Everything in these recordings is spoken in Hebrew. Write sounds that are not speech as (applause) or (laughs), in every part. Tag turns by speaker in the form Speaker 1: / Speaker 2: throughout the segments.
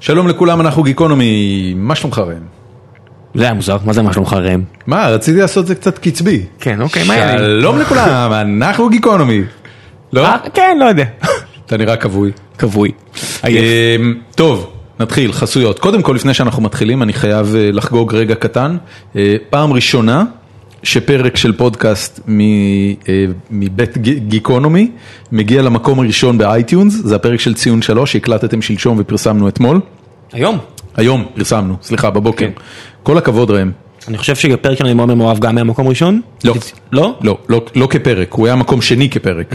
Speaker 1: שלום לכולם, אנחנו גיקונומי, מה שלומך ראם?
Speaker 2: זה היה מוזר, מה זה מה שלומך ראם?
Speaker 1: מה, רציתי לעשות את זה קצת קצבי.
Speaker 2: כן, אוקיי, מה העניינים?
Speaker 1: שלום לכולם, אנחנו גיקונומי. לא?
Speaker 2: אה, כן, לא יודע.
Speaker 1: אתה נראה כבוי.
Speaker 2: כבוי. אה, עייף.
Speaker 1: אמ, טוב, נתחיל, חסויות. קודם כל, לפני שאנחנו מתחילים, אני חייב אה, לחגוג רגע קטן. אה, פעם ראשונה שפרק של פודקאסט מ- אה, מבית ג- גיקונומי מגיע למקום הראשון באייטיונס, זה הפרק של ציון 3 שהקלטתם שלשום ופרסמנו אתמול.
Speaker 2: היום.
Speaker 1: היום פרסמנו, סליחה, בבוקר.
Speaker 2: כן.
Speaker 1: כל הכבוד ראם.
Speaker 2: אני חושב שהפרק שלנו עם עומר מואב גם היה מקום ראשון?
Speaker 1: לא.
Speaker 2: לא?
Speaker 1: לא, לא, לא כפרק, הוא היה מקום שני כפרק,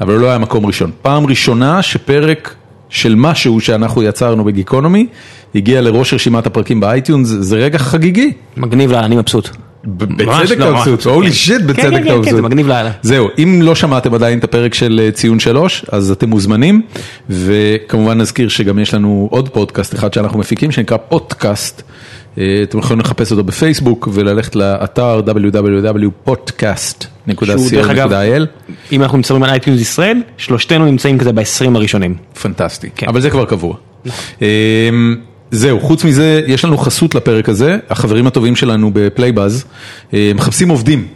Speaker 1: אבל הוא לא היה מקום ראשון. פעם ראשונה שפרק של משהו שאנחנו יצרנו בגיקונומי, הגיע לראש רשימת הפרקים באייטיונס, זה רגע חגיגי.
Speaker 2: מגניב לאללה, אני מבסוט.
Speaker 1: ב-
Speaker 2: ממש
Speaker 1: בצדק
Speaker 2: לא, ממש.
Speaker 1: מבסוט, הולי שיט
Speaker 2: כן,
Speaker 1: בצדק
Speaker 2: כן, כן,
Speaker 1: מבסוט.
Speaker 2: זה מגניב לאללה.
Speaker 1: זהו, אם לא שמעתם עדיין את הפרק של אה, ציון שלוש, אז אתם מוזמנים, וכמובן נזכיר שגם יש לנו עוד פודקאסט אחד שאנחנו מפיקים, שנקרא פודקאסט. אה, אתם יכולים לחפש אותו בפייסבוק וללכת לאתר
Speaker 2: שהוא, דרך אגב,
Speaker 1: www.podcast.co.il,
Speaker 2: אם אנחנו נמצאים על אייטיונס ישראל, שלושתנו נמצאים כזה ב-20 הראשונים.
Speaker 1: פנטסטי,
Speaker 2: כן.
Speaker 1: אבל זה כבר קבוע.
Speaker 2: נכון.
Speaker 1: אה, זהו, חוץ מזה, יש לנו חסות לפרק הזה, החברים הטובים שלנו בפלייבאז, אה, מחפשים עובדים.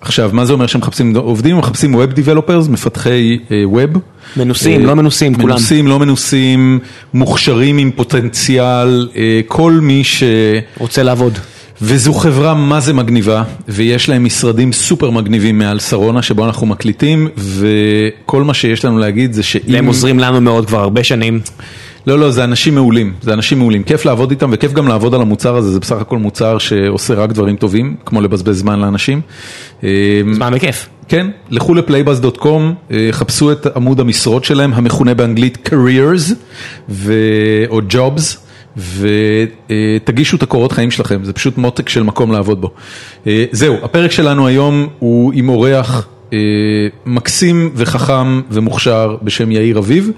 Speaker 1: עכשיו, מה זה אומר שמחפשים עובדים? מחפשים Web Developers, מפתחי ווב.
Speaker 2: מנוסים, לא מנוסים, כולם.
Speaker 1: מנוסים, לא מנוסים, מוכשרים עם פוטנציאל, אה, כל מי ש...
Speaker 2: רוצה לעבוד.
Speaker 1: וזו חברה מה זה מגניבה, ויש להם משרדים סופר מגניבים מעל שרונה, שבו אנחנו מקליטים, וכל מה שיש לנו להגיד זה שאם...
Speaker 2: והם עוזרים לנו מאוד כבר הרבה שנים.
Speaker 1: לא, לא, זה אנשים מעולים, זה אנשים מעולים. כיף לעבוד איתם וכיף גם לעבוד על המוצר הזה, זה בסך הכל מוצר שעושה רק דברים טובים, כמו לבזבז זמן לאנשים. אה,
Speaker 2: מה, בכיף.
Speaker 1: כן, לכו לפלייבאז.קום, אה, חפשו את עמוד המשרות שלהם, המכונה באנגלית careers ו... או jobs, ותגישו את הקורות חיים שלכם, זה פשוט מותק של מקום לעבוד בו. אה, זהו, הפרק שלנו היום הוא עם אורח. אה, מקסים וחכם ומוכשר בשם יאיר אביב.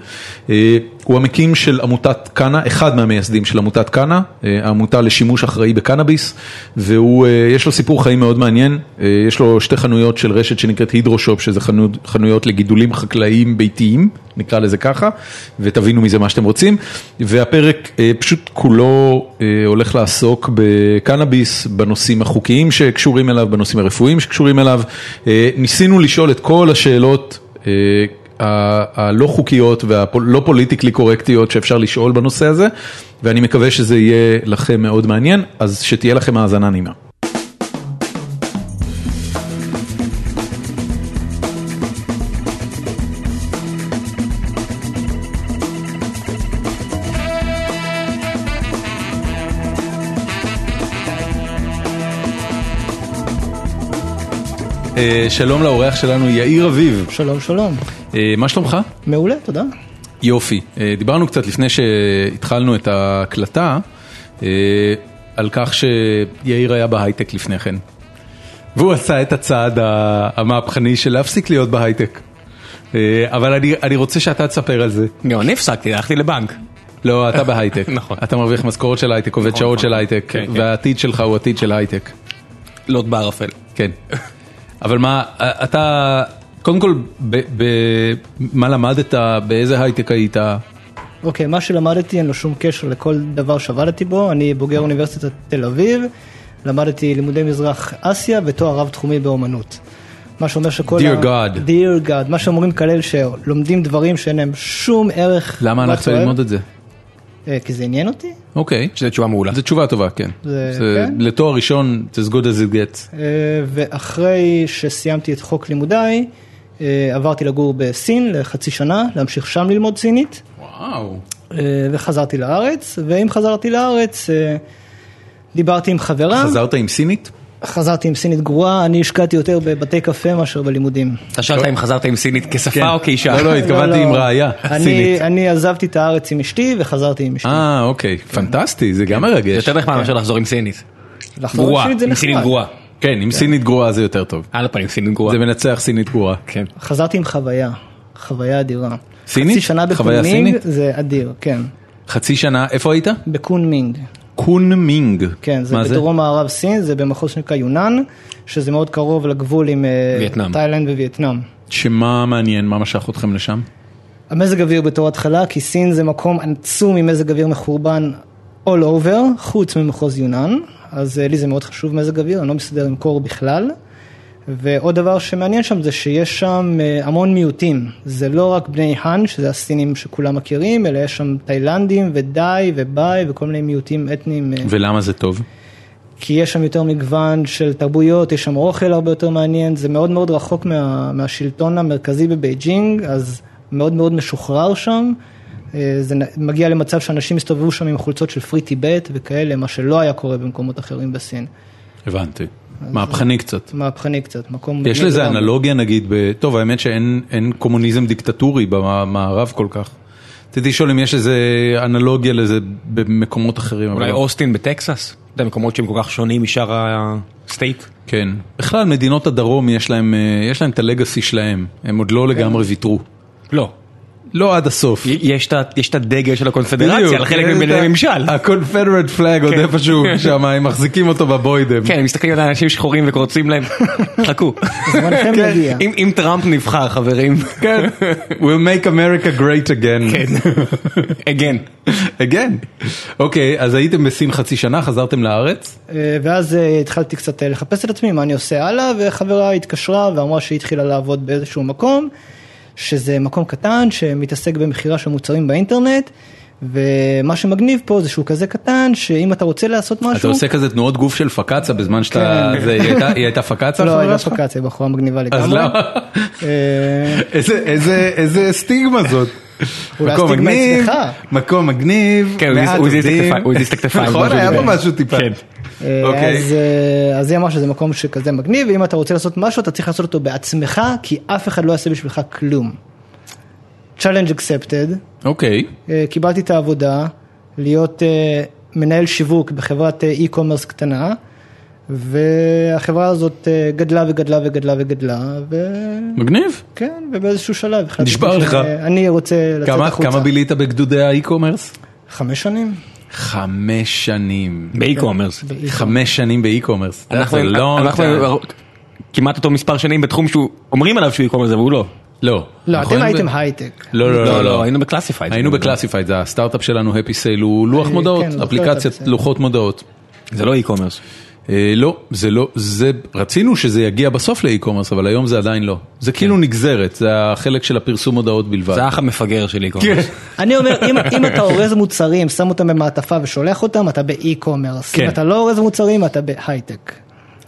Speaker 1: אה, הוא המקים של עמותת קאנה, אחד מהמייסדים של עמותת קאנה, אה, העמותה לשימוש אחראי בקנאביס, והוא, אה, יש לו סיפור חיים מאוד מעניין, אה, יש לו שתי חנויות של רשת שנקראת הידרושופ, שזה חנות, חנויות לגידולים חקלאיים ביתיים, נקרא לזה ככה, ותבינו מזה מה שאתם רוצים, והפרק אה, פשוט כולו אה, הולך לעסוק בקנאביס, בנושאים החוקיים שקשורים אליו, בנושאים הרפואיים שקשורים אליו. אה, ניסינו לשאול את כל השאלות. אה, ה- הלא חוקיות והלא פוליטיקלי קורקטיות שאפשר לשאול בנושא הזה, ואני מקווה שזה יהיה לכם מאוד מעניין, אז שתהיה לכם האזנה נעימה. אה, שלום לאורח שלנו יאיר אביב,
Speaker 3: שלום שלום,
Speaker 1: אה, מה שלומך?
Speaker 3: מעולה, תודה.
Speaker 1: יופי. אה, דיברנו קצת לפני שהתחלנו את ההקלטה, אה, על כך שיאיר היה בהייטק לפני כן. והוא עשה את הצעד ה- המהפכני של להפסיק להיות בהייטק. אה, אבל אני, אני רוצה שאתה תספר על זה.
Speaker 2: גם אני הפסקתי, הלכתי לבנק. (laughs)
Speaker 1: לא, אתה בהייטק.
Speaker 2: נכון.
Speaker 1: אתה מרוויח משכורת של הייטק, עובד שעות
Speaker 2: נכון.
Speaker 1: של הייטק,
Speaker 2: כן, כן.
Speaker 1: והעתיד שלך הוא עתיד של הייטק.
Speaker 2: לוט בערפל. (laughs)
Speaker 1: כן. אבל מה, אתה, קודם כל, ב, ב, מה למדת, באיזה הייטק היית?
Speaker 3: אוקיי, מה שלמדתי אין לו שום קשר לכל דבר שעבדתי בו, אני בוגר אוניברסיטת תל אביב, למדתי לימודי מזרח אסיה ותואר רב תחומי באומנות. מה שאומר שכל
Speaker 1: Dear God.
Speaker 3: Dear God, מה שאומרים כלל שלומדים דברים שאין להם שום ערך.
Speaker 1: למה הלכת ללמוד את זה?
Speaker 3: זה? כי זה עניין אותי.
Speaker 1: אוקיי.
Speaker 2: שזו תשובה מעולה.
Speaker 1: זו תשובה טובה, כן.
Speaker 3: זה-
Speaker 1: זה-
Speaker 3: כן.
Speaker 1: לתואר ראשון, it's as good as it gets.
Speaker 3: אה, ואחרי שסיימתי את חוק לימודיי, אה, עברתי לגור בסין לחצי שנה, להמשיך שם ללמוד סינית.
Speaker 1: וואו.
Speaker 3: אה, וחזרתי לארץ, ואם חזרתי לארץ, אה, דיברתי עם חברה,
Speaker 1: חזרת עם סינית?
Speaker 3: חזרתי עם סינית גרועה, אני השקעתי יותר בבתי קפה מאשר בלימודים.
Speaker 2: אתה שאלת אם חזרת עם סינית
Speaker 1: כן.
Speaker 2: כשפה או כאישה.
Speaker 1: לא, לא, התכוונתי עם ראייה
Speaker 3: אני-
Speaker 1: סינית.
Speaker 3: אני עזבתי את הארץ עם אשתי וחזרתי עם אשתי.
Speaker 1: אה, אוקיי, פנטסטי, זה גם
Speaker 2: זה
Speaker 1: מרגש.
Speaker 2: יותר נחמד מאשר לחזור עם סינית.
Speaker 3: לחזור
Speaker 2: כן.
Speaker 3: עם
Speaker 2: גרועה,
Speaker 3: סינית זה
Speaker 2: עם סינית
Speaker 3: נחמד.
Speaker 2: גרועה.
Speaker 1: כן, עם סינית גרועה זה יותר טוב.
Speaker 2: על הפנים סינית גרועה.
Speaker 1: זה מנצח סינית גרועה.
Speaker 2: כן.
Speaker 3: חזרתי עם חוויה, חוויה אדירה.
Speaker 1: סינית?
Speaker 3: חצי שנה
Speaker 1: חוויה
Speaker 3: בקונמינג
Speaker 1: סינית?
Speaker 3: זה אדיר, כן.
Speaker 1: חצי שנה, איפה היית?
Speaker 3: בקונמינג,
Speaker 1: קונמינג.
Speaker 3: כן, זה
Speaker 1: מה
Speaker 3: בדרום מערב סין, זה במחוז שנקרא יונן, שזה מאוד קרוב לגבול עם אה,
Speaker 2: וייטנאם.
Speaker 3: תאילנד ווייטנאם.
Speaker 1: שמה מעניין, מה משך אתכם לשם?
Speaker 3: המזג אוויר בתור התחלה, כי סין זה מקום עצום עם מזג אוויר מחורבן all over, חוץ ממחוז יונן, אז אה, לי זה מאוד חשוב מזג אוויר, אני לא מסתדר עם קור בכלל. ועוד דבר שמעניין שם זה שיש שם אה, המון מיעוטים, זה לא רק בני האן, שזה הסינים שכולם מכירים, אלא יש שם תאילנדים ודאי ובאי וכל מיני מיעוטים אתניים. אה,
Speaker 1: ולמה זה טוב?
Speaker 3: כי יש שם יותר מגוון של תרבויות, יש שם אוכל הרבה יותר מעניין, זה מאוד מאוד רחוק מה, מהשלטון המרכזי בבייג'ינג, אז מאוד מאוד משוחרר שם. אה, זה נ- מגיע למצב שאנשים הסתובבו שם עם חולצות של פרי טיבט וכאלה, מה שלא היה קורה במקומות אחרים בסין.
Speaker 1: הבנתי. מהפכני קצת.
Speaker 3: מהפכני קצת, מקום...
Speaker 1: יש
Speaker 3: מגניב
Speaker 1: לזה
Speaker 3: לגמרי.
Speaker 1: אנלוגיה נגיד, ב... טוב האמת שאין אין קומוניזם דיקטטורי במערב כל כך. רציתי לשאול אם יש איזה אנלוגיה לזה במקומות אחרים. אבל
Speaker 4: אולי
Speaker 1: לא.
Speaker 4: אוסטין בטקסס? אתה יודע, מקומות שהם כל כך שונים משאר הסטייט?
Speaker 1: כן. בכלל מדינות הדרום יש להם, אה, יש להם את הלגאסי שלהם, הם עוד לא לגמרי ויתרו.
Speaker 4: כן. לא.
Speaker 1: לא עד הסוף.
Speaker 4: י- יש את ה- יש את הדגל של
Speaker 1: בדיוק.
Speaker 4: הקונפדרציה על חלק
Speaker 1: יש את
Speaker 4: מבני
Speaker 1: ה-
Speaker 4: הממשל.
Speaker 1: ה-Confederate flag עוד
Speaker 4: כן. (laughs)
Speaker 1: איפשהו שם, הם מחזיקים אותו בבוידם.
Speaker 4: כן, הם מסתכלים על אנשים שחורים וקורצים (laughs) להם, חכו.
Speaker 3: זמנכם
Speaker 4: כן,
Speaker 3: מגיע.
Speaker 4: אם אם טראמפ נבחר, חברים.
Speaker 1: כן. We'll make America great again.
Speaker 4: כן. (laughs) again.
Speaker 1: (laughs) again. אוקיי, אז הייתם בסין חצי שנה, חזרתם לארץ?
Speaker 3: אה, ואז אה, התחלתי קצת אה, לחפש את עצמי, מה אני עושה הלאה, וחברה התקשרה ואמרה שהיא התחילה לעבוד באיזשהו מקום, שזה מקום קטן שמתעסק במכירה של מוצרים באינטרנט, ומה שמגניב פה זה שהוא כזה קטן, שאם אתה רוצה לעשות משהו...
Speaker 1: אתה עושה כזה תנועות גוף של פקצה בזמן שאתה...
Speaker 3: כן.
Speaker 1: זה- היא הייתה- היא הייתה פקצה?
Speaker 3: לא,
Speaker 1: החברה
Speaker 3: היא לא
Speaker 1: שלך?
Speaker 3: פקציה, היא בחורה מגניבה לגמרי.
Speaker 1: אז למה?
Speaker 3: אה,
Speaker 1: (laughs) איזה- איזה- איזה סטיגמה זאת.
Speaker 3: אולי
Speaker 1: מקום
Speaker 3: הסטיגמה
Speaker 1: מגניב,
Speaker 3: אצלך.
Speaker 1: מקום מגניב,
Speaker 4: כן, הוא הזיז-
Speaker 1: מעט
Speaker 4: הוא הזיז את
Speaker 1: עובדים.
Speaker 4: הכתפיים, הוא הזיז את הכתפיים,
Speaker 1: נכון,
Speaker 4: משהו
Speaker 1: היה פה
Speaker 4: כזה.
Speaker 1: משהו טיפה.
Speaker 4: כן.
Speaker 3: אה,
Speaker 1: אוקיי.
Speaker 3: אז, אה, אז היא אמרה שזה מקום שכזה מגניב, ואם אתה רוצה לעשות משהו אתה צריך לעשות אותו בעצמך, כי אף אחד לא יעשה בשבילך כלום. Challenge accepted,
Speaker 1: אוקיי.
Speaker 3: אה, קיבלתי את העבודה להיות אה, מנהל שיווק בחברת אה, e-commerce קטנה, והחברה הזאת אה, גדלה וגדלה וגדלה וגדלה, וכן,
Speaker 1: מגניב.
Speaker 3: ובאיזשהו שלב החלטתי
Speaker 1: נשבר לך.
Speaker 3: שאני רוצה לצאת
Speaker 1: כמה-
Speaker 3: החוצה.
Speaker 1: כמה בילית בגדודי האי-קומרס?
Speaker 3: חמש שנים.
Speaker 1: חמש שנים.
Speaker 4: באי-קומרס.
Speaker 1: חמש שנים באי-קומרס.
Speaker 4: אנחנו
Speaker 1: זה לא...
Speaker 4: אנחנו כמעט אותו מספר שנים בתחום שהוא, אומרים עליו שהוא אי-קומרס, אבל הוא לא.
Speaker 1: לא.
Speaker 3: לא,
Speaker 1: נכון?
Speaker 3: אתם הייתם הייטק.
Speaker 1: לא, לא, לא, לא.
Speaker 4: היינו בקלאסיפייד.
Speaker 1: היינו בקלאסיפייד, זה הסטארט-אפ שלנו, Happy Sale, הוא לוח
Speaker 3: אה,
Speaker 1: מודעות,
Speaker 3: כן, לוח
Speaker 1: אפליקציית
Speaker 3: מודעות,
Speaker 1: לוחות מודעות.
Speaker 4: זה לא אי-קומרס.
Speaker 1: אה, לא, זה לא, זה, רצינו שזה יגיע בסוף לאי-קומרס, אבל היום זה עדיין לא. זה
Speaker 3: כן.
Speaker 1: כאילו נגזרת, זה החלק של הפרסום מודעות בלבד.
Speaker 4: זה האח המפגר של כן. אי-קומרס.
Speaker 3: אני אומר, אם, אם אתה אורז מוצרים, שם אותם במעטפה ושולח אותם, אתה באי-קומרס.
Speaker 4: כן.
Speaker 3: אם אתה לא אורז מוצרים, אתה בהייטק.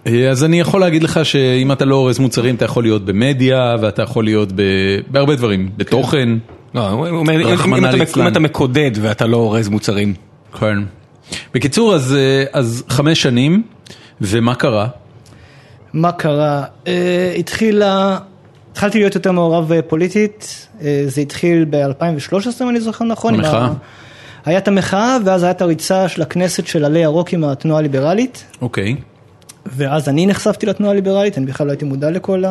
Speaker 1: אה, אז אני יכול להגיד לך שאם אתה לא אורז מוצרים, אתה יכול להיות במדיה, ואתה יכול להיות ב- בהרבה
Speaker 3: כן.
Speaker 1: דברים, בתוכן.
Speaker 4: לא, הוא אומר, אם- אם-
Speaker 1: רחמנא
Speaker 4: אם אתה-
Speaker 1: ליצלן.
Speaker 4: אם אתה מקודד ואתה לא אורז מוצרים.
Speaker 1: כן. בקיצור, אז, אה, אז חמש שנים, ומה קרה?
Speaker 3: מה קרה? Uh, התחילה, התחלתי להיות יותר מעורב אה, פוליטית, uh, זה התחיל ב-2013 אם אני זוכר נכון. עם
Speaker 1: המחאה.
Speaker 3: ה- היה את המחאה ואז הייתה הריצה של הכנסת של עלי ירוק עם התנועה הליברלית,
Speaker 1: אוקיי.
Speaker 3: ואז אני נחשפתי לתנועה הליברלית, אני בכלל לא הייתי מודע לכל
Speaker 1: לא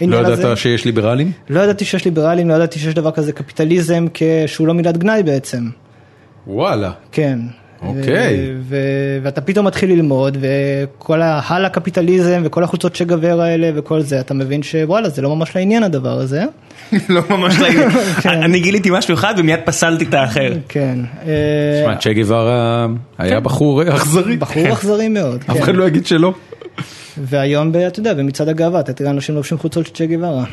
Speaker 3: העניין הזה.
Speaker 1: ידעת שיש ליברלים?
Speaker 3: לא ידעתי שיש ליברלים, לא ידעתי שיש דבר כזה קפיטליזם כ- שהוא לא מילת גנאי בעצם.
Speaker 1: וואלה.
Speaker 3: כן.
Speaker 1: אוקיי.
Speaker 3: ו- ו- ואתה פתאום מתחיל ללמוד וכל ההלה קפיטליזם וכל החולצות שגבר האלה וכל זה אתה מבין שוואלה זה לא ממש לעניין הדבר הזה.
Speaker 4: (laughs) לא
Speaker 5: (laughs)
Speaker 4: ממש לעניין.
Speaker 5: כן.
Speaker 4: אני גיליתי משהו אחד ומיד פסלתי את האחר.
Speaker 3: כן.
Speaker 1: תשמע, צ'ה גווארה היה בחור אכזרי.
Speaker 3: בחור אכזרי מאוד.
Speaker 1: אף
Speaker 3: כן.
Speaker 1: אחד לא יגיד שלא.
Speaker 3: והיום ב- אתה יודע במצעד הגאווה אתה תראה אנשים לובשים חולצות של צ'ה גווארה.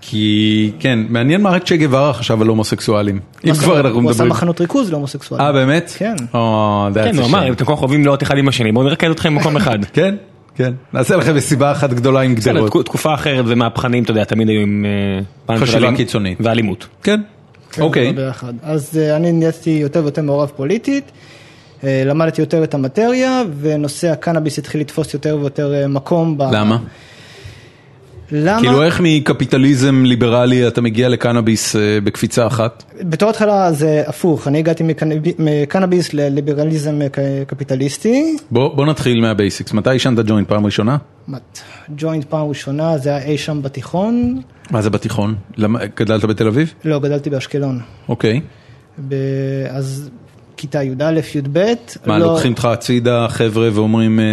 Speaker 1: כי כן, מעניין מה רק צ'ה גווארה חשב על הומוסקסואלים. אם כבר אנחנו
Speaker 3: הוא עשה
Speaker 1: מדברים.
Speaker 3: מחנות ריכוז להומוסקסואלים.
Speaker 1: אה באמת?
Speaker 3: כן.
Speaker 1: או, that's
Speaker 4: כן,
Speaker 1: a
Speaker 4: הוא
Speaker 1: shame.
Speaker 4: אמר, אתם כל כך אוהבים להיות אחד עם השני, בואו נרקד אתכם במקום אחד. (laughs)
Speaker 1: כן, כן. נעשה לכם מסיבה אחת גדולה עם
Speaker 4: בסדר,
Speaker 1: גדרות.
Speaker 4: תקו- תקופה אחרת ומהפכנים, אתה יודע, תמיד היו עם... אה, פן של
Speaker 1: חשיבה
Speaker 4: אלימות-
Speaker 1: לא קיצונית.
Speaker 4: ואלימות.
Speaker 1: כן. אוקיי.
Speaker 3: זה לא ביחד. אז אה, אני נהייתי יותר ויותר מעורב פוליטית, אה, למדתי יותר את המטריה, ונושא הקנאביס התחיל לתפוס יותר ויותר אה, מקום. ב-
Speaker 1: למה?
Speaker 3: למה?
Speaker 1: כאילו איך מקפיטליזם ליברלי אתה מגיע לקנאביס אה, בקפיצה אחת?
Speaker 3: בתור התחלה זה הפוך, אני הגעתי מקנאב- מקנאביס לליברליזם אה, ק- קפיטליסטי.
Speaker 1: בוא בוא נתחיל מהבייסיקס. מתי עישנת ג'וינט פעם ראשונה?
Speaker 3: מת- ג'וינט פעם ראשונה, זה היה אי שם בתיכון.
Speaker 1: מה זה בתיכון? למה- גדלת בתל אביב?
Speaker 3: לא, גדלתי באשקלון.
Speaker 1: אוקיי.
Speaker 3: ב- אז כיתה י"א, י"ב.
Speaker 1: מה,
Speaker 3: לא-
Speaker 1: לוקחים אותך הצידה חבר'ה ואומרים, אה,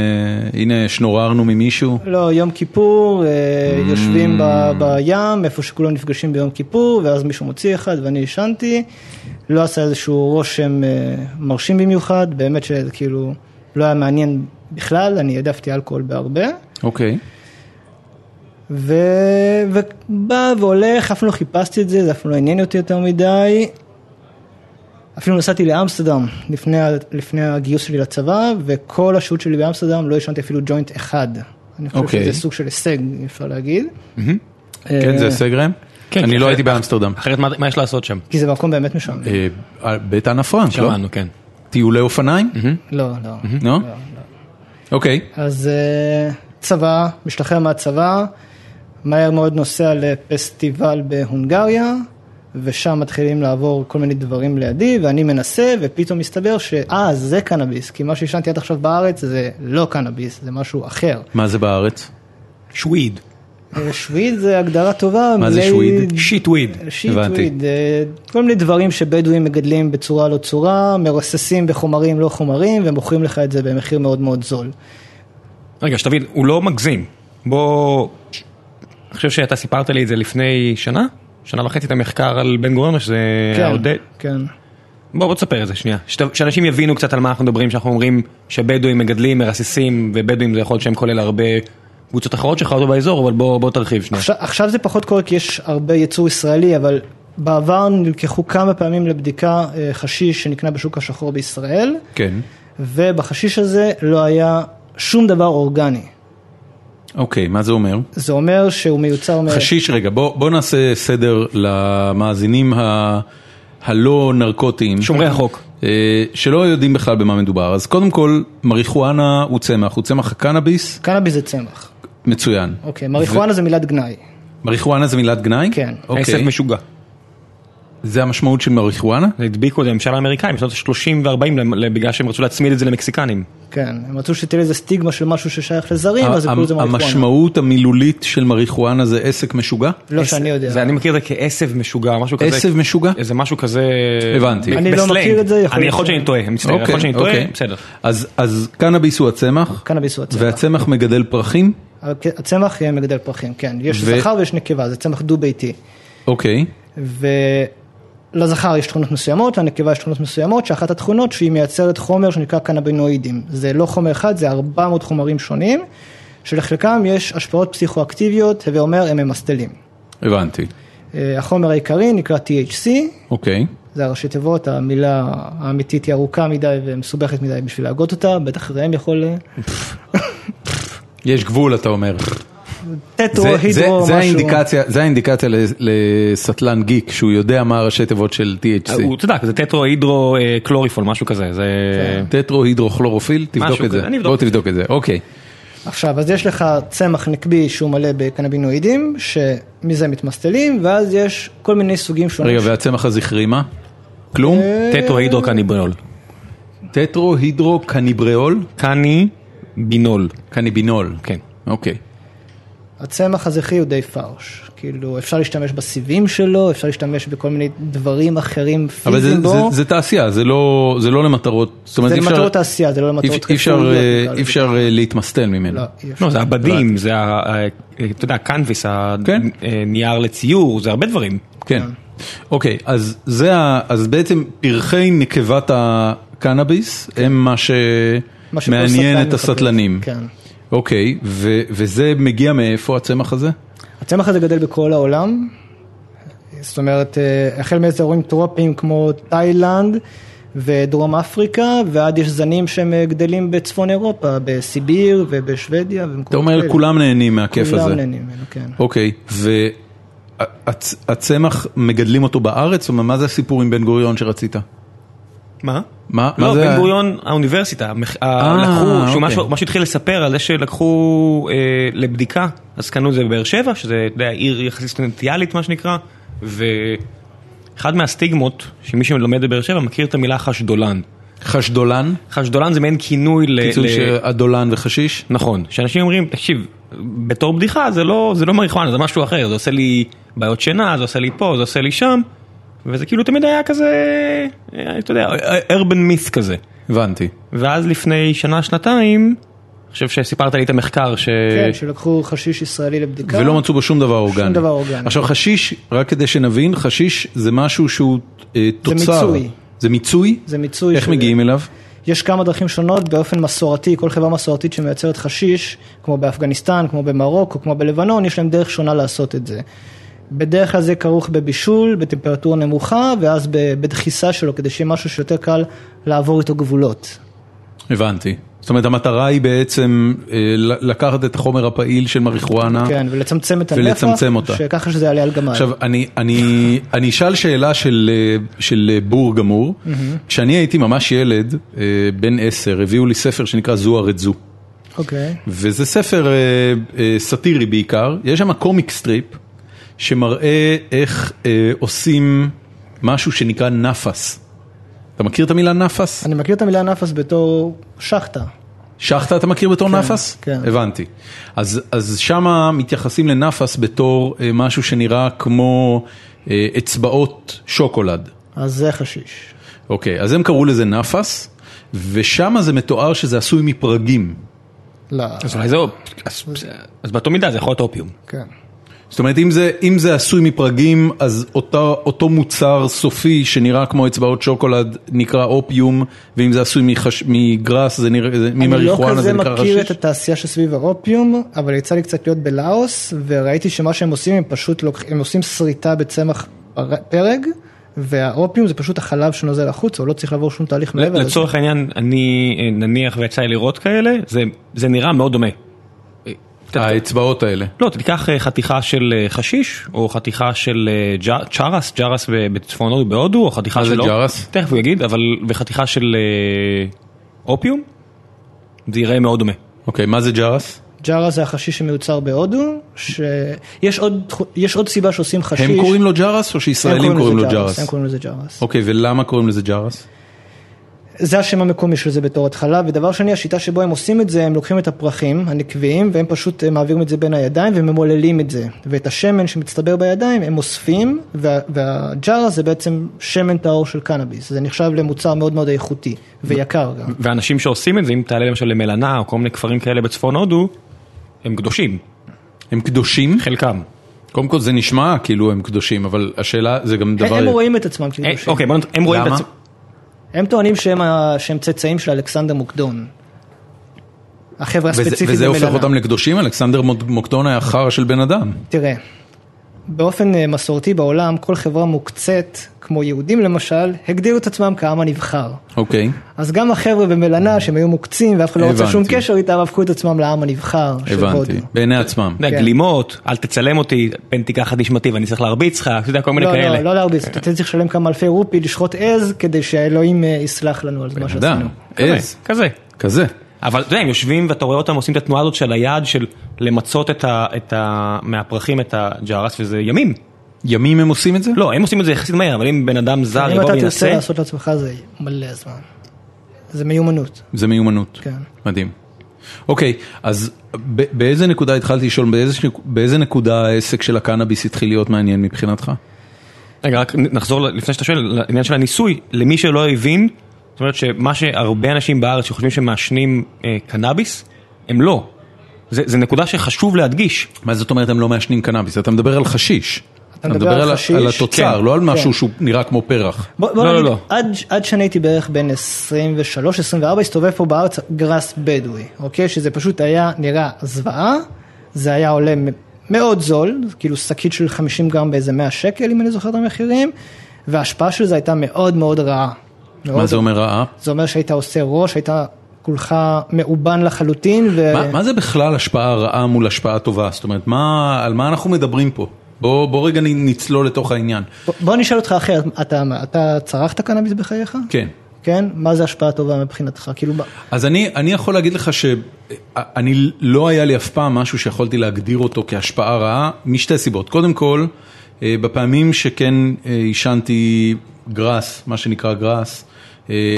Speaker 1: הנה, שנוררנו ממישהו?
Speaker 3: לא, יום כיפור, אה,
Speaker 1: Mm.
Speaker 3: יושבים ב- בים, איפה שכולם נפגשים ביום כיפור, ואז מישהו מוציא אחד ואני עישנתי. לא עשה איזשהו רושם אה, מרשים במיוחד, באמת שזה כאילו לא היה מעניין בכלל, אני העדפתי אלכוהול בהרבה.
Speaker 1: אוקיי.
Speaker 3: ו... ובא והולך, אף פעם לא חיפשתי את זה, זה אף פעם לא עניין אותי יותר מדי. אפילו נסעתי לאמסטרדם לפני, ה- לפני הגיוס שלי לצבא, וכל השהות שלי באמסטרדם לא עישנתי אפילו ג'וינט אחד. אני חושב
Speaker 1: אוקיי.
Speaker 3: שזה סוג של הישג, אפשר להגיד. אה,
Speaker 1: כן, זה הישג ראם?
Speaker 5: כן,
Speaker 1: אני
Speaker 5: כן,
Speaker 1: לא
Speaker 5: כן.
Speaker 1: הייתי באמסטרדם.
Speaker 5: אחרת מה- מה יש לעשות שם?
Speaker 3: כי זה מקום באמת משם.
Speaker 1: אה, אה, בית אנה פרנק, לא?
Speaker 5: שמענו, כן.
Speaker 1: טיולי אופניים?
Speaker 3: לא, לא.
Speaker 1: לא? אוקיי.
Speaker 3: אז אה, צבא, משתחרר מהצבא, מהר מאוד נוסע לפסטיבל בהונגריה, ושם מתחילים לעבור כל מיני דברים לידי, ואני מנסה, ופתאום מסתבר שאה, זה קנאביס, כי מה שעישנתי עד עכשיו בארץ זה לא קנאביס, זה משהו אחר.
Speaker 1: מה זה בארץ?
Speaker 5: שוויד.
Speaker 3: אה, שוויד זה הגדרה טובה.
Speaker 1: מה זה
Speaker 3: מי-
Speaker 1: שוויד?
Speaker 5: שיט וויד.
Speaker 1: הבנתי.
Speaker 3: שיטוויד, אה, כל מיני דברים שבדואים מגדלים בצורה לא צורה, מרססים בחומרים לא חומרים ומוכרים לך את זה במחיר מאוד מאוד זול.
Speaker 5: רגע, שתבין, הוא לא מגזים. בוא... אני חושב שאתה סיפרת לי את זה לפני שנה? שנה וחצי את המחקר על בן גוריון, או שזה...
Speaker 1: אה,
Speaker 5: העודד?
Speaker 3: כן.
Speaker 5: בוא, בוא תספר את זה שנייה. שת- שאנשים יבינו קצת על מה אנחנו מדברים, שאנחנו אומרים שבדואים מגדלים, מרססים, ובדואים זה יכול להיות שהם כולל הרבה קבוצות אחרות שחיות באזור, אבל בוא, בוא תרחיב שנייה.
Speaker 3: עכשיו, עכשיו זה פחות קורה כי יש הרבה ייצור ישראלי, אבל בעבר נלקחו כמה פעמים לבדיקה אה, חשיש שנקנה בשוק השחור בישראל,
Speaker 1: כן.
Speaker 3: ובחשיש הזה לא היה שום דבר אורגני.
Speaker 1: אוקיי, מה זה אומר?
Speaker 5: אה.
Speaker 3: זה אומר שהוא מיוצר מ...
Speaker 1: חשיש, רגע, בוא בוא נעשה סדר למאזינים ה- הלא נרקוטיים.
Speaker 5: שומרי החוק.
Speaker 1: אה, שלא יודעים בכלל במה מדובר. אז קודם כל, מריחואנה הוא צמח, הוא צמח הקנאביס,
Speaker 3: קנאביס זה צמח.
Speaker 1: מצוין.
Speaker 3: אוקיי, מריחואנה זה מילת גנאי.
Speaker 1: מריחואנה זה מילת גנאי?
Speaker 3: כן.
Speaker 5: עסק
Speaker 1: אוקיי.
Speaker 5: משוגע.
Speaker 1: זה המשמעות של מריחואנה?
Speaker 5: זה הדביקו את הממשל האמריקאי בשנות ה-30 ו-40 בגלל שהם רצו להצמיד את זה למקסיקנים.
Speaker 3: כן, הם רצו שתהיה לזה סטיגמה של משהו ששייך לזרים, אז הם קוראים לזה
Speaker 1: המ-
Speaker 3: מריחואנה.
Speaker 1: המשמעות המילולית של מריחואנה זה עסק משוגע?
Speaker 3: לא שאני יודע.
Speaker 5: זה, אני מכיר את זה כעשב משוגע, משהו כזה.
Speaker 1: עשב משוגע?
Speaker 5: איזה משהו כזה...
Speaker 1: הבנתי.
Speaker 5: ב-
Speaker 3: אני לא
Speaker 5: בסלנג.
Speaker 3: מכיר את זה, יכול
Speaker 5: אני
Speaker 3: להיות
Speaker 5: יכול
Speaker 3: ש-
Speaker 5: שאני טועה, אני מצטער, יכול להיות נכון שאני טועה, בסדר.
Speaker 1: אוקיי, אז, אז קנאביס הוא הצמח,
Speaker 3: קנאביס הוא הצמח.
Speaker 1: והצמח מגדל פרחים?
Speaker 3: הצמח יהיה מגדל פרחים, כן. יש
Speaker 1: ו-
Speaker 3: זכר ויש נקבה, זה צמח דו-ביתי.
Speaker 1: אוקיי.
Speaker 3: ולזכר יש תכונות מסוימות, לנקבה יש תכונות מסוימות, שאחת התכונות שהיא מייצרת חומר שנקרא קנבינואידים. זה לא חומר אחד, זה 400 חומרים שונים, שלחלקם יש השפעות פסיכואקטיביות, הווה אומר, הם ממסטלים.
Speaker 1: הבנתי.
Speaker 3: אה, החומר העיקרי נקרא THC,
Speaker 1: אוקיי.
Speaker 3: זה הראשי תיבות, המילה האמיתית היא ארוכה מדי ומסובכת מדי בשביל להגות אותה, בטח ראם יכול... אה,
Speaker 1: יש גבול, אתה אומר.
Speaker 3: טטרו,
Speaker 1: זה, זה,
Speaker 3: הידרו,
Speaker 1: זה,
Speaker 3: משהו.
Speaker 1: האינדיקציה, זה האינדיקציה ל- לסטלן גיק, שהוא יודע מה הראשי תיבות של THC.
Speaker 5: אה, הוא צדק, זה טטרו הידרו אה, קלוריפול, משהו כזה, זה...
Speaker 3: כן.
Speaker 1: טטרו הידרוכלורופיל, תבדוק
Speaker 5: משהו
Speaker 1: את זה.
Speaker 5: כזה, אני
Speaker 1: בוא
Speaker 5: אבדוק.
Speaker 1: תבדוק את זה, אוקיי.
Speaker 3: עכשיו, אז יש לך צמח נקבי שהוא מלא בקנבינואידים, שמזה מתמסטלים, ואז יש כל מיני סוגים שונים.
Speaker 1: רגע, והצמח הזכרי מה? כלום?
Speaker 5: טטרו הידרו קניבינול.
Speaker 1: טטרו הידרו קניבריאול?
Speaker 5: קני בינול.
Speaker 1: קניבינול.
Speaker 5: כן.
Speaker 1: אוקיי.
Speaker 3: הצמח הזכרי הוא די פרש. כאילו, אפשר להשתמש בסיבים שלו, אפשר להשתמש בכל מיני דברים אחרים
Speaker 1: אבל זה-
Speaker 3: פיזיים בו.
Speaker 1: זה- זה תעשייה, זה לא זה לא למטרות, זאת אומרת
Speaker 3: זה
Speaker 1: אי אפשר-
Speaker 3: למטרות תעשייה, זה לא למטרות
Speaker 1: אי- אי אפשר,
Speaker 3: רפואיות,
Speaker 1: אה,
Speaker 3: נקרא לזה.
Speaker 1: אי אפשר אה, להתמסטל ממנו.
Speaker 3: לא, אי אפשר.
Speaker 5: לא, זה הבדים, זה ה... ה- אתה יודע, הקנביס,
Speaker 1: כן.
Speaker 5: הנייר לציור, זה הרבה דברים.
Speaker 1: כן. אוקיי, אז זה, ה- אז בעצם פרחי נקבת הקנאביס הם מה
Speaker 3: מה שכל
Speaker 1: שמעניין
Speaker 3: סטלן
Speaker 1: את
Speaker 3: מחפש.
Speaker 1: הסטלנים.
Speaker 3: כן.
Speaker 1: אוקיי, ו- וזה מגיע מאיפה הצמח הזה?
Speaker 3: הצמח הזה גדל בכל העולם, זאת אומרת, אה, החל מאזורים טרופיים כמו תאילנד ודרום אפריקה, ועד יש זנים שהם אה, גדלים בצפון אירופה, בסיביר ובשוודיה.
Speaker 1: אתה אומר כולם נהנים מהכיף הזה.
Speaker 3: כולם נהנים ממנו, כן.
Speaker 1: אוקיי, והצמח מגדלים אותו בארץ? זאת אומרת, מה זה הסיפור עם בן גוריון שרצית?
Speaker 5: מה?
Speaker 1: מה- מה
Speaker 5: לא,
Speaker 1: זה
Speaker 5: בן
Speaker 1: ה-
Speaker 5: גוריון, האוניברסיטה, המח-
Speaker 1: אה,
Speaker 5: ה- לקחו,
Speaker 1: אוקיי.
Speaker 5: שהוא משהו- מה שהתחיל לספר על זה שלקחו אה, לבדיקה, אז קנו את זה בבאר שבע, שזה אתה יודע, עיר יחסית סטודנטיאלית מה שנקרא, ואחד מהסטיגמות, שמי שלומד בבאר שבע מכיר את המילה חשדולן.
Speaker 1: חשדולן?
Speaker 5: חשדולן זה מעין כינוי ל...
Speaker 1: קיצור
Speaker 5: ל-
Speaker 1: שהדולן וחשיש?
Speaker 5: נכון, שאנשים אומרים, תקשיב, בתור בדיחה זה לא, זה לא מריחואנה, זה משהו אחר, זה עושה לי בעיות שינה, זה עושה לי פה, זה עושה לי שם, וזה כאילו תמיד היה כזה, אה, אתה יודע, urban myth כזה.
Speaker 1: הבנתי.
Speaker 5: ואז לפני שנה, שנתיים, אני חושב שסיפרת לי את המחקר ש...
Speaker 3: כן, שלקחו חשיש ישראלי לבדיקה.
Speaker 1: אוקיי. ולא מצאו בו שום דבר אורגני.
Speaker 3: כן. דבר אורגני.
Speaker 1: עכשיו חשיש, רק כדי שנבין, חשיש זה משהו שהוא אה, תוצר.
Speaker 3: מיצוי.
Speaker 1: זה מיצוי?
Speaker 3: זה מיצוי
Speaker 1: איך
Speaker 3: של-
Speaker 1: מגיעים אליו?
Speaker 3: יש כמה דרכים שונות באופן מסורתי, כל חברה מסורתית שמייצרת חשיש, כמו באפגניסטן, כמו במרוקו, כמו בלבנון, יש להם דרך שונה לעשות את זה. בדרך כלל זה כרוך בבישול, בטמפרטורה נמוכה, ואז ב- בדחיסה שלו, כדי שיהיה משהו שיותר קל לעבור איתו גבולות.
Speaker 1: הבנתי. זאת אומרת, המטרה היא בעצם אה, ל- לקחת את החומר הפעיל של מריחואנה.
Speaker 3: כן, ולצמצם את הנפח,
Speaker 1: אה. ולצמצם אותה.
Speaker 3: שככה שזה יעלה על גמל.
Speaker 1: עכשיו, אני, אני, אני אשאל שאלה של, אה, של אה, בור גמור. כשאני הייתי ממש ילד, אה, בן עשר, הביאו לי ספר שנקרא זו ארץ זו.
Speaker 3: אוקיי.
Speaker 1: וזה ספר אה, אה, סאטירי בעיקר, יש שם קומיק סטריפ שמראה איך אה, עושים משהו שנקרא נאפס. אתה מכיר את המילה נאפס?
Speaker 3: אני מכיר את המילה נפס בתור שחטה.
Speaker 1: שחטה אתה מכיר בתור נאפס?
Speaker 3: כן.
Speaker 1: הבנתי. אז, אז שמה מתייחסים לנאפס בתור אה, משהו שנראה כמו אה, אצבעות שוקולד.
Speaker 3: אז זה חשיש.
Speaker 1: אוקיי, אז הם קראו לזה נאפס, ושמה זה מתואר שזה עשוי מפרגים.
Speaker 3: לא,
Speaker 5: אז אולי זה... אופ- אז- אז באותו מידה זה יכול להיות אופיום.
Speaker 3: כן.
Speaker 1: זאת אומרת, אם זה, אם זה עשוי מפרגים, אז אותו, אותו מוצר סופי שנראה כמו אצבעות שוקולד נקרא אופיום, ואם זה עשוי מחש, מגרס, זה נראה, זה, ממריחואנה זה
Speaker 3: אני לא
Speaker 1: נקרא
Speaker 3: כזה מכיר את
Speaker 1: חשיש.
Speaker 3: התעשייה שסביב האופיום, אבל יצא לי קצת להיות בלאוס, וראיתי שמה שהם עושים, הם פשוט לוקח, הם עושים שריטה בצמח פר- פרג, והאופיום זה פשוט החלב שנוזל החוצה, הוא לא צריך לעבור שום תהליך מעבר. לזה.
Speaker 5: לצורך העניין, אני אה, נניח ויצא לי לראות כאלה, זה- זה נראה מאוד דומה.
Speaker 1: האצבעות האלה.
Speaker 5: לא, תיקח אה, חתיכה של אה, חשיש, או חתיכה של אה, ג'ה- צ'רס, ג'רס ב- בצפון הודו, בהודו, או חתיכה
Speaker 1: מה זה
Speaker 5: של...
Speaker 1: ג'רס?
Speaker 5: תכף הוא יגיד, אבל וחתיכה של אה, אופיום, זה יראה מאוד דומה.
Speaker 1: אוקיי, מה זה ג'רס?
Speaker 3: ג'ארה זה החשיש שמיוצר בהודו, שיש עוד, תחו- יש עוד סיבה שעושים חשיש.
Speaker 1: הם קוראים לו ג'רס או
Speaker 3: הם
Speaker 1: שישראלים קוראים לו
Speaker 3: לזה
Speaker 1: ג'רס?
Speaker 3: הם קוראים לזה ג'ארס.
Speaker 1: אוקיי, ולמה קוראים לזה ג'רס?
Speaker 3: זה השם המקומי של זה בתור התחלה, ודבר שני, השיטה שבו הם עושים את זה, הם לוקחים את הפרחים הנקביים, והם פשוט אה, מעבירים את זה בין הידיים, וממוללים את זה. ואת השמן שמצטבר בידיים, הם אוספים, וה, והג'ארה זה בעצם שמן טהור של קנאביס. זה נחשב למוצר מאוד מאוד איכותי, ויקר גם.
Speaker 5: ואנשים שעושים את זה, אם תעלה למשל למלנה, או כל מיני כפרים כאלה בצפון הודו, הם קדושים,
Speaker 1: הם קדושים?
Speaker 5: חלקם.
Speaker 1: קודם כל זה נשמע כאילו הם קדושים, אבל השאלה זה גם דבר...
Speaker 3: הם רואים את עצמם
Speaker 5: אה,
Speaker 3: כקדושים.
Speaker 5: אוקיי, בוא נת... הם רואים את
Speaker 1: למה?
Speaker 5: עצמם...
Speaker 1: אוקיי.
Speaker 3: הם טוענים שהם, ה- שהם צאצאים של אלכסנדר מוקדון. החברה
Speaker 1: וזה-
Speaker 3: הספציפית
Speaker 1: וזה הופך
Speaker 3: במלנה.
Speaker 1: אותם לקדושים? אלכסנדר מוק- מוקדון היה חרא של בן אדם.
Speaker 3: תראה, באופן אה, מסורתי בעולם, כל חברה מוקצית, כמו יהודים למשל, הגדירו את עצמם כעם הנבחר.
Speaker 1: אוקיי.
Speaker 3: אז גם החבר'ה במלנה, שהם היו מוקצים ואף אחד לא רוצה
Speaker 1: הבנתי.
Speaker 3: שום קשר איתם, הפכו את עצמם לעם הנבחר של הודו.
Speaker 1: הבנתי, בעיני עצמם.
Speaker 5: אתה יודע,
Speaker 3: כן.
Speaker 5: גלימות, אל תצלם אותי, פן תיקח את נשמתי ואני צריך להרביץ לך, אתה יודע, כל מיני
Speaker 3: לא, לא,
Speaker 5: כאלה.
Speaker 3: לא להרביץ, אתה צריך לשלם כמה אלפי רופי, לשחוט עז, כדי שהאלוהים אה, יסלח לנו על מה
Speaker 1: אדם,
Speaker 3: שעשינו.
Speaker 5: כזה,
Speaker 1: עז,
Speaker 5: כזה.
Speaker 1: כזה.
Speaker 5: אבל אתה יודע, הם יושבים ואתה רואה אותם עושים את התנועה הזאת של היד של למצות את ה... את ה... מהפרחים את הג'רס, וזה ימים.
Speaker 1: ימים הם עושים את זה?
Speaker 5: לא, הם עושים את זה יחסית מהר, אבל אם בן אדם זר
Speaker 3: אם
Speaker 5: יבוא
Speaker 3: אתה תרצה
Speaker 5: וינסה,
Speaker 3: לעשות לעצמך זה מלא זמן. זה מיומנות,
Speaker 1: זה מיומנות.
Speaker 3: כן.
Speaker 1: מדהים. אוקיי, אז ב- באיזה נקודה התחלתי לשאול, באיזה, שנק- באיזה נקודה העסק של הקנאביס התחיל להיות מעניין מבחינתך?
Speaker 5: רגע, רק נחזור ל- לפני שאתה שואל, לעניין של הניסוי, למי שלא הבין, זאת אומרת שמה שהרבה אנשים בארץ שחושבים שמעשנים אה, קנאביס, הם לא. זה, זה נקודה שחשוב להדגיש.
Speaker 1: מה זאת אומרת הם לא מעשנים קנאביס? אתה מדבר על חשיש. אתה
Speaker 3: מדבר על
Speaker 1: על,
Speaker 3: חשיש,
Speaker 1: על התוצר,
Speaker 3: כן,
Speaker 1: לא על משהו
Speaker 3: כן.
Speaker 1: שהוא נראה כמו פרח.
Speaker 3: בוא, בוא
Speaker 5: לא,
Speaker 3: נגיד,
Speaker 5: לא, לא.
Speaker 3: עד, עד שאני הייתי בערך בין 23-24, הסתובב פה בארץ גראס בדואי, אוקיי? שזה פשוט היה נראה זוועה, זה היה עולה מ- מאוד זול, כאילו שקית של 50 גרם באיזה 100 שקל, אם אני זוכר את המחירים, וההשפעה של זה הייתה מאוד מאוד רעה.
Speaker 1: מה
Speaker 3: מאוד. אה.
Speaker 1: זה אומר רעה?
Speaker 3: זה אומר שהיית עושה ראש, היית כולך מאובן לחלוטין, ו...
Speaker 1: מה, מה זה בכלל השפעה רעה מול השפעה טובה? זאת אומרת, מה, על מה אנחנו מדברים פה? בוא, בוא רגע נ- נצלול לתוך העניין.
Speaker 3: ב- בוא נשאל אותך אחרת, אתה, אתה צרכת קנאביס בחייך?
Speaker 1: כן.
Speaker 3: כן? מה זה השפעה טובה מבחינתך? כאילו, ב-
Speaker 1: אז אני, אני יכול להגיד לך שאני לא היה לי אף פעם משהו שיכולתי להגדיר אותו כהשפעה רעה, משתי סיבות. קודם כל, אה, בפעמים שכן אה, עישנתי גראס, מה שנקרא גראס, אה,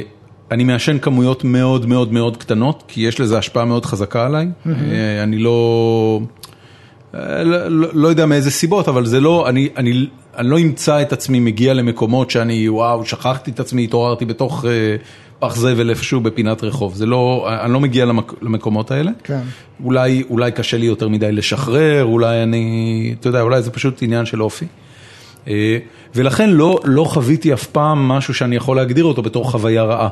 Speaker 1: אני מעשן כמויות מאוד מאוד מאוד קטנות, כי יש לזה השפעה מאוד חזקה עליי. אה, אני לא... אה, לא, לא- לא יודע מאיזה סיבות, אבל זה לא, אני, אני, אני לא אמצא את עצמי מגיע למקומות שאני, וואו, שכחתי את עצמי, התעוררתי בתוך אה, פח זבל איפשהו בפינת רחוב. זה לא, אני לא מגיע למק, למקומות האלה.
Speaker 3: כן.
Speaker 1: אולי, אולי קשה לי יותר מדי לשחרר, אולי אני, אתה יודע, אולי זה פשוט עניין של אופי. אה, ולכן לא, לא חוויתי אף פעם משהו שאני יכול להגדיר אותו בתור חוויה רעה.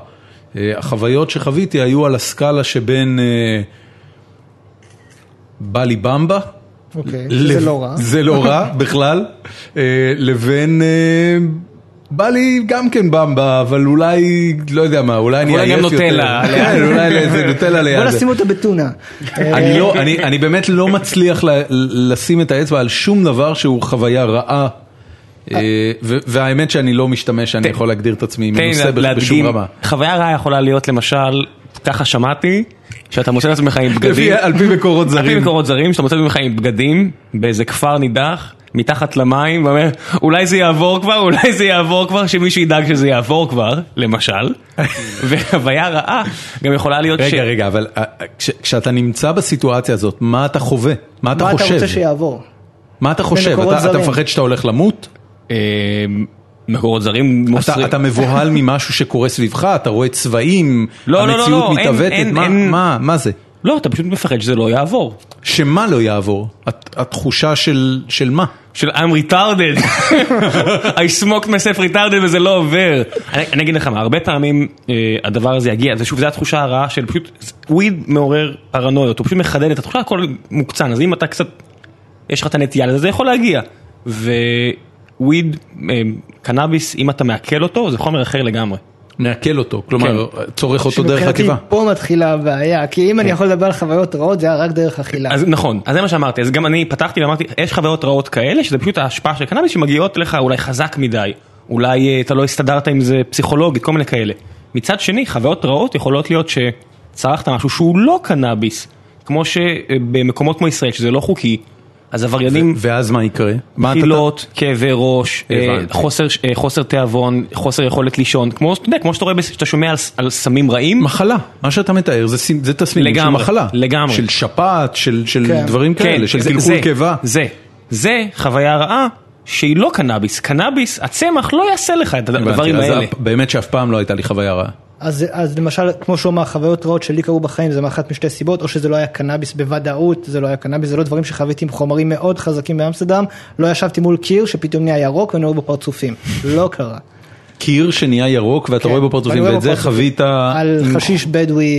Speaker 1: אה, החוויות שחוויתי היו על הסקאלה שבין אה, בא לי במבה.
Speaker 3: אוקיי,
Speaker 1: לב-
Speaker 3: זה לא רע.
Speaker 1: זה לא רע בכלל, אה, לבין... אה, בא לי גם כן במבה, אבל אולי, לא יודע מה, אולי אני
Speaker 5: אולי גם
Speaker 1: עייף יותר.
Speaker 5: נוטלה.
Speaker 1: כן, אולי זה נוטלה ליד.
Speaker 3: בוא
Speaker 1: זה.
Speaker 3: נשים אותה בטונה.
Speaker 1: אני לא, אני, אני באמת לא מצליח ל, לשים את האצבע על שום דבר שהוא חוויה רעה. אה, ו- והאמת שאני לא משתמש, שאני יכול להגדיר את עצמי
Speaker 5: תן לי
Speaker 1: מנוסה ב- בשום
Speaker 5: כן, להדגים,
Speaker 1: רמה.
Speaker 5: חוויה רעה יכולה להיות למשל, ככה שמעתי, שאתה מוצא את
Speaker 1: (laughs)
Speaker 5: עצמך עם
Speaker 1: לפי-
Speaker 5: בגדים,
Speaker 1: על פי מקורות
Speaker 5: על פי
Speaker 1: זרים.
Speaker 5: מקורות זרים, שאתה מוצא את עצמך עם בגדים באיזה כפר נידח, מתחת למים, ואומר, אולי זה יעבור כבר, אולי זה יעבור כבר, שמישהו ידאג שזה יעבור כבר,
Speaker 1: (laughs)
Speaker 5: למשל. וחוויה רעה גם יכולה להיות ש...
Speaker 1: רגע, רגע, אבל אה, אה, כש- כשאתה נמצא בסיטואציה הזאת, מה אתה חווה? מה אתה
Speaker 3: מה אתה רוצה
Speaker 1: חושב?
Speaker 3: שיעבור?
Speaker 1: מה אתה חושב?
Speaker 3: ממקורות
Speaker 1: אתה- אתה
Speaker 3: זרים.
Speaker 1: מפחד שאתה הולך למות?
Speaker 5: אה, מקורות זרים
Speaker 1: אתה
Speaker 5: מוסרים...
Speaker 1: אתה
Speaker 3: (laughs)
Speaker 1: מבוהל ממשהו שקורה סביבך? אתה רואה צבעים?
Speaker 5: לא, לא, לא,
Speaker 1: המציאות
Speaker 5: לא, אין-
Speaker 1: מתעוותת?
Speaker 5: אין-
Speaker 1: מה-
Speaker 5: אין-
Speaker 1: מה- מה זה?
Speaker 5: לא, אתה פשוט מפחד שזה לא יעבור.
Speaker 1: שמה לא יעבור? הת- התחושה של של מה?
Speaker 5: של I'm (laughs) retarded, I smoked myself retarded וזה לא עובר. אני, אני אגיד לך מה, הרבה פעמים אה, הדבר הזה יגיע, זה שוב, זו התחושה הרעה של פשוט, וויד מעורר פרנויות, הוא פשוט מחדד את התחושה, הכל מוקצן, אז אם אתה קצת, יש לך את הנטייה לזה, זה יכול להגיע. ווויד, אה, קנאביס, אם אתה מעכל אותו, זה חומר אחר לגמרי.
Speaker 1: נעכל אותו, כלומר,
Speaker 5: כן.
Speaker 1: צורך אותו דרך כן.
Speaker 3: שמבחינתי
Speaker 1: עקיבה.
Speaker 3: פה מתחילה הבעיה, כי אם אני יכול לדבר על חוויות רעות, זה היה רק דרך אכילה.
Speaker 5: אז נכון, אז זה מה שאמרתי, אז גם אני פתחתי ואמרתי, יש חוויות רעות כאלה, שזה פשוט ההשפעה של קנאביס שמגיעות לך אולי חזק מדי, אולי אה, אתה לא הסתדרת עם זה פסיכולוגית, כל מיני כאלה. מצד שני, חוויות רעות יכולות להיות שצרכת משהו שהוא לא קנאביס, כמו שבמקומות כמו ישראל, שזה לא חוקי, אז עבריינים...
Speaker 1: ואז מה יקרה? מה אתה-
Speaker 5: חילות, כאבי ראש, אה,
Speaker 1: הבנתי.
Speaker 5: חוסר, אה, חוסר תיאבון, חוסר יכולת לישון, כמו, אתה יודע, כמו שאתה רואה, בס- שאתה שומע על, ס- על סמים רעים,
Speaker 1: מחלה, מה שאתה מתאר זה, סים- זה תסמינים של
Speaker 5: לגמרי,
Speaker 1: מחלה,
Speaker 5: לגמרי.
Speaker 1: של שפעת, של, של
Speaker 3: כן.
Speaker 1: דברים כאלה, של
Speaker 5: זה-
Speaker 1: קלקול
Speaker 5: זה-
Speaker 1: קיבה.
Speaker 5: זה, זה חוויה רעה שהיא לא קנאביס. קנאביס, הצמח לא יעשה לך את
Speaker 1: הבנתי,
Speaker 5: הדברים
Speaker 1: אז
Speaker 5: האלה.
Speaker 1: הפ- באמת שאף פעם לא הייתה לי חוויה רעה.
Speaker 3: אז, אז למשל, כמו שהוא אמר, חוויות רעות שלי קרו בחיים זה מאחת משתי סיבות, או שזה לא היה קנאביס בוודאות, זה לא היה קנאביס, זה לא דברים שחוויתי עם חומרים מאוד חזקים באמסטרדם, לא ישבתי מול קיר שפתאום נהיה ירוק ונראו בו פרצופים, לא קרה.
Speaker 1: קיר שנהיה ירוק ואתה
Speaker 3: כן,
Speaker 1: רואה בו פרצופים,
Speaker 3: ואני רואה
Speaker 1: ואת זה
Speaker 3: בפרצופים.
Speaker 1: חווית...
Speaker 3: על
Speaker 1: אה,
Speaker 3: חשיש בדואי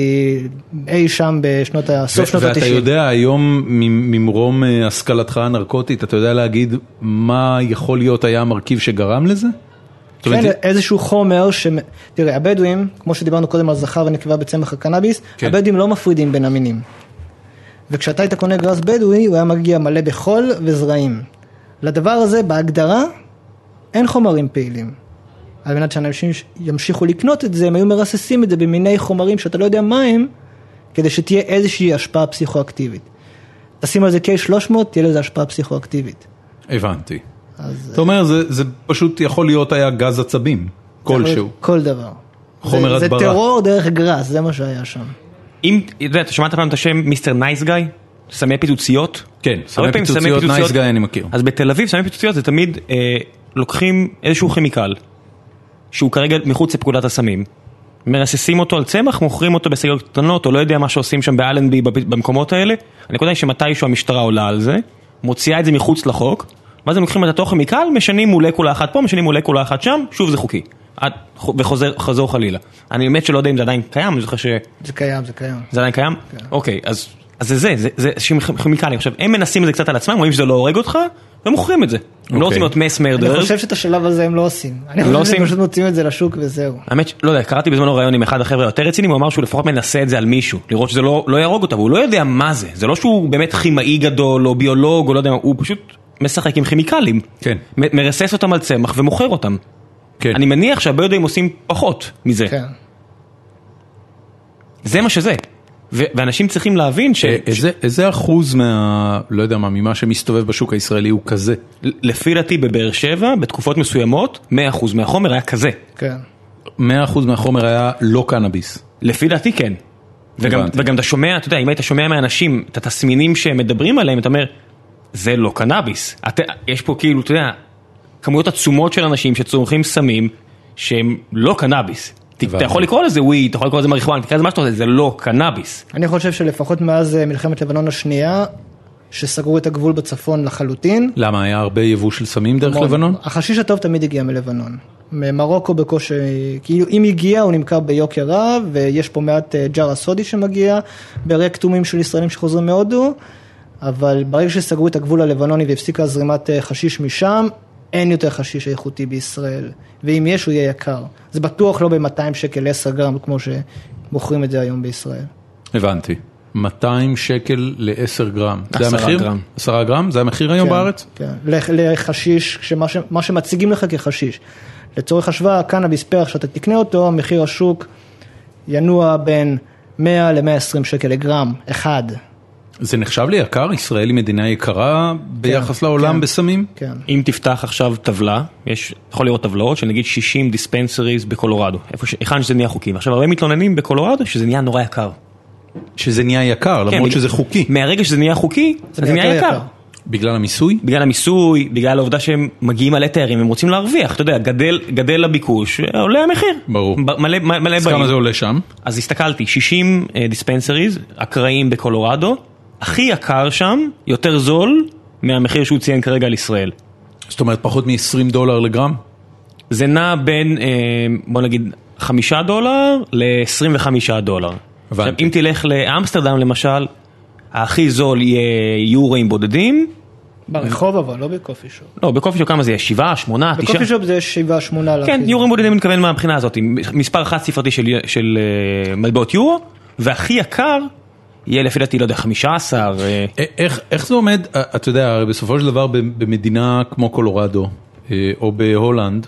Speaker 3: אי שם בשנות ה...
Speaker 1: ו-
Speaker 3: סוף שנות
Speaker 1: ואתה
Speaker 3: התשעים.
Speaker 1: יודע היום ממ- ממרום אה, השכלתך הנרקוטית, אתה יודע להגיד מה יכול להיות היה המרכיב שגרם לזה? זאת אומרת,
Speaker 3: כן, איזשהו חומר ש... תראה, הבדואים, כמו שדיברנו קודם על זכר ונקבה בצמח הקנאביס,
Speaker 1: כן.
Speaker 3: הבדואים לא מפרידים בין המינים. וכשאתה היית קונה גראס בדואי, הוא היה מגיע מלא בחול וזרעים. לדבר הזה, בהגדרה, אין חומרים פעילים. על מנת שאנשים ש- ימשיכו לקנות את זה, הם היו מרססים את זה במיני חומרים שאתה לא יודע מה הם, כדי שתהיה איזושהי השפעה פסיכואקטיבית. תשים על זה K300, תהיה לזה השפעה פסיכואקטיבית.
Speaker 1: הבנתי.
Speaker 3: אה, אז...
Speaker 1: זאת אומרת, זה זה פשוט יכול להיות היה גז עצבים, כלשהו.
Speaker 3: כל דבר.
Speaker 1: חומר
Speaker 3: זה,
Speaker 1: הדברה.
Speaker 3: זה טרור דרך גראס, זה מה שהיה שם.
Speaker 5: אם, אתה יודע, אתה שמעת פעם את השם מיסטר נייס גאי? סמי פיצוציות?
Speaker 1: כן, סמי
Speaker 5: הרבה פעמים
Speaker 1: פיצוציות, נייס גאי אני מכיר.
Speaker 5: אז בתל אביב סמי פיצוציות זה תמיד אה, לוקחים איזשהו כימיקל, שהוא כרגע מחוץ לפקודת הסמים. מרססים אותו על צמח, מוכרים אותו בשגיות קטנות, או לא יודע מה שעושים שם באלנבי, בפ- במקומות האלה. הנקודה היא שמתישהו המשטרה עולה על זה, מוציאה את זה מחוץ לחוק, ואז הם לוקחים את אותו כימיקל, משנים מולקולה אחת פה, משנים מולקולה אחת שם, שוב זה חוקי. עד- וחוזר חזור חלילה. אני באמת שלא יודע אם זה עדיין קיים, אני זוכר ש...
Speaker 3: זה קיים, זה קיים.
Speaker 5: זה עדיין קיים?
Speaker 1: כן.
Speaker 5: אוקיי, אז אז זה זה, זה- זה שהם כימיקלים. עכשיו, הם מנסים את זה קצת על עצמם, רואים שזה לא הורג אותך, ומוכרים את זה. הם לא
Speaker 1: אוקיי.
Speaker 5: רוצים להיות מס
Speaker 3: אני
Speaker 5: מרדר.
Speaker 3: חושב שאת השלב הזה הם לא עושים. אני
Speaker 5: לא
Speaker 3: חושב
Speaker 5: עושים?
Speaker 3: שהם פשוט מוציאים את זה לשוק וזהו.
Speaker 5: האמת, ש- לא יודע, קראתי בזמנו ראיון עם אחד החבר'ה היותר רציניים, הוא אמר שהוא לפחות מנסה את זה על מישהו, לראות שזה לא לא יהרוג אותו, והוא לא יודע מה זה. זה לא שהוא באמת כימאי גדול, או ביולוג, או לא יודע מה, הוא פשוט משחק עם כימיקלים.
Speaker 1: כן.
Speaker 5: מ- מרסס אותם על צמח ומוכר אותם.
Speaker 1: כן.
Speaker 5: אני מניח שהביודאים עושים פחות מזה.
Speaker 3: כן.
Speaker 5: זה מה שזה. ו- ואנשים צריכים להבין ש...
Speaker 1: אה, איזה- איזה אחוז מה... לא יודע מה, ממה שמסתובב בשוק הישראלי הוא כזה?
Speaker 5: לפי דעתי בבאר שבע, בתקופות מסוימות, 100% מהחומר היה כזה.
Speaker 3: כן.
Speaker 1: 100% מהחומר היה לא קנאביס.
Speaker 5: לפי דעתי כן. וגם,
Speaker 1: הבנתי.
Speaker 5: וגם אתה שומע, אתה יודע, אם היית שומע מאנשים את התסמינים שהם מדברים עליהם, אתה אומר, זה לא קנאביס. את, יש פה כאילו, אתה יודע, כמויות עצומות של אנשים שצורכים סמים שהם לא קנאביס. ת-
Speaker 1: הבנתי.
Speaker 5: אתה יכול לקרוא לזה וויד, אתה יכול לקרוא לזה מריחואן, תקרא לזה מה שאתה רוצה, זה לא קנאביס.
Speaker 3: אני חושב שלפחות מאז אה, מלחמת לבנון השנייה, שסגרו את הגבול בצפון לחלוטין,
Speaker 1: למה היה הרבה יבוא של סמים דרך
Speaker 3: המון.
Speaker 1: לבנון?
Speaker 3: החשיש הטוב תמיד הגיע מלבנון. ממרוקו בקושי, כאילו אם הגיע הוא נמכר ביוקר רב, ויש פה מעט אה, ג'ארה סודי שמגיע, ברק תומים של ישראלים שחוזרים מהודו, אבל ברגע שסגרו את הגבול הלבנוני והפסיקה זרימת אה, חשיש משם, אין יותר חשיש איכותי בישראל, ואם יש הוא יהיה יקר. זה בטוח לא ב-200 שקל 10 גרם כמו שמוכרים את זה היום בישראל.
Speaker 1: הבנתי. 200 שקל ל-10 גרם. זה
Speaker 5: עשרה
Speaker 1: המחיר?
Speaker 5: גרם.
Speaker 1: 10 גרם? זה המחיר היום
Speaker 3: כן,
Speaker 1: בארץ?
Speaker 3: כן, לח- לחשיש, כשמה ש- מה שמציגים לך כחשיש. לצורך השוואה, קנאביס פרח שאתה תקנה אותו, מחיר השוק ינוע בין 100 ל-120 שקל לגרם, אחד,
Speaker 1: זה נחשב ליקר? ישראל היא מדינה יקרה ביחס לעולם בסמים?
Speaker 3: כן.
Speaker 5: אם תפתח עכשיו טבלה, יש, אתה יכול לראות טבלאות של נגיד 60 דיספנסריז בקולורדו, איפה ש... היכן שזה נהיה חוקי. עכשיו הרבה מתלוננים בקולורדו שזה נהיה נורא יקר.
Speaker 1: שזה נהיה יקר, למרות
Speaker 5: בגלל-
Speaker 1: שזה חוקי.
Speaker 5: מהרגע שזה נהיה חוקי,
Speaker 3: זה
Speaker 5: זה, זה
Speaker 3: נהיה
Speaker 5: נהיה
Speaker 3: יותר
Speaker 5: יקר.
Speaker 3: יקר.
Speaker 1: בגלל המיסוי?
Speaker 5: בגלל המיסוי, בגלל העובדה שהם מגיעים מלא תיירים, הם רוצים להרוויח, אתה יודע, גדל, גדל הביקוש, אה, עולה המחיר.
Speaker 1: ברור.
Speaker 5: ב- מלא, מלא, מלא
Speaker 1: אז
Speaker 5: באים.
Speaker 1: כמה זה עולה שם?
Speaker 5: אז הסתכלתי, 60 דיספנסריז, אקראיים בקולורדו, הכי יקר שם, יותר זול מהמחיר שהוא ציין כרגע על ישראל.
Speaker 1: זאת אומרת פחות מ-20 דולר לגרם?
Speaker 5: זה נע בין, אה, בוא נגיד, 5 דולר ל-25 דולר. עכשיו, אם תלך לאמסטרדם למשל, הכי זול יהיה יורוים בודדים,
Speaker 3: ברחוב אבל, לא בקופי שופ.
Speaker 5: לא, בקופי שופ כמה זה יהיה? 7, 8, 9?
Speaker 3: בקופי שופ זה 7-8
Speaker 5: כן, יורוים בודדים אני מתכוון מהבחינה הזאת, עם מספר חד ספרתי של, של אה, מטבעות יורו, והכי יקר יהיה לפי דעתי, לא יודע, 15, אה,
Speaker 1: א- איך, איך זה עומד, א- אתה יודע, הרי בסופו של דבר ב- במדינה כמו קולורדו אה, או בהולנד,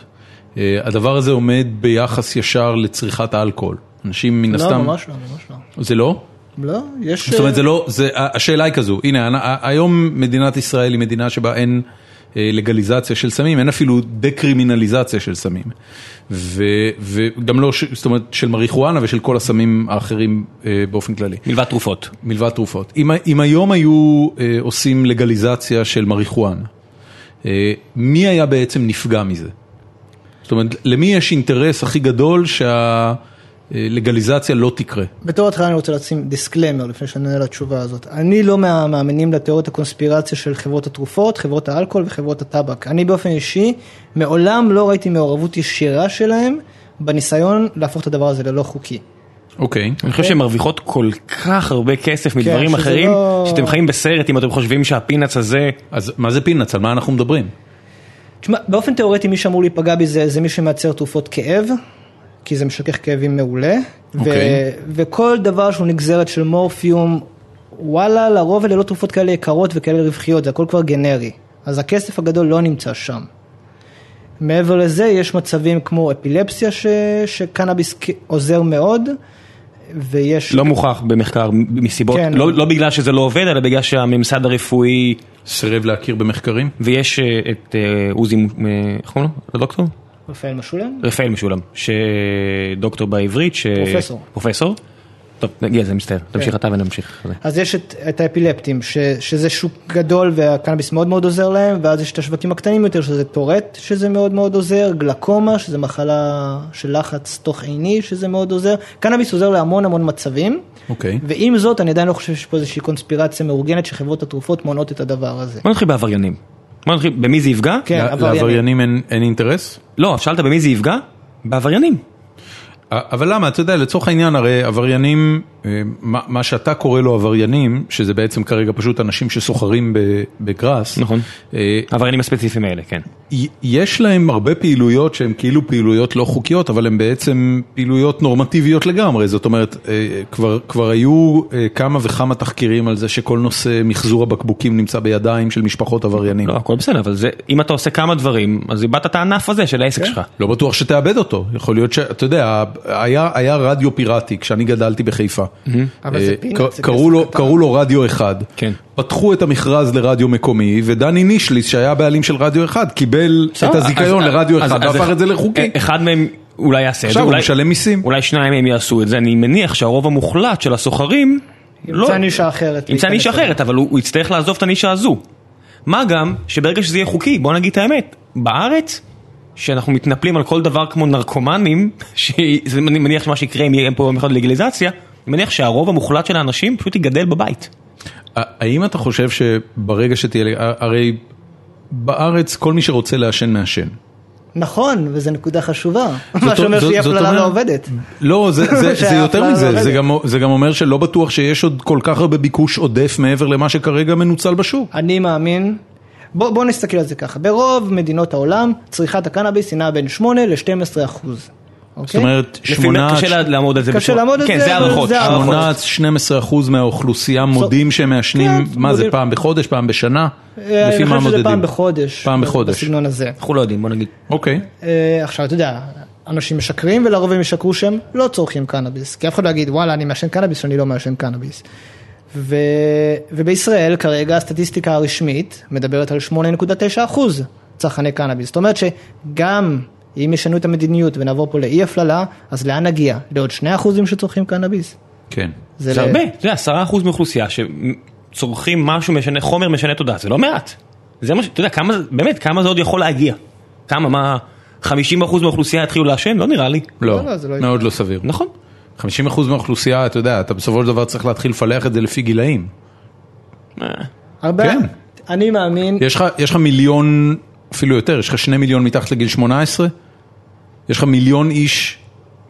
Speaker 1: אה, הדבר הזה עומד ביחס ישר לצריכת האלכוהול. אנשים מן
Speaker 3: לא,
Speaker 1: הסתם...
Speaker 3: ממש לא, ממש לא.
Speaker 1: זה לא?
Speaker 3: לא, יש...
Speaker 1: זאת אומרת, זה לא, זה, ה- השאלה היא כזו, הנה, אנ- ה- היום מדינת ישראל היא מדינה שבה אין אה, לגליזציה של סמים, אין אפילו דקרימינליזציה של סמים. ו, וגם לא, ש- זאת אומרת, של מריחואנה ושל כל הסמים האחרים אה, באופן כללי.
Speaker 5: מלבד תרופות.
Speaker 1: מלבד תרופות. אם, אם היום היו אה, עושים לגליזציה של מריחואנה, אה, מי היה בעצם נפגע מזה? זאת אומרת, למי יש אינטרס הכי גדול שהלגליזציה לא תקרה?
Speaker 3: בתור התחלה אני רוצה לשים דיסקלמר לפני שאני עונה לתשובה הזאת. אני לא מהמאמינים לתיאוריות הקונספירציה של חברות התרופות, חברות האלכוהול וחברות הטבק. אני באופן אישי מעולם לא ראיתי מעורבות ישירה שלהם בניסיון להפוך את הדבר הזה ללא חוקי.
Speaker 1: אוקיי.
Speaker 5: אני חושב שהן מרוויחות כל כך הרבה כסף מדברים
Speaker 3: כן. שזה
Speaker 5: אחרים,
Speaker 3: לא-
Speaker 5: שאתם חיים בסרט אם אתם חושבים שהפינאץ הזה...
Speaker 1: אז מה זה פינאץ? על מה אנחנו מדברים?
Speaker 3: תשמע, באופן תיאורטי מי שאמור להיפגע מזה זה מי שמייצר תרופות כאב, כי זה משכך כאבים מעולה, ו-
Speaker 1: אוקיי.
Speaker 3: וכל דבר שהוא נגזרת של מורפיום, וואלה, לרוב אלה לא תרופות כאלה יקרות וכאלה רווחיות, זה הכל כבר גנרי, אז הכסף הגדול לא נמצא שם. מעבר לזה יש מצבים כמו אפילפסיה ש... שקנאביס כ- עוזר מאוד, ויש...
Speaker 5: לא מוכח במחקר מ- מסיבות,
Speaker 3: כן.
Speaker 5: לא, לא בגלל שזה לא עובד, אלא בגלל שהממסד הרפואי,
Speaker 1: סירב להכיר במחקרים?
Speaker 5: ויש אה, את אה, עוזי, מ- אה, איך קוראים לו? הדוקטור?
Speaker 3: רפאל משולם?
Speaker 5: רפאל משולם, שדוקטור בעברית, ש...
Speaker 3: פרופסור.
Speaker 5: פרופסור? טוב, נגיע לזה,
Speaker 1: כן.
Speaker 5: מצטער, תמשיך אתה ונמשיך.
Speaker 3: אז יש את, את האפילפטים, ש, שזה שוק גדול והקנאביס מאוד מאוד עוזר להם, ואז יש את השבטים הקטנים יותר, שזה טורט, שזה מאוד מאוד עוזר, גלקומה, שזה מחלה של לחץ תוך עיני, שזה מאוד עוזר. קנאביס עוזר להמון המון מצבים,
Speaker 1: אוקיי.
Speaker 5: כן,
Speaker 3: ועם זאת, אני עדיין לא חושב שיש פה איזושהי קונספירציה מאורגנת שחברות התרופות מונעות את הדבר הזה.
Speaker 5: בוא נתחיל בעבריינים. בוא נתחיל, במי זה יפגע?
Speaker 3: כן,
Speaker 1: לה-
Speaker 3: עבריינים.
Speaker 1: לעבריינים אין- אין אינטרס?
Speaker 5: לא, שאלת במי זה יפגע? בעבריינים.
Speaker 1: אבל למה, אתה יודע, לצורך העניין, הרי עבריינים, אה, מה מה שאתה קורא לו עבריינים, שזה בעצם כרגע פשוט אנשים שסוחרים ב- בגראס,
Speaker 5: נכון.
Speaker 1: אה,
Speaker 5: העבריינים הספציפיים האלה, כן.
Speaker 1: י- יש להם הרבה פעילויות שהן כאילו פעילויות לא חוקיות, אבל הן בעצם פעילויות נורמטיביות לגמרי. זאת אומרת, אה, כבר, כבר היו אה, כמה וכמה תחקירים על זה שכל נושא מחזור הבקבוקים נמצא בידיים של משפחות עבריינים.
Speaker 5: לא, הכל בסדר, אבל זה, אם אתה עושה כמה דברים, אז איבדת את הענף הזה של העסק שלך.
Speaker 1: לא בטוח שתאבד אותו, יכול להיות שאתה יודע, היה, היה רדיו פיראטי כשאני גדלתי בחיפה.
Speaker 3: אבל זה
Speaker 1: אה,
Speaker 3: פינת,
Speaker 1: ק-
Speaker 3: זה
Speaker 1: קראו
Speaker 3: כסף
Speaker 1: לו- קראו לו רדיו אחד,
Speaker 5: כן.
Speaker 1: פתחו את המכרז לרדיו מקומי, ודני נישליס שהיה הבעלים של רדיו אחד קיבל את הזיכיון
Speaker 5: לא, אז-
Speaker 1: לרדיו
Speaker 5: אז-
Speaker 1: אחד
Speaker 5: אז
Speaker 1: והפך
Speaker 5: אח-
Speaker 1: את זה לחוקי.
Speaker 5: אחד מהם אולי יעשה את זה,
Speaker 1: עכשיו הוא
Speaker 5: אולי-
Speaker 1: משלם מיסים.
Speaker 5: אולי שניים מהם יעשו את זה, אני מניח שהרוב המוחלט של הסוחרים, לא,
Speaker 3: ימצא נישה אחרת.
Speaker 5: ימצא נישה
Speaker 3: להיכנס אליה.
Speaker 5: אחרת, אבל הוא הוא יצטרך לעזוב את הנישה הזו. מה גם שברגע שזה יהיה חוקי, בוא נגיד את האמת, בארץ, שאנחנו מתנפלים על כל דבר כמו נרקומנים, (laughs) שאני מניח שמה שיקרה אם יהיה פה יום אחד לגליזציה, אני מניח שהרוב המוחלט של האנשים פשוט יגדל בבית.
Speaker 1: האם אתה חושב שברגע שתהיה, הרי בארץ כל מי שרוצה לעשן מעשן.
Speaker 3: נכון, וזו נקודה חשובה.
Speaker 1: זאת-
Speaker 3: מה שאומר
Speaker 1: זאת-
Speaker 3: שהיא
Speaker 1: זאת
Speaker 3: הפללה
Speaker 1: אומרת-
Speaker 3: לא עובדת.
Speaker 1: לא,
Speaker 5: (laughs)
Speaker 1: זה, זה, זה יותר
Speaker 3: שההפללה
Speaker 1: מזה,
Speaker 3: לא
Speaker 1: זה
Speaker 3: עובדת.
Speaker 1: גם, זה גם אומר שלא בטוח שיש עוד כל כך הרבה ביקוש עודף מעבר למה שכרגע מנוצל בשוק.
Speaker 3: אני מאמין, בוא, בוא נסתכל על זה ככה, ברוב מדינות העולם צריכת הקנאביס הינה בין 8 ל-12 אחוז. אוקיי?
Speaker 1: זאת אומרת,
Speaker 5: לפי
Speaker 1: שמונה,
Speaker 5: קשה לה- לעמוד על זה.
Speaker 3: כן. קשה נכון.
Speaker 5: בצורה-
Speaker 3: לעמוד על
Speaker 5: כן,
Speaker 3: זה,
Speaker 5: זה
Speaker 3: אבל
Speaker 5: הערכות.
Speaker 3: זה הערכות.
Speaker 5: הערכות.
Speaker 1: 12 אחוז מהאוכלוסייה מודים שהם מעשנים,
Speaker 3: כן,
Speaker 1: מה זה,
Speaker 3: מודים. אה,
Speaker 1: פעם בחודש, פעם בשנה? לפי מה
Speaker 3: אני חושב שזה
Speaker 1: מודדים?
Speaker 3: פעם בחודש.
Speaker 1: פעם בחודש.
Speaker 3: בסגנון הזה.
Speaker 5: אנחנו לא יודעים, בוא נגיד.
Speaker 1: אוקיי.
Speaker 3: אה, עכשיו, אתה יודע, אנשים משקרים ולרוב הם ישקרו שהם לא צורכים קנאביס, כי אף אחד לא יגיד וואלה אני מעשן קנאביס או אני לא מעשן קנאביס. ו... ובישראל כרגע הסטטיסטיקה הרשמית מדברת על 8.9 אחוז צרכני קנאביס, זאת אומרת שגם אם ישנו את המדיניות ונעבור פה לאי הפללה, אז לאן נגיע? לעוד 2 אחוזים שצורכים קנאביס?
Speaker 1: כן.
Speaker 5: זה
Speaker 3: ל-
Speaker 5: הרבה, זה עשרה אחוז מאוכלוסייה שצורכים משהו משנה, חומר משנה תודעה, זה לא מעט. זה מה ש... אתה יודע, כמה, זה- באמת, כמה זה עוד יכול להגיע? כמה, מה, 50 אחוז מהאוכלוסייה יתחילו לעשן? לא נראה לי.
Speaker 1: לא,
Speaker 3: לא, לא, זה לא
Speaker 1: מאוד לא סביר.
Speaker 5: נכון.
Speaker 1: 50% מהאוכלוסייה, אתה יודע, אתה בסופו של דבר צריך להתחיל לפלח את זה לפי גילאים.
Speaker 3: הרבה...
Speaker 1: כן.
Speaker 3: אני מאמין,
Speaker 1: יש לך, יש לך מיליון, אפילו יותר, יש לך שני מיליון מתחת לגיל 18? יש לך מיליון איש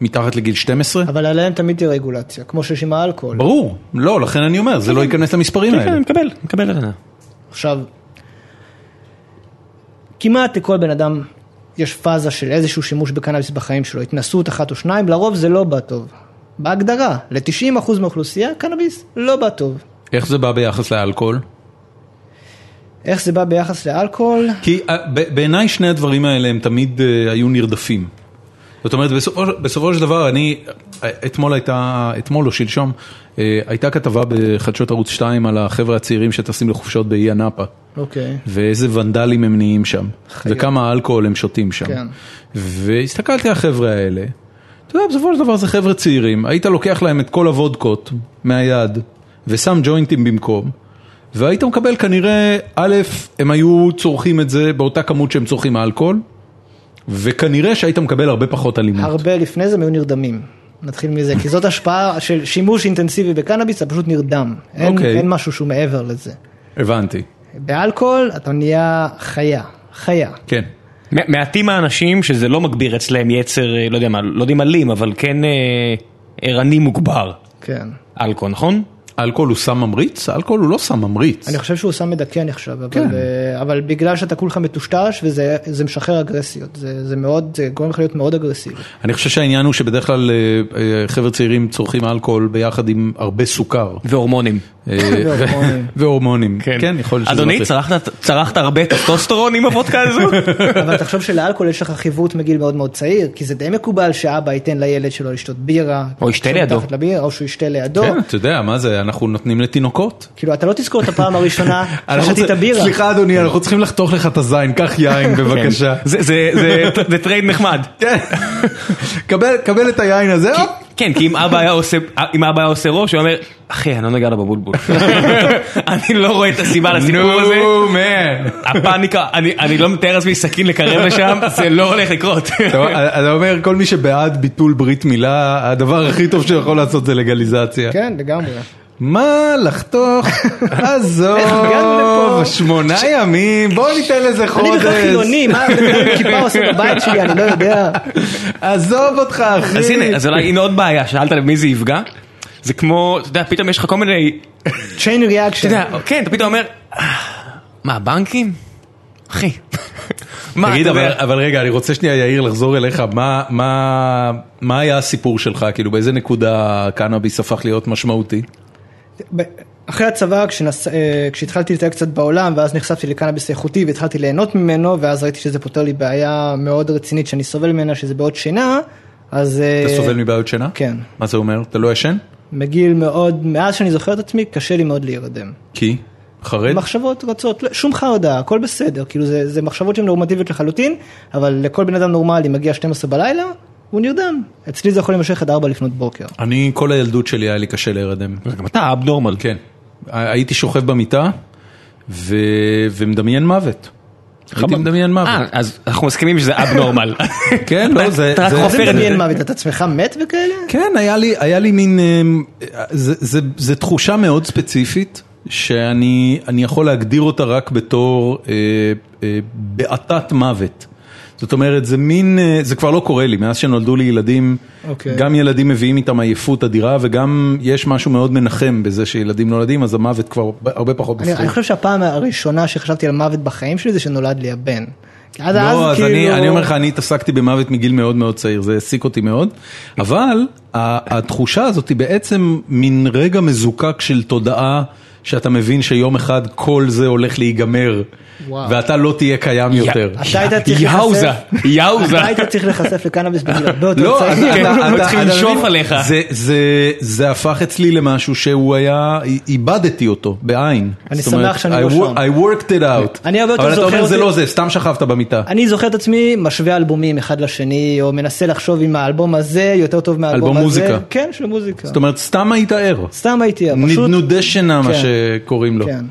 Speaker 1: מתחת לגיל 12?
Speaker 3: אבל עליהם תמיד תהיה רגולציה, כמו שיש עם האלכוהול.
Speaker 1: ברור, לא, לכן אני אומר, זה לא ייכנס למספרים
Speaker 5: כן, כן,
Speaker 1: האלה.
Speaker 5: אני מקבל, מקבל את זה.
Speaker 3: עכשיו, כמעט לכל בן אדם יש פאזה של איזשהו שימוש בקנאביס בחיים שלו, התנסות אחת או שניים, לרוב זה לא בא טוב. בהגדרה, ל-90% מהאוכלוסייה, קנאביס לא בא טוב.
Speaker 1: איך זה בא ביחס לאלכוהול?
Speaker 3: איך זה בא ביחס לאלכוהול?
Speaker 1: כי אה, ב- בעיניי שני הדברים האלה הם תמיד אה, היו נרדפים. זאת אומרת, בסופו, בסופו של דבר, אני, אה, אתמול הייתה, אתמול או שלשום, אה, הייתה כתבה בחדשות ערוץ 2 על החבר'ה הצעירים שטסים לחופשות באי הנאפה.
Speaker 3: אוקיי.
Speaker 1: ואיזה ונדלים הם נהיים שם, וכמה אלכוהול הם שותים שם.
Speaker 3: כן.
Speaker 1: והסתכלתי על החבר'ה האלה, אתה יודע, בסופו של דבר זה חבר'ה צעירים, היית לוקח להם את כל הוודקות מהיד, ושם ג'וינטים במקום, והיית מקבל כנראה, א', הם היו צורכים את זה באותה כמות שהם צורכים אלכוהול, וכנראה שהיית מקבל הרבה פחות אלימות.
Speaker 3: הרבה לפני זה הם היו נרדמים. נתחיל מזה, כי זאת השפעה של שימוש אינטנסיבי בקנאביס, אתה פשוט נרדם. אין,
Speaker 1: אוקיי.
Speaker 3: אין משהו שהוא מעבר לזה.
Speaker 1: הבנתי,
Speaker 3: באלכוהול אתה נהיה חיה, חיה.
Speaker 1: כן.
Speaker 5: מע- מעטים האנשים שזה לא מגביר אצלם יצר, אה, לא יודע מה, לא יודעים אלים, אבל כן אה, ערני מוגבר.
Speaker 3: כן.
Speaker 5: אלכוהול, נכון?
Speaker 1: אלכוהול הוא סם ממריץ? אלכוהול הוא לא סם ממריץ.
Speaker 3: אני חושב שהוא סם מדכא נחשב, אבל,
Speaker 1: כן.
Speaker 3: אה, אבל בגלל שאתה כולך מטושטש וזה זה משחרר אגרסיות, זה, זה מאוד, זה גורם לך להיות מאוד אגרסיבי.
Speaker 1: אני חושב שהעניין הוא שבדרך כלל אה, אה, חבר'ה צעירים צורכים אלכוהול ביחד עם הרבה סוכר.
Speaker 5: והורמונים.
Speaker 1: אה,
Speaker 3: והורמונים.
Speaker 1: (laughs) והורמונים. כן, יכול להיות שזה
Speaker 5: אדוני,
Speaker 1: מפריע.
Speaker 5: צרכת- צרכת הרבה טסטוסטרון עם הוודקה
Speaker 1: (laughs)
Speaker 5: הזו?
Speaker 1: כן.
Speaker 3: אבל תחשוב שלאלכוהול יש לך חיווט מגיל מאוד מאוד צעיר, כי זה די מקובל שאבא ייתן לילד שלו לשתות בירה.
Speaker 5: או ישתה
Speaker 3: שהוא
Speaker 5: לידו.
Speaker 3: מתחת לבירה, או שהוא ישתה לידו.
Speaker 1: כן, אתה יודע, מה זה, אנחנו נותנים לתינוקות.
Speaker 3: כאילו אתה לא תזכור את הפעם הראשונה
Speaker 1: אנחנו
Speaker 3: ששתית
Speaker 1: רוצים-
Speaker 3: בירה.
Speaker 1: סליחה אדוני, אנחנו צריכים לחתוך לך את הזין, קח יין בבקשה.
Speaker 5: זה- זה- זה- זה טרייד נחמד.
Speaker 1: כן. קבל- קבל את היין הזה,
Speaker 5: (laughs)
Speaker 1: הופ.
Speaker 5: כן, כי אם אבא היה עושה, אם אבא היה עושה ראש, הוא אומר, אחי, אני לא נגע לה
Speaker 1: (laughs)
Speaker 5: בבולבול. אני לא רואה את הסיבה לסיפור הזה.
Speaker 1: נו, מן.
Speaker 5: הפאניקה, אני, אני לא מתאר לעצמי סכין לקרב לשם, זה לא הולך לקרות.
Speaker 1: (laughs) אתה אתה אומר, כל מי שבעד ביטול ברית מילה, הדבר הכי טוב שיכול לעשות זה לגליזציה.
Speaker 3: כן, לגמרי.
Speaker 1: מה לחתוך?
Speaker 3: הגענו
Speaker 1: עזוב,
Speaker 3: לפה?
Speaker 1: שמונה ימים, בוא ניתן לזה
Speaker 3: אני
Speaker 1: חודש.
Speaker 3: בכלל חילוני, מה אתה בכלל עם כיפה עושה בבית שלי, אני לא יודע.
Speaker 1: עזוב אותך אחי.
Speaker 5: אז הנה, אז אולי הנה עוד בעיה, שאלת למי זה יפגע? זה כמו, אתה יודע, פתאום יש לך כל מיני,
Speaker 3: chain reaction.
Speaker 5: אתה יודע, כן, אתה פתאום אומר, "אה, מה, בנקים?
Speaker 1: (laughs)
Speaker 5: אחי. מה,
Speaker 1: תגיד,
Speaker 5: אתה יודע,
Speaker 1: אבל, אבל רגע, אני רוצה שנייה, יאיר, לחזור אליך. מה, מה, מה היה הסיפור שלך? כאילו, באיזה נקודה קנאביס הפך להיות משמעותי?
Speaker 3: ב- אחרי הצבא כשנס... אה, כשהתחלתי לטייל קצת בעולם ואז נחשפתי לקנאביס איכותי והתחלתי ליהנות ממנו ואז ראיתי שזה פותר לי בעיה מאוד רצינית שאני סובל ממנה שזה בעוד שינה אז אה,
Speaker 1: אתה סובל מבעיות שינה?
Speaker 3: כן.
Speaker 1: מה זה אומר? אתה לא ישן?
Speaker 3: מגיל מאוד מאז שאני זוכר את עצמי קשה לי מאוד להירדם.
Speaker 1: כי? חרד?
Speaker 3: מחשבות רצות לא, שום חרדה הכל בסדר כאילו זה, זה מחשבות שהן נורמטיביות לחלוטין אבל לכל בן אדם נורמלי מגיע 12 בלילה הוא נרדם אצלי זה יכול להימשך עד 4 לפנות בוקר.
Speaker 1: אני, כל הילדות שלי היה לי קשה להירדם.
Speaker 5: גם אתה אבנורמל.
Speaker 1: כן. ה- הייתי שוכב במיטה, ו... ומדמיין מוות. הייתי מדמיין
Speaker 5: אה,
Speaker 1: מוות.
Speaker 5: אז אנחנו מסכימים שזה אבנורמל.
Speaker 1: כן, לא, זה...
Speaker 5: אתה רק
Speaker 1: זה-
Speaker 5: חופר
Speaker 3: זה
Speaker 5: את זה.
Speaker 3: מדמיין מוות, את עצמך מת וכאלה?
Speaker 1: כן, היה לי, היה לי מין, אמ, זה, זה, זה תחושה מאוד ספציפית, שאני אני יכול להגדיר אותה רק בתור אה, אה, בעתת מוות. זאת אומרת, זה מין, אה, זה כבר לא קורה לי, מאז שנולדו לי ילדים,
Speaker 3: אוקיי.
Speaker 1: גם ילדים מביאים איתם עייפות אדירה, וגם יש משהו מאוד מנחם בזה שילדים נולדים, אז המוות כבר הרבה פחות
Speaker 3: אני, אני
Speaker 1: מפריע.
Speaker 3: חושב שהפעם הראשונה שחשבתי על מוות בחיים שלי זה שנולד לי הבן. כי עד
Speaker 1: לא, אז
Speaker 3: כאילו-
Speaker 1: אני, אני אומר לך, אני התעסקתי במוות מגיל מאוד מאוד צעיר, זה העסיק אותי מאוד, אבל ה- התחושה הזאת היא בעצם מין רגע מזוקק של תודעה, שאתה מבין שיום אחד כל זה הולך להיגמר,
Speaker 3: וואו.
Speaker 1: ואתה לא תהיה קיים יותר.
Speaker 3: אתה היית צריך
Speaker 5: יאוזה,
Speaker 3: להיחשף-
Speaker 5: יאוזה.
Speaker 3: אתה היית לא צריך להיחשף לקנאביס בגיל הרבה יותר
Speaker 1: לא, אז
Speaker 3: צעיר.
Speaker 1: אתה-
Speaker 5: כן,
Speaker 1: אתה-
Speaker 5: מתחיל
Speaker 1: אתה
Speaker 5: לשאוף
Speaker 1: מבין?
Speaker 5: עליך.
Speaker 1: זה- זה- זה הפך אצלי למשהו שהוא היה, איבדתי אותו, בעין.
Speaker 3: אני
Speaker 1: זאת אומרת,
Speaker 3: שמח שאני לא
Speaker 1: I
Speaker 3: שם.
Speaker 1: wor- I worked it out.
Speaker 3: אני הרבה יותר
Speaker 1: אבל אתה
Speaker 3: זוכר
Speaker 1: אומר זה
Speaker 3: אותי-
Speaker 1: לא זה, סתם שכבת במיטה.
Speaker 3: אני זוכר את עצמי משווה אלבומים אחד לשני, או מנסה לחשוב אם האלבום הזה יותר טוב מהאלבום הזה.
Speaker 1: אלבום מוזיקה.
Speaker 3: כן, של מוזיקה.
Speaker 1: זאת אומרת, סתם היית ער.
Speaker 3: סתם הייתי, פשוט...
Speaker 1: נדנודי שינה מה
Speaker 3: כן.
Speaker 1: שקוראים לו.
Speaker 3: כן.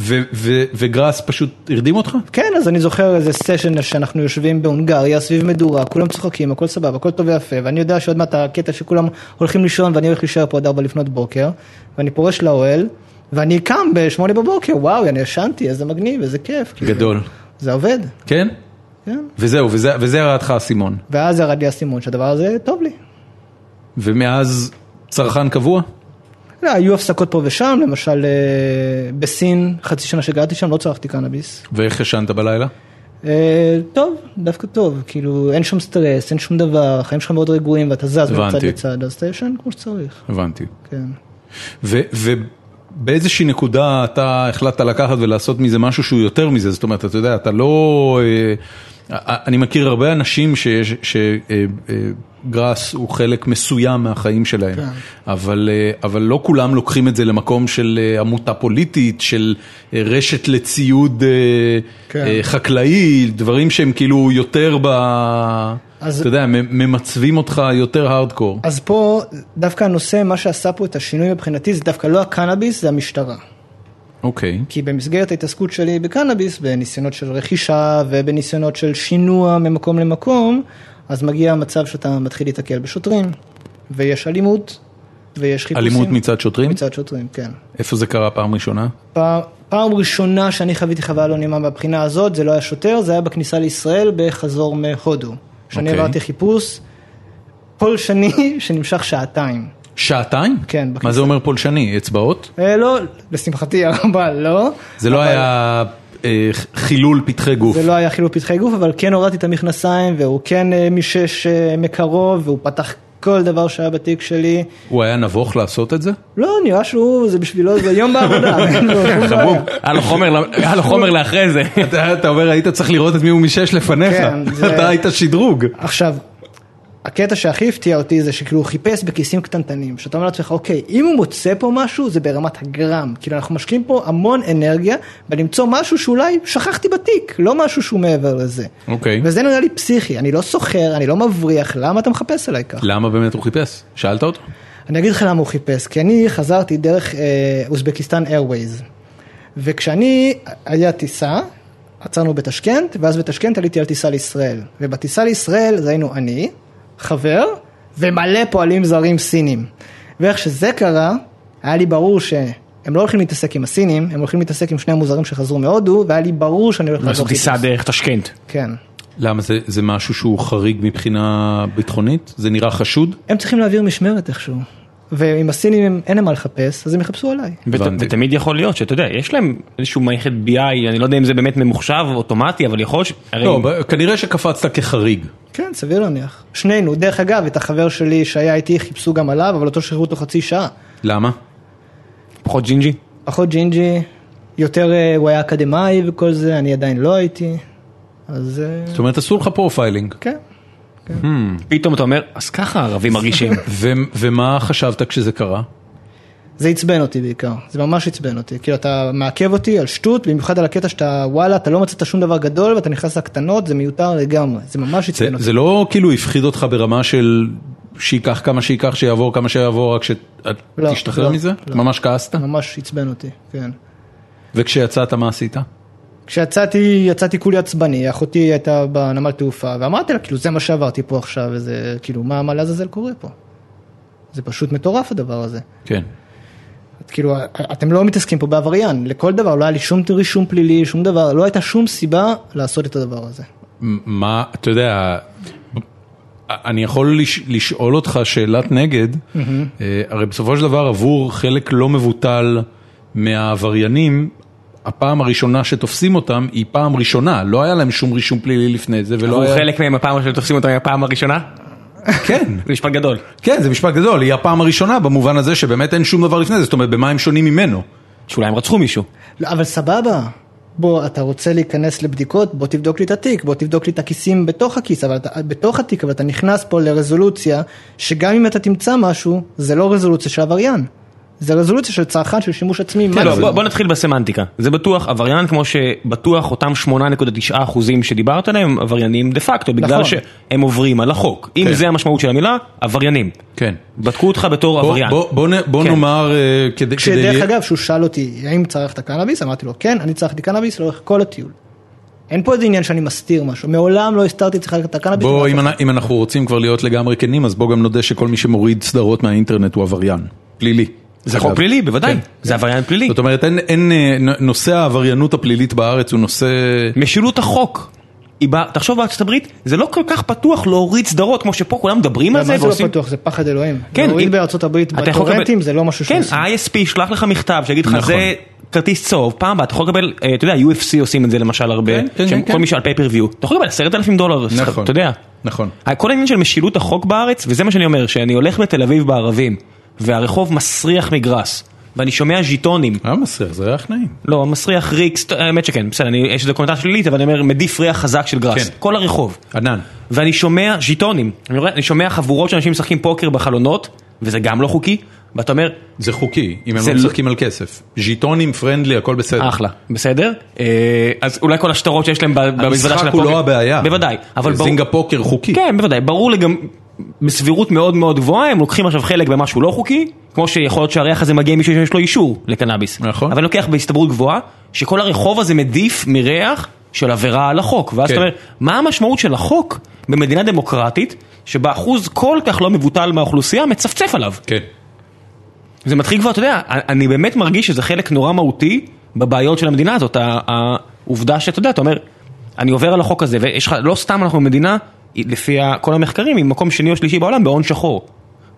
Speaker 1: ו- ו- וגראס פשוט הרדים אותך?
Speaker 3: כן, אז אני זוכר איזה סשן שאנחנו יושבים בהונגריה סביב מדורה, כולם צוחקים, הכל סבבה, הכל טוב ויפה, ואני יודע שעוד מעט הקטע שכולם הולכים לישון ואני הולך להישאר פה עד 4 לפנות בוקר, ואני פורש לאוהל, ואני קם ב-8 בבוקר, וואו, אני ישנתי, איזה מגניב, איזה כיף. כאילו.
Speaker 1: גדול.
Speaker 3: זה עובד,
Speaker 1: כן?
Speaker 3: כן.
Speaker 1: וזהו, וזה, וזה הרעתך האסימון.
Speaker 3: ואז ירד לי האסימון שהדבר הזה טוב לי.
Speaker 1: ומאז צרכן קבוע?
Speaker 3: לא, היו הפסקות פה ושם, למשל אה, בסין, חצי שנה שגרתי שם, לא צרכתי קנאביס.
Speaker 1: ואיך ישנת בלילה?
Speaker 3: אה, טוב, דווקא טוב, כאילו אין שום סטרס, אין שום דבר, החיים שלך מאוד רגועים ואתה זז מצד
Speaker 1: הבנתי.
Speaker 3: לצד, אז אתה ישן כמו שצריך,
Speaker 1: הבנתי.
Speaker 3: כן.
Speaker 1: ו- ובאיזושהי נקודה אתה החלטת לקחת ולעשות מזה משהו שהוא יותר מזה, זאת אומרת, אתה יודע, אתה לא... אה, אה, אני מכיר הרבה אנשים שגראס אה, הוא חלק מסוים מהחיים שלהם,
Speaker 3: כן.
Speaker 1: אבל, אה, אבל לא כולם לוקחים את זה למקום של אה, עמותה פוליטית, של אה, רשת לציוד אה,
Speaker 3: כן.
Speaker 1: אה, חקלאי, דברים שהם כאילו יותר ב...
Speaker 3: אז-
Speaker 1: אתה יודע, מ- ממצבים אותך יותר הארדקור.
Speaker 3: אז פה דווקא הנושא, מה שעשה פה את השינוי מבחינתי זה דווקא לא הקנאביס, זה המשטרה.
Speaker 1: אוקיי.
Speaker 3: כי במסגרת ההתעסקות שלי בקנאביס, בניסיונות של רכישה ובניסיונות של שינוע ממקום למקום, אז מגיע המצב שאתה מתחיל להתקל בשוטרים, ויש אלימות, ויש חיפושים.
Speaker 1: אלימות מצד שוטרים?
Speaker 3: מצד שוטרים, כן.
Speaker 1: איפה זה קרה פעם ראשונה?
Speaker 3: פעם, פעם ראשונה שאני חוויתי חוויה לא נעימה מהבחינה הזאת, זה לא היה שוטר, זה היה בכניסה לישראל בחזור מהודו. שאני
Speaker 1: אוקיי.
Speaker 3: עברתי חיפוש פולשני (laughs) שנמשך שעתיים.
Speaker 1: שעתיים?
Speaker 3: כן,
Speaker 1: מה
Speaker 3: בכניסה.
Speaker 1: זה אומר פולשני? אצבעות?
Speaker 3: אה, לא, לשמחתי (laughs) הרבה לא.
Speaker 1: זה לא היה אה, חילול פתחי גוף.
Speaker 3: זה לא היה חילוף פתחי גוף, אבל כן הורדתי את המכנסיים, והוא כן אה, מישש אה, מקרוב, והוא פתח כל דבר שהיה בתיק שלי.
Speaker 1: הוא היה נבוך לעשות את זה?
Speaker 3: לא, נראה שהוא, זה בשבילו, זה יום בעבודה. כן, לא, אין לו שום בעיה.
Speaker 5: היה לו חומר ל- היה לו חומר לאחרי זה.
Speaker 1: אתה אתה אומר, היית צריך לראות את מי הוא משש לפניך. (laughs)
Speaker 3: כן, זה-
Speaker 1: אתה היית שדרוג.
Speaker 3: עכשיו, הקטע שהכי הפתיע אותי זה שכאילו הוא חיפש בכיסים קטנטנים, שאתה אומר לעצמך, אוקיי, אם הוא מוצא פה משהו זה ברמת הגרם, כאילו אנחנו משקיעים פה המון אנרגיה בלמצוא משהו שאולי שכחתי בתיק, לא משהו שהוא מעבר לזה.
Speaker 1: אוקיי.
Speaker 3: וזה נראה לי פסיכי, אני לא סוחר, אני לא מבריח, למה אתה מחפש עליי ככה?
Speaker 1: למה באמת הוא חיפש? שאלת אותו?
Speaker 3: אני אגיד לך למה הוא חיפש, כי אני חזרתי דרך אה, אוזבקיסטן איירווייז. וכשאני, היה טיסה, עצרנו בטשקנט, ואז בטשקנט עליתי על טיסה לישראל. ובטיסה לישראל זה היינו אני, חבר, ומלא פועלים זרים סינים. ואיך שזה קרה, היה לי ברור שהם לא הולכים להתעסק עם הסינים, הם הולכים להתעסק עם שני המוזרים שחזרו מהודו, והיה לי ברור שאני הולך
Speaker 5: לעשות
Speaker 3: לעזור
Speaker 5: טיסה דרך תשקנט.
Speaker 3: כן.
Speaker 1: למה זה- זה משהו שהוא חריג מבחינה ביטחונית? זה נראה חשוד?
Speaker 3: הם צריכים להעביר משמרת איכשהו. ועם הסינים הם- אין להם מה לחפש, אז הם יחפשו עליי.
Speaker 5: ות-
Speaker 1: הבנתי.
Speaker 5: ותמיד יכול להיות שאתה יודע, יש להם איזשהו מערכת BI, אני לא יודע אם זה באמת ממוחשב אוטומטי, אבל יכול להיות ש... הרי-
Speaker 1: לא, ב- כנראה שקפצת כחריג.
Speaker 3: כן, סביר להניח. שנינו, דרך אגב, את החבר שלי שהיה איתי חיפשו גם עליו, אבל אותו שחררו אותו חצי שעה.
Speaker 1: למה?
Speaker 5: פחות ג'ינג'י.
Speaker 3: פחות ג'ינג'י, יותר אה, הוא היה אקדמאי וכל זה, אני עדיין לא הייתי, אז אה,
Speaker 1: זאת אומרת, עשו לך פרופיילינג.
Speaker 3: כן.
Speaker 5: פתאום אתה אומר, אז ככה הערבים
Speaker 1: (laughs)
Speaker 5: מרגישים.
Speaker 1: ו- ומה חשבת כשזה קרה?
Speaker 3: זה עצבן אותי בעיקר, זה ממש עצבן אותי, כאילו אתה מעכב אותי על שטות, במיוחד על הקטע שאתה וואלה, אתה לא מצאת שום דבר גדול ואתה נכנס לקטנות, זה מיותר לגמרי, זה ממש
Speaker 1: זה,
Speaker 3: עצבן אותי.
Speaker 1: זה לא כאילו הפחיד אותך ברמה של שייקח כמה שייקח, שיעבור כמה שיעבור, רק
Speaker 3: לא,
Speaker 1: שתשתחרר
Speaker 3: לא,
Speaker 1: מזה?
Speaker 3: לא.
Speaker 1: ממש כעסת?
Speaker 3: ממש עצבן אותי, כן.
Speaker 1: וכשיצאת מה עשית?
Speaker 3: כשיצאתי, יצאתי כולי עצבני, אחותי הייתה בנמל תעופה, ואמרתי לה, כאילו, זה מה שעברתי פה עכשיו, וזה, כאילו, מה, מה לעזאזל קורה פה? זה פשוט מטורף הדבר הזה.
Speaker 1: כן.
Speaker 3: את כאילו, אתם לא מתעסקים פה בעבריין, לכל דבר, לא היה לי שום רישום פלילי, שום דבר, לא הייתה שום סיבה לעשות את הדבר הזה.
Speaker 1: מה, אתה יודע, אני יכול לש, לשאול אותך שאלת נגד, mm-hmm. הרי בסופו של דבר עבור חלק לא מבוטל מהעבריינים, הפעם הראשונה שתופסים אותם היא פעם ראשונה, לא היה להם שום רישום פלילי לפני זה, ולא לא היה...
Speaker 5: הוא חלק מהם הפעם הראשונה שתופסים אותם הפעם הראשונה?
Speaker 1: כן,
Speaker 5: זה משפט גדול.
Speaker 1: כן, זה משפט גדול, היא הפעם הראשונה במובן הזה שבאמת אין שום דבר לפני זה, זאת אומרת, במה הם שונים ממנו?
Speaker 5: שאולי הם רצחו מישהו.
Speaker 3: לא, אבל סבבה, בוא, אתה רוצה להיכנס לבדיקות, בוא תבדוק לי את התיק, בוא תבדוק לי את הכיסים בתוך הכיס, אבל אתה, בתוך התיק, אבל אתה נכנס פה לרזולוציה, שגם אם אתה תמצא משהו, זה לא רזולוציה של עבריין. זה רזולוציה של צרכן של שימוש עצמי.
Speaker 5: כן, לא,
Speaker 3: מקסימום.
Speaker 5: בוא, בוא נתחיל בסמנטיקה. זה בטוח עבריין כמו שבטוח אותם 8.9 אחוזים שדיברת עליהם הם עבריינים דה פקטו, בגלל
Speaker 3: נכון.
Speaker 5: שהם עוברים על החוק. אם
Speaker 1: כן.
Speaker 5: זה המשמעות של המילה, עבריינים.
Speaker 1: כן.
Speaker 5: בדקו אותך בתור
Speaker 1: בוא,
Speaker 5: עבריין.
Speaker 1: בוא, בוא, נ- בוא
Speaker 5: כן.
Speaker 1: נאמר, אה, כדי...
Speaker 3: כשדרך
Speaker 1: כדי-
Speaker 3: אגב, שהוא שאל אותי, האם צרכת קנאביס? אמרתי לו, כן, אני צרכתי קנאביס לאורך כל הטיול. אין פה איזה עניין שאני מסתיר משהו, מעולם לא הסתרתי צריכה את הקנאביס.
Speaker 1: בוא,
Speaker 3: ואף
Speaker 1: אם,
Speaker 3: אחד-
Speaker 1: אנ- אם אנחנו רוצים כבר להיות לגמרי כנים, אז בוא גם נודה שכל מי שמוריד סדרות מהאינטרנט הוא עבריין. פלילי.
Speaker 5: זה חוק
Speaker 1: אגב.
Speaker 5: פלילי, בוודאי.
Speaker 1: כן.
Speaker 5: זה עבריין פלילי.
Speaker 1: זאת אומרת, אין, אין, אה, נ- נושא העבריינות הפלילית בארץ הוא נושא...
Speaker 5: משילות החוק. היא באה, תחשוב בארצות הברית, זה לא כל כך פתוח להוריד סדרות כמו שפה כולם מדברים על
Speaker 3: אבל
Speaker 5: זה
Speaker 3: מה זה
Speaker 5: ועושים...
Speaker 3: לא פתוח, זה פחד אלוהים.
Speaker 5: כן,
Speaker 3: כן. להוריד
Speaker 5: אם-
Speaker 3: בארצות הברית
Speaker 5: אתה יכול
Speaker 3: בטורנטים
Speaker 5: לקבל-
Speaker 3: זה לא משהו
Speaker 5: כן,
Speaker 3: שעושים.
Speaker 5: ה-ISP ישלח לך מכתב שיגיד לך
Speaker 1: נכון.
Speaker 5: זה כרטיס צהוב, פעם הבאה אתה יכול לקבל, אה, אתה יודע, UFC עושים את זה למשל הרבה,
Speaker 1: כן, כן,
Speaker 5: שהם-
Speaker 1: כן,
Speaker 5: כל
Speaker 1: כן.
Speaker 5: מי שעל פייפריוויו, אתה יכול לקבל עשרת אלפים דולר,
Speaker 1: נכון.
Speaker 5: אתה יודע.
Speaker 1: נכון.
Speaker 5: כל העניין של משילות החוק בארץ, וזה מה שאני אומר, שאני הולך בתל אביב בערבים, והרחוב מסריח מגרס, ואני שומע ז'יטונים,
Speaker 1: היה מסריח, זה ריח נעים.
Speaker 5: לא, מסריח ריקס, ט- האמת שכן, בסדר, אני- יש לזה קונוטציה שלילית, אבל אני אומר, מדיף ריח חזק של גראס,
Speaker 1: כן.
Speaker 5: כל הרחוב.
Speaker 1: ענן.
Speaker 5: ואני שומע ז'יטונים, אני רואה- אני שומע חבורות של אנשים משחקים פוקר בחלונות, וזה גם לא חוקי, ואתה אומר,
Speaker 1: זה חוקי, אם הם
Speaker 5: זה
Speaker 1: לא
Speaker 5: לא-
Speaker 1: משחקים על כסף. ז'יטונים, פרנדלי, הכל אה, בסדר.
Speaker 5: אחלה, בסדר? אה, אז אולי כל השטרות שיש להם ב- במזוודה של
Speaker 1: המשחק הוא לא הבעיה. אה,
Speaker 5: בוודאי, אבל ברור...
Speaker 1: זינגה פוקר חוקי.
Speaker 5: כן, בוודאי, ברור לגמרי, בסבירות מאוד מאוד גבוהה, הם לוקחים עכשיו חלק במשהו לא חוקי, כמו שיכול להיות שהריח הזה מגיע ממישהו שיש לו אישור לקנאביס.
Speaker 1: נכון.
Speaker 5: אבל אני לוקח בהסתברות גבוהה, שכל הרחוב הזה מדיף מריח של עבירה על החוק. ואז
Speaker 1: כן.
Speaker 5: אתה אומר, מה המשמעות של החוק במדינה דמוקרטית, שבה אחוז כל כך לא מבוטל מהאוכלוסייה מצפצף עליו?
Speaker 1: כן.
Speaker 5: זה מתחיל כבר, אתה יודע, אני באמת מרגיש שזה חלק נורא מהותי בבעיות של המדינה הזאת. ה- העובדה שאתה יודע, אתה אומר, אני עובר על החוק הזה, ויש לך, לא סתם אנחנו מדינה, היא- לפי ה- כל המחקרים, היא מקום שני או שלישי בעולם בהון שחור.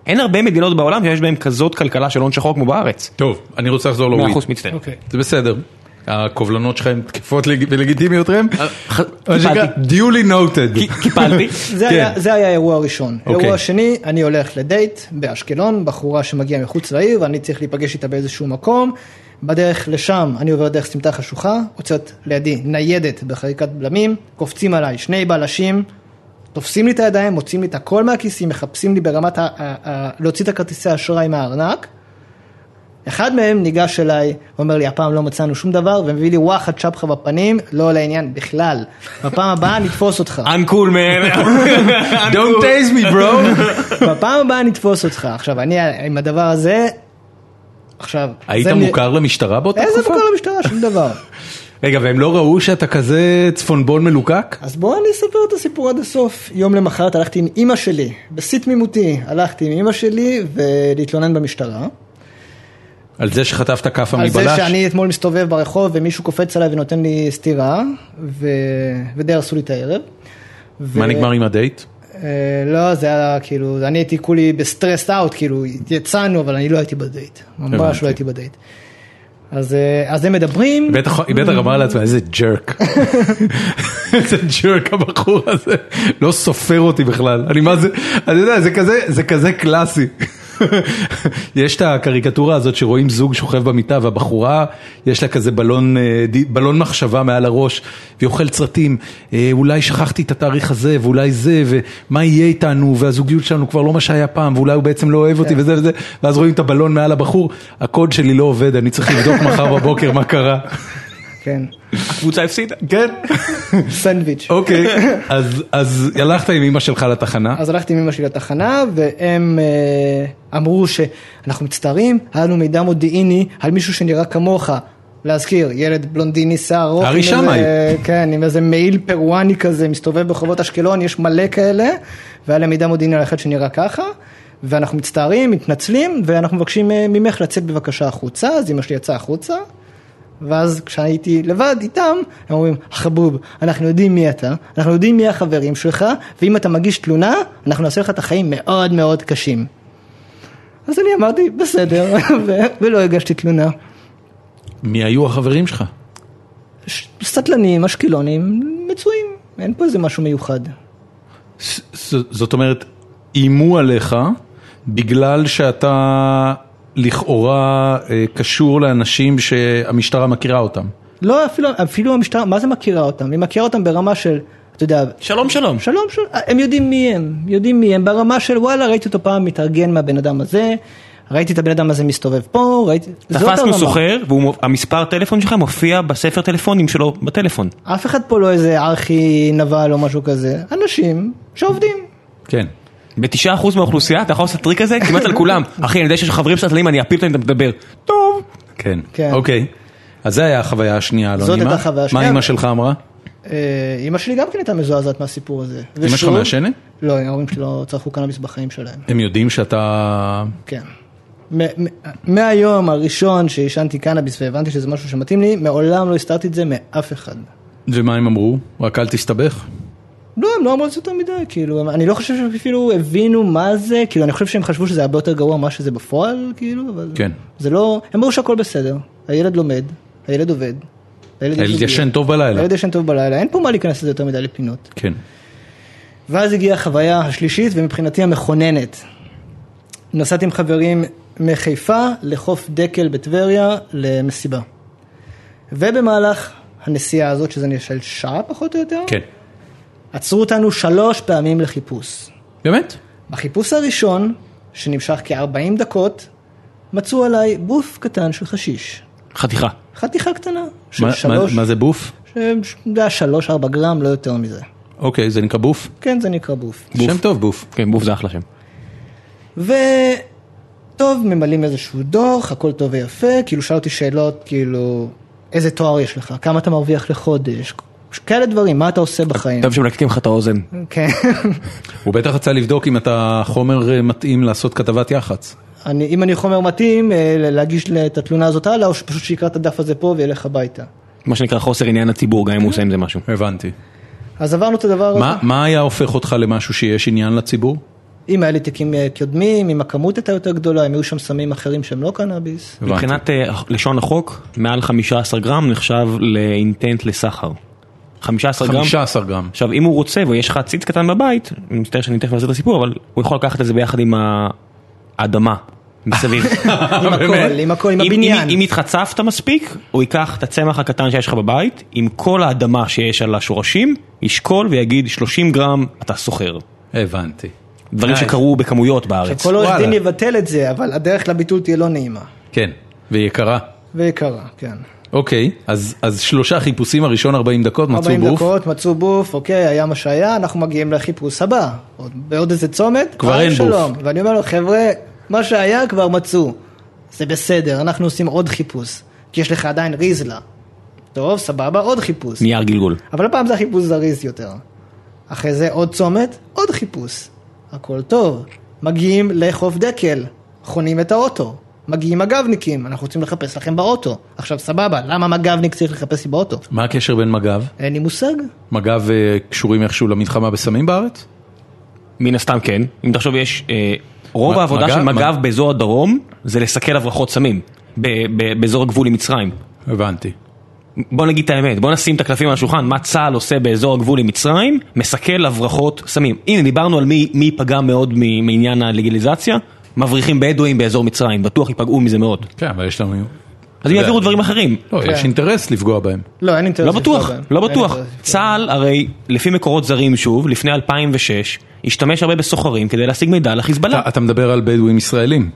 Speaker 5: אין הרבה מדינות בעולם שיש בהן כזאת כלכלה של הון שחור כמו בארץ.
Speaker 1: טוב, אני רוצה לחזור
Speaker 5: מאה
Speaker 1: לוויד.
Speaker 5: אחוז מצטער.
Speaker 3: אוקיי.
Speaker 1: זה בסדר. הקובלנות שלך הן תקפות לג- ולגיטימיות ראם?
Speaker 3: אה,
Speaker 5: אה, ח-
Speaker 1: מה שנקרא, duly noted.
Speaker 5: כי-
Speaker 1: (laughs)
Speaker 5: קיפלתי.
Speaker 3: זה,
Speaker 1: כן.
Speaker 3: היה, זה היה האירוע הראשון.
Speaker 1: אוקיי.
Speaker 3: אירוע שני, אני הולך לדייט באשקלון, בחורה שמגיעה מחוץ לעיר, ואני צריך להיפגש איתה באיזשהו מקום. בדרך לשם, אני עובר דרך סמטה חשוכה, עוצרת לידי ניידת בחריקת בלמים, קופצים עליי שני בלשים, תופסים לי את הידיים, מוצאים לי את הכל מהכיסים, מחפשים לי ברמת ה... ה, ה להוציא את הכרטיסי האשראי מהארנק. אחד מהם ניגש אליי, אומר לי, הפעם לא מצאנו שום דבר, ומביא לי וואחד שבחה בפנים, לא לעניין בכלל. בפעם הבאה נתפוס
Speaker 1: (laughs)
Speaker 3: אותך.
Speaker 5: אנקול מן.
Speaker 1: Don't taste me
Speaker 3: (laughs)
Speaker 1: bro.
Speaker 3: בפעם הבאה נתפוס אותך. עכשיו, אני עם הדבר הזה, עכשיו...
Speaker 1: היית
Speaker 3: זה נ-
Speaker 1: מוכר למשטרה באותה
Speaker 3: איזה
Speaker 1: תקופה?
Speaker 3: מוכר למשטרה? שום
Speaker 1: (laughs)
Speaker 3: דבר.
Speaker 1: רגע, והם לא ראו שאתה כזה צפונבון מלוקק?
Speaker 3: אז בואו אני אספר את הסיפור עד הסוף. יום למחרת הלכתי עם אימא שלי, בשיא תמימותי, הלכתי עם אימא שלי ולהתלונן במשטרה.
Speaker 1: על זה שחטפת כאפה
Speaker 3: על זה
Speaker 1: מבלש?
Speaker 3: שאני אתמול מסתובב ברחוב ומישהו קופץ עליי ונותן לי סטירה, ו... ודי הרסו לי את הערב. ו-
Speaker 1: מה נגמר עם הדייט?
Speaker 3: אה, לא, זה היה כאילו, אני הייתי כולי בסטרס אאוט, כאילו, יצאנו, אבל אני לא הייתי בדייט. ממש
Speaker 1: הבנתי.
Speaker 3: לא הייתי בדייט. אז, אה, אז הם מדברים,
Speaker 1: בטח- היא בטח אמרה לעצמה איזה ג'רק. (laughs) איזה ג'רק הבחור הזה. לא סופר אותי בכלל. אני מה זה, אני יודע, זה כזה, זה כזה קלאסי. (laughs) יש את הקריקטורה הזאת שרואים זוג שוכב במיטה והבחורה יש לה כזה בלון, אה, די- בלון מחשבה מעל הראש והיא אוכלת סרטים, אה, אולי שכחתי את התאריך הזה ואולי זה ומה יהיה איתנו והזוגיות שלנו כבר לא מה שהיה פעם ואולי הוא בעצם לא אוהב אותי וזה וזה ואז רואים את הבלון מעל הבחור, הקוד שלי לא עובד, אני צריך לבדוק מחר בבוקר מה קרה.
Speaker 3: כן,
Speaker 5: הקבוצה הפסידה.
Speaker 1: כן,
Speaker 3: סנדוויץ'. (laughs)
Speaker 1: אוקיי, אז- אז הלכת עם אמא שלך לתחנה,
Speaker 3: אז הלכתי עם אמא שלי לתחנה, והם אה, אמרו שאנחנו מצטערים, היה לנו מידע מודיעיני על מישהו שנראה כמוך. להזכיר, ילד בלונדיני, שיער ארוך,
Speaker 1: ארי
Speaker 3: אוקיי, עם איזה-
Speaker 1: שמאי.
Speaker 3: כן, עם איזה מעיל פרואני כזה, מסתובב ברחובות אשקלון, יש מלא כאלה, והיה להם מידע מודיעיני על אחד שנראה ככה, ואנחנו מצטערים, מתנצלים, ואנחנו מבקשים אה, ממך לצאת בבקשה החוצה, אז אמא שלי יצאה החוצה, ואז כשהייתי לבד איתם, הם אומרים, חבוב, אנחנו יודעים מי אתה, אנחנו יודעים מי החברים שלך, ואם אתה מגיש תלונה, אנחנו נעשה לך את החיים מאוד מאוד קשים. אז אני אמרתי, בסדר, (laughs) ו- ולא הגשתי תלונה.
Speaker 1: מי היו החברים שלך?
Speaker 3: ש- סטלנים, אשקלונים, מצויים, אין פה איזה משהו מיוחד.
Speaker 1: ז- ז- זאת אומרת, איימו עליך בגלל שאתה לכאורה אה, קשור לאנשים שהמשטרה מכירה אותם.
Speaker 3: לא, אפילו, אפילו המשטרה, מה זה מכירה אותם? היא מכירה אותם ברמה של, אתה יודע,
Speaker 5: שלום שלום.
Speaker 3: שלום, שלום, הם יודעים מי הם, יודעים מי הם, ברמה של וואלה, ראיתי אותו פעם מתארגן מהבן אדם הזה, ראיתי את הבן אדם הזה מסתובב פה, ראיתי, זאת
Speaker 5: תפסנו
Speaker 3: הרמה.
Speaker 5: סוחר, והמספר טלפון שלך מופיע בספר טלפונים שלו בטלפון.
Speaker 3: אף אחד פה לא איזה ארכי נבל או משהו כזה, אנשים שעובדים.
Speaker 1: כן.
Speaker 5: בתשעה אחוז מהאוכלוסייה אתה יכול לעשות טריק הזה כמעט על כולם. אחי אני יודע שיש לך חברים סטלנים אני אפיל אותם אם אתה מדבר. טוב.
Speaker 1: כן.
Speaker 3: כן.
Speaker 1: אוקיי. אז זה היה החוויה השנייה, לא
Speaker 3: זאת
Speaker 1: נעימה.
Speaker 3: הייתה החוויה השנייה.
Speaker 1: מה אימא שלך אמרה?
Speaker 3: אה, אימא שלי גם כן הייתה מזועזעת מהסיפור הזה.
Speaker 1: אימא שלך
Speaker 3: ושוב-
Speaker 1: מעשנת?
Speaker 3: לא, ההורים שלי לא צרכו קנאביס בחיים שלהם.
Speaker 1: הם יודעים שאתה...
Speaker 3: כן. מ- מ- מהיום הראשון שעישנתי קנאביס והבנתי שזה משהו שמתאים לי, מעולם לא הסתרתי את זה מאף אחד.
Speaker 1: ומה הם אמרו? רק אל תסתבך?
Speaker 3: לא, הם לא אמרו את זה יותר מדי, כאילו, הם- אני לא חושב שהם אפילו הבינו מה זה, כאילו, אני חושב שהם חשבו שזה הרבה יותר גרוע ממה שזה בפועל, כאילו, אבל...
Speaker 1: כן.
Speaker 3: זה לא, הם אמרו שהכל בסדר, הילד לומד, הילד עובד,
Speaker 1: הילד
Speaker 3: יש
Speaker 1: ישן
Speaker 3: לו
Speaker 1: טוב
Speaker 3: גיל,
Speaker 1: בלילה.
Speaker 3: הילד ישן טוב בלילה, אין פה מה להיכנס לזה יותר מדי לפינות.
Speaker 1: כן.
Speaker 3: ואז הגיעה החוויה השלישית ומבחינתי המכוננת. נסעתי עם חברים מחיפה לחוף דקל בטבריה למסיבה. ובמהלך הנסיעה הזאת, שזה נהיה של שעה פחות או יותר,
Speaker 1: כן.
Speaker 3: עצרו אותנו שלוש פעמים לחיפוש.
Speaker 1: באמת?
Speaker 3: בחיפוש הראשון, שנמשך כ-40 דקות, מצאו עליי בוף קטן של חשיש.
Speaker 5: חתיכה.
Speaker 3: חתיכה קטנה של
Speaker 1: מה-
Speaker 3: שלוש,
Speaker 1: מה- מה זה בוף?
Speaker 3: ש- זה היה שלוש ארבע גרם, לא יותר מזה.
Speaker 1: אוקיי, זה נקרא בוף?
Speaker 3: כן, זה נקרא בוף.
Speaker 1: שם טוב, בוף.
Speaker 5: כן בוף זה אחלה שם.
Speaker 3: וטוב, ממלאים איזשהו דוח, הכל טוב ויפה, כאילו שאל אותי שאלות, כאילו, איזה תואר יש לך, כמה אתה מרוויח לחודש, כאלה דברים, מה אתה עושה בחיים.
Speaker 5: טוב שמלקטים לך את האוזן.
Speaker 3: כן, (laughs)
Speaker 1: הוא בטח רצה לבדוק אם אתה חומר אה, מתאים לעשות כתבת יח"צ.
Speaker 3: אני, אם אני חומר מתאים, אה, להגיש את התלונה הזאת הלאה, או שפשוט שיקרא את הדף הזה פה וילך הביתה.
Speaker 5: מה שנקרא חוסר עניין הציבור גם אם הוא עושה עם זה משהו.
Speaker 1: הבנתי.
Speaker 3: אוקיי. אז עברנו את הדבר הזה.
Speaker 1: מה- מה היה הופך אותך למשהו שיש עניין לציבור?
Speaker 3: אם היה לי תיקים אה, קודמים, אם הכמות הייתה יותר גדולה, אם היו שם סמים אחרים שהם לא קנאביס.
Speaker 1: הבנתי.
Speaker 5: מבחינת אה, לשון החוק מעל 15 גרם נחשב לאינטנט לסחר. 15 גרם.
Speaker 1: 15 גרם.
Speaker 5: עכשיו אם הוא רוצה ויש לך ציץ קטן בבית, אני מצטער שאני תכף אעשה את הסיפור אבל הוא יכול לקחת את זה ביחד עם האדמה מסביב.
Speaker 3: עם הכל, עם הכל, עם
Speaker 5: אם-
Speaker 3: הבניין.
Speaker 5: אם, אם התחצפת מספיק, הוא ייקח את הצמח הקטן שיש לך בבית, עם כל האדמה שיש על השורשים, ישקול ויגיד 30 גרם אתה סוחר.
Speaker 1: (laughs) הבנתי.
Speaker 5: דברים
Speaker 1: Nice.
Speaker 5: שקרו בכמויות בארץ.
Speaker 3: כל עורך
Speaker 1: וואלה.
Speaker 3: דין יבטל את זה, אבל הדרך לביטול תהיה לא נעימה.
Speaker 1: כן, ויקרה.
Speaker 3: ויקרה, כן.
Speaker 1: אוקיי, אז אז שלושה חיפושים, הראשון 40 דקות, מצאו
Speaker 3: 40
Speaker 1: בוף.
Speaker 3: דקות, מצאו בוף, אוקיי, היה מה שהיה, אנחנו מגיעים לחיפוש הבא. עוד- בעוד איזה צומת,
Speaker 1: כבר
Speaker 3: אה,
Speaker 1: אין בוף.
Speaker 3: שלום. ואני אומר לו, חבר'ה, מה שהיה כבר מצאו. זה בסדר, אנחנו עושים עוד חיפוש. כי יש לך עדיין ריזלה. טוב, סבבה, עוד חיפוש.
Speaker 5: נייר גלגול.
Speaker 3: אבל הפעם זה החיפוש זריז יותר. אחרי זה עוד צומת, עוד חיפוש. הכל טוב. מגיעים לחוף דקל, חונים את האוטו. מגיעים מג"בניקים, אנחנו רוצים לחפש לכם באוטו. עכשיו סבבה, למה מג"בניק צריך לחפש לי באוטו?
Speaker 1: מה הקשר בין מג"ב?
Speaker 3: אין לי מושג.
Speaker 1: מג"ב אה, קשורים איכשהו למלחמה בסמים בארץ?
Speaker 5: מן הסתם כן, אם תחשוב יש, אה, רוב
Speaker 1: מ-
Speaker 5: העבודה
Speaker 1: מג"ב-
Speaker 5: של מג"ב
Speaker 1: מג-
Speaker 5: באזור הדרום זה לסכל הברחות סמים, ב- ב- באזור הגבול עם מצרים.
Speaker 1: הבנתי.
Speaker 5: בוא נגיד את האמת, בוא נשים את הקלפים על השולחן, מה צה"ל עושה באזור הגבול עם מצרים, מסכל הברחות סמים. הנה דיברנו על מי, מי ייפגע מאוד מ- מעניין הלגליזציה, מבריחים בדואים באזור מצרים, בטוח ייפגעו מזה מאוד.
Speaker 1: כן, אבל יש לנו...
Speaker 5: אז הם יעבירו דברים אחרים.
Speaker 1: לא,
Speaker 3: כן.
Speaker 1: יש אינטרס לפגוע בהם.
Speaker 3: לא, אין אינטרס.
Speaker 5: לא
Speaker 3: לפגוע
Speaker 5: בטוח,
Speaker 3: בהם.
Speaker 5: לא
Speaker 3: אין
Speaker 5: בטוח.
Speaker 3: אינטרס לפגוע.
Speaker 5: צה"ל הרי, לפי מקורות זרים שוב, לפני 2006, השתמש הרבה בסוחרים כדי להשיג מידע
Speaker 3: לא.
Speaker 5: לחיזבאללה.
Speaker 1: אתה- אתה מדבר על בדואים ישראלים?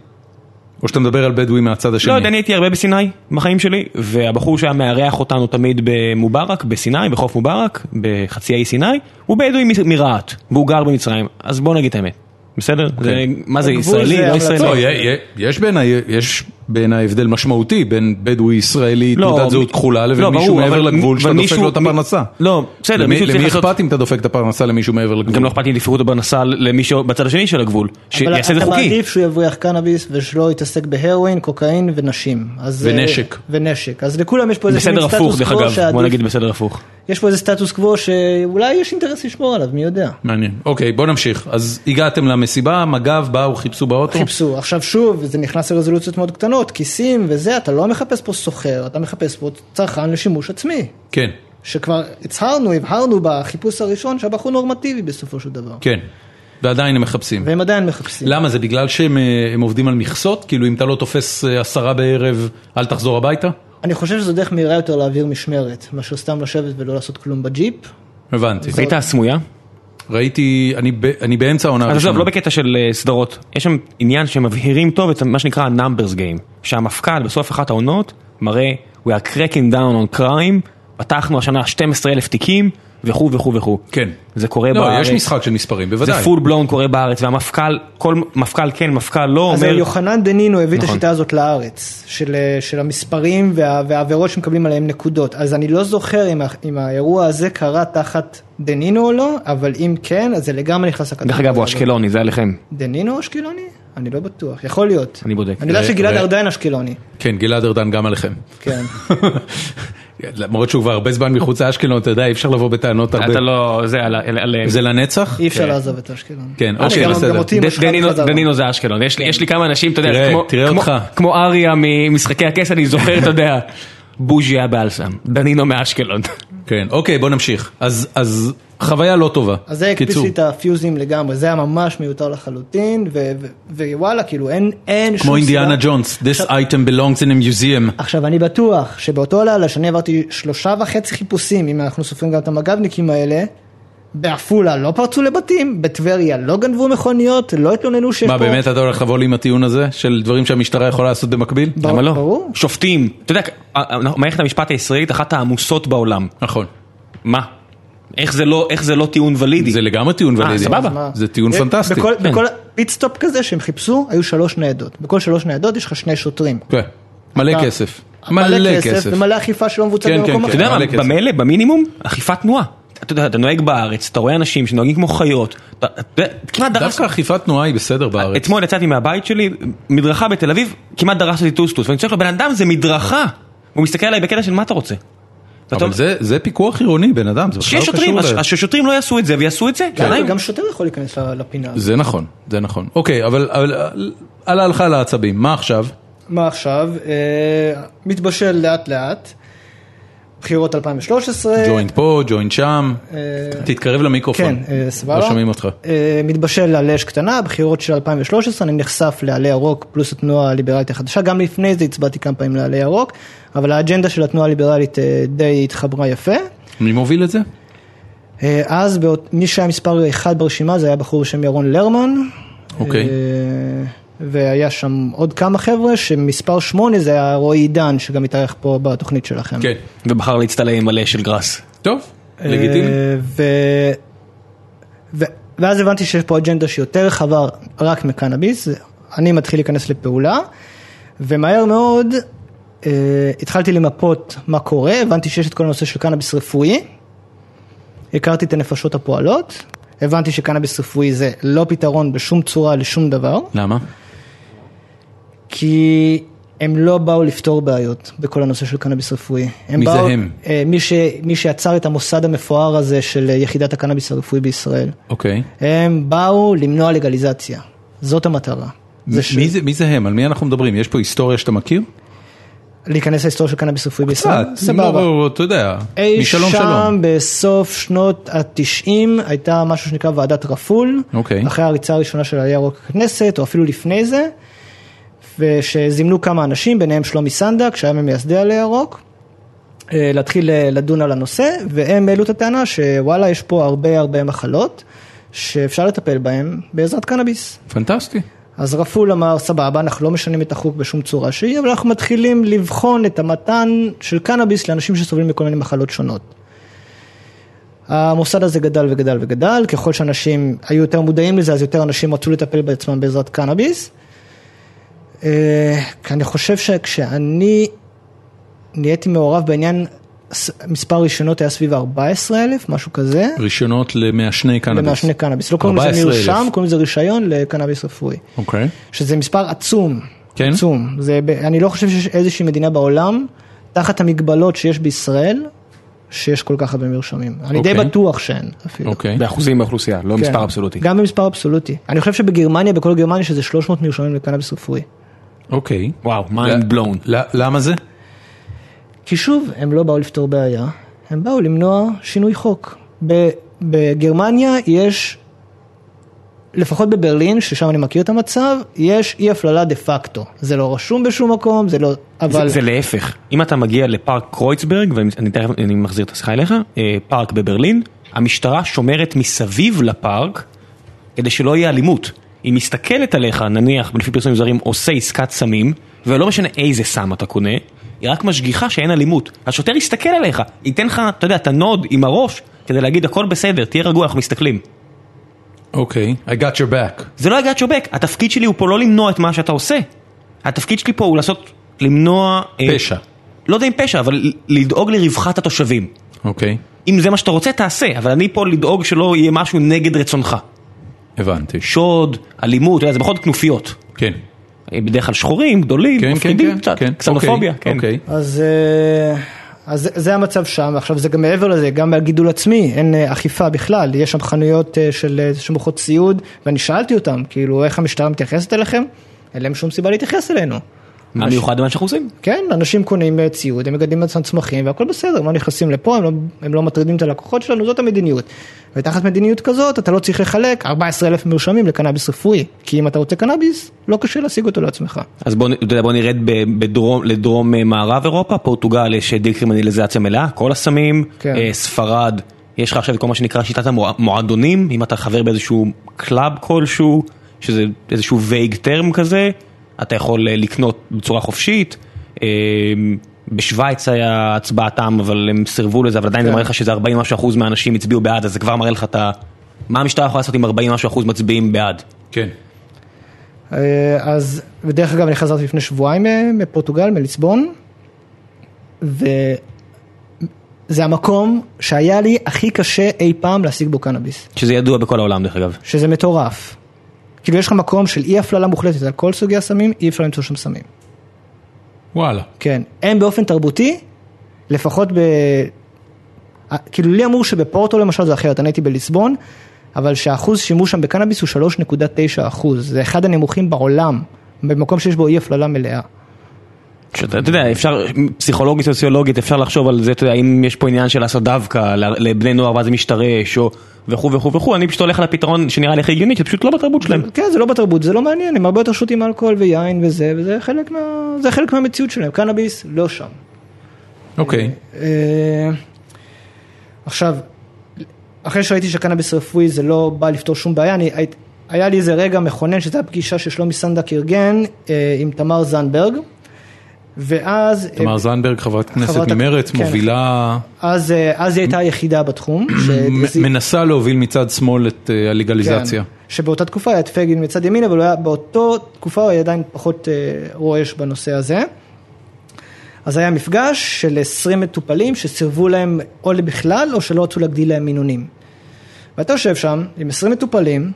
Speaker 1: או שאתה מדבר על בדואים מהצד השני?
Speaker 5: לא יודע, אני הייתי הרבה בסיני בחיים שלי, והבחור שהיה מארח אותנו תמיד במובארק, בסיני, בחוף מובארק, בחצי האי סיני, הוא בדואי מ- מרהט, והוא גר במצרים, אז בוא נגיד את האמת, בסדר? זה- מה זה,
Speaker 3: הגבול זה
Speaker 5: ישראלי, לא
Speaker 3: המלצות.
Speaker 5: ישראלי?
Speaker 1: לא, יה- יה- יש בעיניי, יש בעיניי הבדל משמעותי בין בדואי ישראלי,
Speaker 5: לא,
Speaker 1: תעודת
Speaker 5: מ-
Speaker 1: זהות כחולה, לבין
Speaker 5: לא,
Speaker 1: מישהו
Speaker 5: ברור,
Speaker 1: מעבר
Speaker 5: אבל-
Speaker 1: לגבול שאתה
Speaker 5: אבל
Speaker 1: דופק
Speaker 5: מישהו-
Speaker 1: לו את הפרנסה.
Speaker 5: לא, בסדר,
Speaker 1: למי
Speaker 5: מישהו צריך
Speaker 1: למי
Speaker 5: לעשות-
Speaker 1: אכפת אם אתה דופק את הפרנסה למישהו מעבר לגבול?
Speaker 5: גם לא אכפת לי אם תפגעו אותו בפרנסה למי שבצד השני של הגבול,
Speaker 3: אבל
Speaker 5: שיעשה את זה
Speaker 3: אתה
Speaker 5: חוקי.
Speaker 3: מעדיף שהוא יבריח קנאביס ושלא יתעסק בהרואין, קוקאין ונשים. אז, אה,
Speaker 1: ונשק.
Speaker 3: ונשק. אז לכולם יש פה איזה
Speaker 5: בסדר
Speaker 3: מין
Speaker 5: הפוך
Speaker 3: סטטוס
Speaker 5: דרך
Speaker 3: קוו
Speaker 5: אגב,
Speaker 3: שעדיף-
Speaker 5: בוא נגיד בסדר הפוך.
Speaker 3: יש פה איזה סטטוס קוו שאולי יש אינטרס לשמור עליו, מי יודע.
Speaker 1: מעניין. אוקיי, בוא נמשיך. אז הגעתם למסיבה, מג"ב באו, חיפשו באוטו.
Speaker 3: חיפשו. עכשיו שוב, זה נכנס לרזולוציות מאוד קטנות, כיסים וזה, אתה לא מחפש פה סוחר, אתה מחפש פה צרכן לשימוש עצמי.
Speaker 1: כן,
Speaker 3: שכבר הצהרנו, הבהרנו בחיפוש הראשון שהבחור נורמטיבי בסופו של דבר.
Speaker 1: כן. ועדיין הם מחפשים.
Speaker 3: והם עדיין מחפשים.
Speaker 1: למה זה בגלל שהם אה, הם עובדים על מכסות? כאילו אם אתה לא תופס אה, עשרה בערב, אל תחזור הביתה?
Speaker 3: אני חושב שזו דרך מהירה יותר להעביר משמרת, מאשר סתם לשבת ולא לעשות כלום בג'יפ.
Speaker 1: הבנתי.
Speaker 5: ראית הסמויה?
Speaker 1: ראיתי, אני ב- אני באמצע העונה
Speaker 5: אז עזוב,
Speaker 1: הראשונה.
Speaker 5: לא בקטע של אה, סדרות, יש שם עניין שמבהירים טוב את מה שנקרא ה-numbers game, שהמפכ"ל בסוף אחת העונות מראה we are cracking down on crime, פתחנו השנה 12,000 תיקים וכו' וכו' וכו'.
Speaker 1: כן.
Speaker 5: זה קורה
Speaker 1: לא,
Speaker 5: בארץ,
Speaker 1: יש משחק של מספרים,
Speaker 5: אה, זה
Speaker 1: בוודאי.
Speaker 5: פול בלון קורה בארץ, והמפכ"ל, כל מפכ"ל כן, מפכ"ל לא,
Speaker 3: אז
Speaker 5: אומר,
Speaker 3: יוחנן דנינו הביא את
Speaker 5: נכון.
Speaker 3: השיטה הזאת לארץ, של, אה, של המספרים וה, והעבירות שמקבלים עליהם נקודות. אז אני לא זוכר אם, ה- אם האירוע הזה קרה תחת דנינו או לא, אבל אם כן, אז זה לגמרי נכנס לקטגוריה.
Speaker 5: דרך אגב הוא
Speaker 3: הזאת.
Speaker 5: אשקלוני, זה עליכם.
Speaker 3: דנינו אשקלוני? אני לא בטוח, יכול להיות.
Speaker 5: אני בודק.
Speaker 3: אני יודע
Speaker 1: ו-
Speaker 3: שגלעד
Speaker 1: ו-
Speaker 3: ארדן אשקלוני,
Speaker 1: כן, גלעד ארדן גם עליכם.
Speaker 5: (laughs)
Speaker 3: כן.
Speaker 1: למרות שהוא כבר הרבה זמן מחוץ לאשקלון, אתה יודע, אי אפשר לבוא בטענות הרבה.
Speaker 5: אתה לא, זה על- על... על-
Speaker 1: זה לנצח?
Speaker 3: אי אפשר
Speaker 5: כן.
Speaker 3: לעזוב את אשקלון.
Speaker 1: כן,
Speaker 3: הנה,
Speaker 1: אוקיי,
Speaker 3: גם-
Speaker 1: בסדר.
Speaker 3: גם אותי
Speaker 5: ד-
Speaker 3: משחק
Speaker 5: דנינו-
Speaker 3: חזרה.
Speaker 5: דנינו זה אשקלון, יש לי- יש לי כמה אנשים, אתה יודע,
Speaker 1: תראה,
Speaker 5: כמו-
Speaker 1: תראה
Speaker 5: כמו-
Speaker 1: אותך.
Speaker 5: כמו אריה ממשחקי הכס, אני זוכר, אתה יודע, בוז'י היה באלסם, דנינו מאשקלון.
Speaker 1: כן, אוקיי, בוא נמשיך. אז- אז חוויה לא טובה.
Speaker 3: אז זה הקפיץ
Speaker 1: קיצור.
Speaker 3: לי את הפיוזים לגמרי, זה היה ממש מיותר לחלוטין, ו- ו- ווואלה, כאילו אין אין שום
Speaker 1: כמו אינדיאנה
Speaker 3: סיבה-
Speaker 1: ג'ונס, this item belongs in a museum.
Speaker 3: עכשיו אני בטוח שבאותו לילה שאני עברתי שלושה וחצי חיפושים, אם אנחנו סופרים גם את המג"בניקים האלה, בעפולה לא פרצו לבתים, בטבריה לא גנבו מכוניות, לא התלוננו שיש פה...
Speaker 1: מה, באמת אתה הולך לבוא לי עם הטיעון הזה? של דברים שהמשטרה יכולה לעשות במקביל?
Speaker 3: ב-
Speaker 5: למה לא?
Speaker 3: ברור.
Speaker 5: שופטים, אתה יודע, מערכת המשפט הישראלית אחת העמוסות בעולם.
Speaker 1: נכון.
Speaker 5: מה? איך זה לא- איך זה לא טיעון ולידי?
Speaker 1: זה לגמרי טיעון ולידי.
Speaker 5: סבבה.
Speaker 3: מה?
Speaker 1: זה טיעון
Speaker 3: אה,
Speaker 1: פנטסטי.
Speaker 3: בכל-
Speaker 5: כן.
Speaker 3: בכל פיטסטופ כזה שהם חיפשו, היו שלוש ניידות. בכל שלוש ניידות יש לך שני שוטרים.
Speaker 1: כן. מלא
Speaker 3: אתה-
Speaker 1: כסף. מלא כסף.
Speaker 3: אה, ומלא אכיפה שלא מבוצעת
Speaker 1: כן, כן,
Speaker 3: במקום
Speaker 1: כן.
Speaker 5: אתה
Speaker 3: אחר.
Speaker 5: יודע
Speaker 1: מלא
Speaker 5: מה,
Speaker 1: כסף.
Speaker 5: במילא, במינימום, אכיפת תנועה. אתה יודע, אתה נוהג בארץ, אתה רואה אנשים שנוהגים כמו חיות, אתה אתה יודע, כמעט דרס
Speaker 1: דווקא אכיפת תנועה היא
Speaker 3: אה,
Speaker 1: בסדר בארץ.
Speaker 5: אתמול יצאתי מהבית שלי, מדרכה בתל אביב, כמעט דרס אותי טוסטוס, ואני צועק לו, בן אדם זה מדרכה! והוא מסתכל עליי בקטע של מה אתה רוצה? ואתה
Speaker 1: אבל
Speaker 5: אומר,
Speaker 1: זה- זה פיקוח עירוני, בן אדם. זה בכלל
Speaker 5: שיש
Speaker 1: לא
Speaker 5: שוטרים,
Speaker 1: קשור
Speaker 5: אז
Speaker 1: ל-
Speaker 5: אז ששוטרים לא יעשו את זה ויעשו את זה,
Speaker 3: גם-
Speaker 5: עדיין-
Speaker 3: כן, גם שוטר יכול להיכנס ל- לפינה הזאת.
Speaker 1: זה נכון, זה נכון. אוקיי, אבל אבל- על ההלכה לעצבים, מה עכשיו?
Speaker 3: מה עכשיו? אה, מתבשל לאט לאט. בחירות 2013.
Speaker 1: ג'וינט פה, ג'וינט שם.
Speaker 3: אה,
Speaker 1: תתקרב למיקרופון.
Speaker 3: כן, אה, סבבה.
Speaker 1: לא שומעים אותך.
Speaker 3: אה, מתבשל על אש קטנה, בחירות של 2013, אני נחשף לעלה ירוק פלוס התנועה הליברלית החדשה, גם לפני זה הצבעתי כמה פעמים לעלה ירוק, אבל האג'נדה של התנועה הליברלית אה, די התחברה יפה.
Speaker 1: מי מוביל את זה?
Speaker 3: אה, אז באות- מי שהיה מספר אחד ברשימה זה היה בחור בשם ירון לרמן.
Speaker 1: אוקיי.
Speaker 3: אה, והיה שם עוד כמה חבר'ה, שמספר שמונה זה היה רועי עידן, שגם התארח פה בתוכנית שלכם.
Speaker 1: כן.
Speaker 5: ובחר להצטלם עם מלא של גראס.
Speaker 1: טוב, לגיטימי.
Speaker 3: אה, ו... ו... ואז הבנתי שיש פה אג'נדה שיותר רחבה רק מקנאביס, אני מתחיל להיכנס לפעולה, ומהר מאוד אה, התחלתי למפות מה קורה, הבנתי שיש את כל הנושא של קנאביס רפואי, הכרתי את הנפשות הפועלות, הבנתי שקנאביס רפואי זה לא פתרון בשום צורה לשום דבר,
Speaker 1: למה?
Speaker 3: כי הם לא באו לפתור בעיות בכל הנושא של קנאביס רפואי. הם
Speaker 1: מי זה
Speaker 3: באו,
Speaker 1: הם?
Speaker 3: אה, מי, ש, מי שיצר את המוסד המפואר הזה של אה, יחידת הקנאביס הרפואי בישראל.
Speaker 1: אוקיי.
Speaker 3: הם באו למנוע לגליזציה, זאת המטרה. זה
Speaker 1: מ-
Speaker 3: ש...
Speaker 1: מי זה- מי זה הם? על מי אנחנו מדברים? יש פה היסטוריה שאתה מכיר?
Speaker 3: להיכנס להיסטוריה של קנאביס רפואי בישראל?
Speaker 1: לא, לא, אתה יודע.
Speaker 3: אי
Speaker 1: משלום
Speaker 3: שם
Speaker 1: שלום.
Speaker 3: בסוף שנות התשעים הייתה משהו שנקרא ועדת רפול,
Speaker 1: אוקיי.
Speaker 3: אחרי הריצה הראשונה של עלייה ירוק הכנסת, או אפילו לפני זה, ושזימנו כמה אנשים, ביניהם שלומי סנדק, שהיה ממייסדי עלייה ירוק, אה, להתחיל אה, לדון על הנושא, והם העלו את הטענה שוואלה, יש פה הרבה הרבה מחלות, שאפשר לטפל בהן בעזרת קנאביס.
Speaker 1: פנטסטי.
Speaker 3: אז רפול אמר, סבבה, אנחנו לא משנים את החוק בשום צורה שהיא, אבל אנחנו מתחילים לבחון את המתן של קנאביס לאנשים שסובלים מכל מיני מחלות שונות. המוסד הזה גדל וגדל וגדל, ככל שאנשים היו יותר מודעים לזה, אז יותר אנשים רצו לטפל בעצמם בעזרת קנאביס. אה, כי אני חושב שכשאני נהייתי מעורב בעניין, ס- מספר ראשונות היה סביב 14 אלף, משהו כזה.
Speaker 1: רישיונות למעשני קנאביס.
Speaker 3: למעשני קנאביס, לא קוראים לזה
Speaker 1: 14,000.
Speaker 3: מרשם, קוראים לזה רישיון לקנאביס רפואי,
Speaker 1: אוקיי.
Speaker 3: שזה מספר עצום,
Speaker 1: כן?
Speaker 3: עצום, זה, ב- אני לא חושב שיש איזושהי מדינה בעולם, תחת המגבלות שיש בישראל, שיש כל כך הרבה מרשמים, אני די
Speaker 1: אוקיי.
Speaker 3: בטוח שאין אפילו.
Speaker 1: אוקיי.
Speaker 5: באחוזים באוכלוסייה, לא
Speaker 3: כן.
Speaker 5: מספר אבסולוטי.
Speaker 3: גם במספר אבסולוטי. אני חושב שבגרמניה, בכל גרמניה, שזה 300 מרשמים לקנאביס רפואי.
Speaker 1: אוקיי.
Speaker 5: וואו, mind blown.
Speaker 1: ל- למה זה?
Speaker 3: כי שוב, הם לא באו לפתור בעיה, הם באו למנוע שינוי חוק. ב- בגרמניה יש, לפחות בברלין, ששם אני מכיר את המצב, יש אי הפללה דה פקטו. זה לא רשום בשום מקום, זה לא... אבל...
Speaker 5: זה, זה להפך, אם אתה מגיע לפארק קרויצברג, ואני אני תכף אני מחזיר את השיחה אליך, אה, פארק בברלין, המשטרה שומרת מסביב לפארק כדי שלא יהיה אלימות. היא מסתכלת עליך, נניח, לפי פרסומים זרים, עושה עסקת סמים, ולא משנה איזה סם אתה קונה, היא רק משגיחה שאין אלימות. השוטר יסתכל עליך, ייתן לך, אתה יודע, את הנוד עם הראש, כדי להגיד הכל בסדר, תהיה רגוע, אנחנו מסתכלים.
Speaker 1: אוקיי. I got your back.
Speaker 5: זה לא הגעת שובק, התפקיד שלי הוא פה לא למנוע את מה שאתה עושה. התפקיד שלי פה הוא לעשות, למנוע... אה,
Speaker 1: פשע.
Speaker 5: לא יודע אם פשע, אבל ל- לדאוג לרווחת התושבים.
Speaker 1: אוקיי.
Speaker 5: אם זה מה שאתה רוצה, תעשה, אבל אני פה לדאוג שלא יהיה משהו נגד רצונך.
Speaker 1: הבנתי.
Speaker 5: שוד, אלימות, אתה יודע, זה בכל זאת כנופיות.
Speaker 1: כן.
Speaker 5: אה, בדרך כלל שחורים, גדולים,
Speaker 1: כן, כן,
Speaker 5: מפחידים
Speaker 1: כן.
Speaker 5: קצת,
Speaker 1: כן.
Speaker 5: קסנופוביה,
Speaker 1: אוקיי,
Speaker 5: כן.
Speaker 1: אוקיי.
Speaker 3: אז, אה, אז זה- זה המצב שם, עכשיו זה גם מעבר לזה, גם הגידול עצמי, אין אה, אכיפה בכלל, יש שם חנויות אה, של אה, שמוכרות ציוד, ואני שאלתי אותם, כאילו, איך המשטרה מתייחסת אליכם? אין להם שום סיבה להתייחס אלינו.
Speaker 5: מה מיוחד במה שאנחנו עושים?
Speaker 3: כן, אנשים קונים אה, ציוד, הם מגדלים לעצמם צמחים והכל בסדר, הם לא נכנסים לפה, הם לא, הם לא מטרידים את הלקוחות שלנו, זאת המדיניות. ותחת מדיניות כזאת אתה לא צריך לחלק 14 אלף מרשמים לקנאביס רפואי, כי אם אתה רוצה קנאביס, לא קשה להשיג אותו לעצמך.
Speaker 5: אז בוא, נ- אתה יודע, בוא נרד ב- בדרום, לדרום אה, מערב אירופה, פורטוגל יש אה, דקרימינליזציה מלאה, כל הסמים,
Speaker 3: כן.
Speaker 5: אה, ספרד, יש לך עכשיו את כל מה שנקרא שיטת המועדונים, אם אתה חבר באיזשהו קלאב כלשהו, שזה איזשהו וייג טרם כזה, אתה יכול אה, לקנות בצורה חופשית. אה, בשוויץ היה הצבעת עם, אבל הם סירבו לזה, אבל עדיין זה מראה לך שזה 40 משהו אחוז מהאנשים הצביעו בעד, אז זה כבר מראה לך את ה... מה המשטרה יכולה לעשות עם 40 משהו אחוז מצביעים בעד?
Speaker 1: כן.
Speaker 3: אה, אז, ודרך אגב, אני חזרתי לפני שבועיים אה, מפורטוגל, מליסבון, וזה המקום שהיה לי הכי קשה אי פעם להשיג בו קנאביס,
Speaker 5: שזה ידוע בכל העולם דרך אגב.
Speaker 3: שזה מטורף. כאילו יש לך מקום של אי הפללה מוחלטת על כל סוגי הסמים, אי אפשר למצוא שם סמים.
Speaker 1: וואלה.
Speaker 3: כן, הם באופן תרבותי, לפחות ב... אה, כאילו לי אמרו שבפורטו למשל זה אחרת, אני הייתי בליסבון, אבל שהאחוז שימוש שם בקנאביס הוא 3.9 אחוז, זה אחד הנמוכים בעולם, במקום שיש בו אי הפללה מלאה.
Speaker 5: שאתה אתה יודע, אפשר, פסיכולוגית, סוציולוגית, אפשר לחשוב על זה, אתה יודע, אם יש פה עניין של לעשות דווקא ל- לבני נוער ואז זה משתרש, או וכו' וכו' וכו', אני פשוט הולך על הפתרון שנראה לי הכי הגיוני, שזה פשוט לא בתרבות שלהם.
Speaker 3: כן, זה לא בתרבות, זה לא מעניין, הם הרבה יותר שותים אלכוהול ויין וזה, וזה חלק, מה... זה חלק מהמציאות שלהם, קנאביס לא שם.
Speaker 1: אוקיי.
Speaker 3: אה, עכשיו, אחרי שראיתי שקנאביס רפואי זה לא בא לפתור שום בעיה, אני, הי- היה לי איזה רגע מכונן, שזו הפגישה ששלומי סנדק ארגן אה, עם תמר זנדברג, ואז...
Speaker 1: תמר זנדברג, חברת כנסת
Speaker 3: חברת-
Speaker 1: ממרצ,
Speaker 3: כן.
Speaker 1: מובילה,
Speaker 3: אז, אה, אז היא הייתה היחידה בתחום. ש-
Speaker 1: מ- מנסה להוביל מצד שמאל את אה, הלגליזציה.
Speaker 3: כן, שבאותה תקופה היה את פייגלין מצד ימין, אבל הוא היה, באותו תקופה הוא היה עדיין פחות אה, רועש בנושא הזה. אז היה מפגש של 20 מטופלים שסירבו להם או בכלל, או שלא רצו להגדיל להם מינונים. ואתה יושב שם עם 20 מטופלים,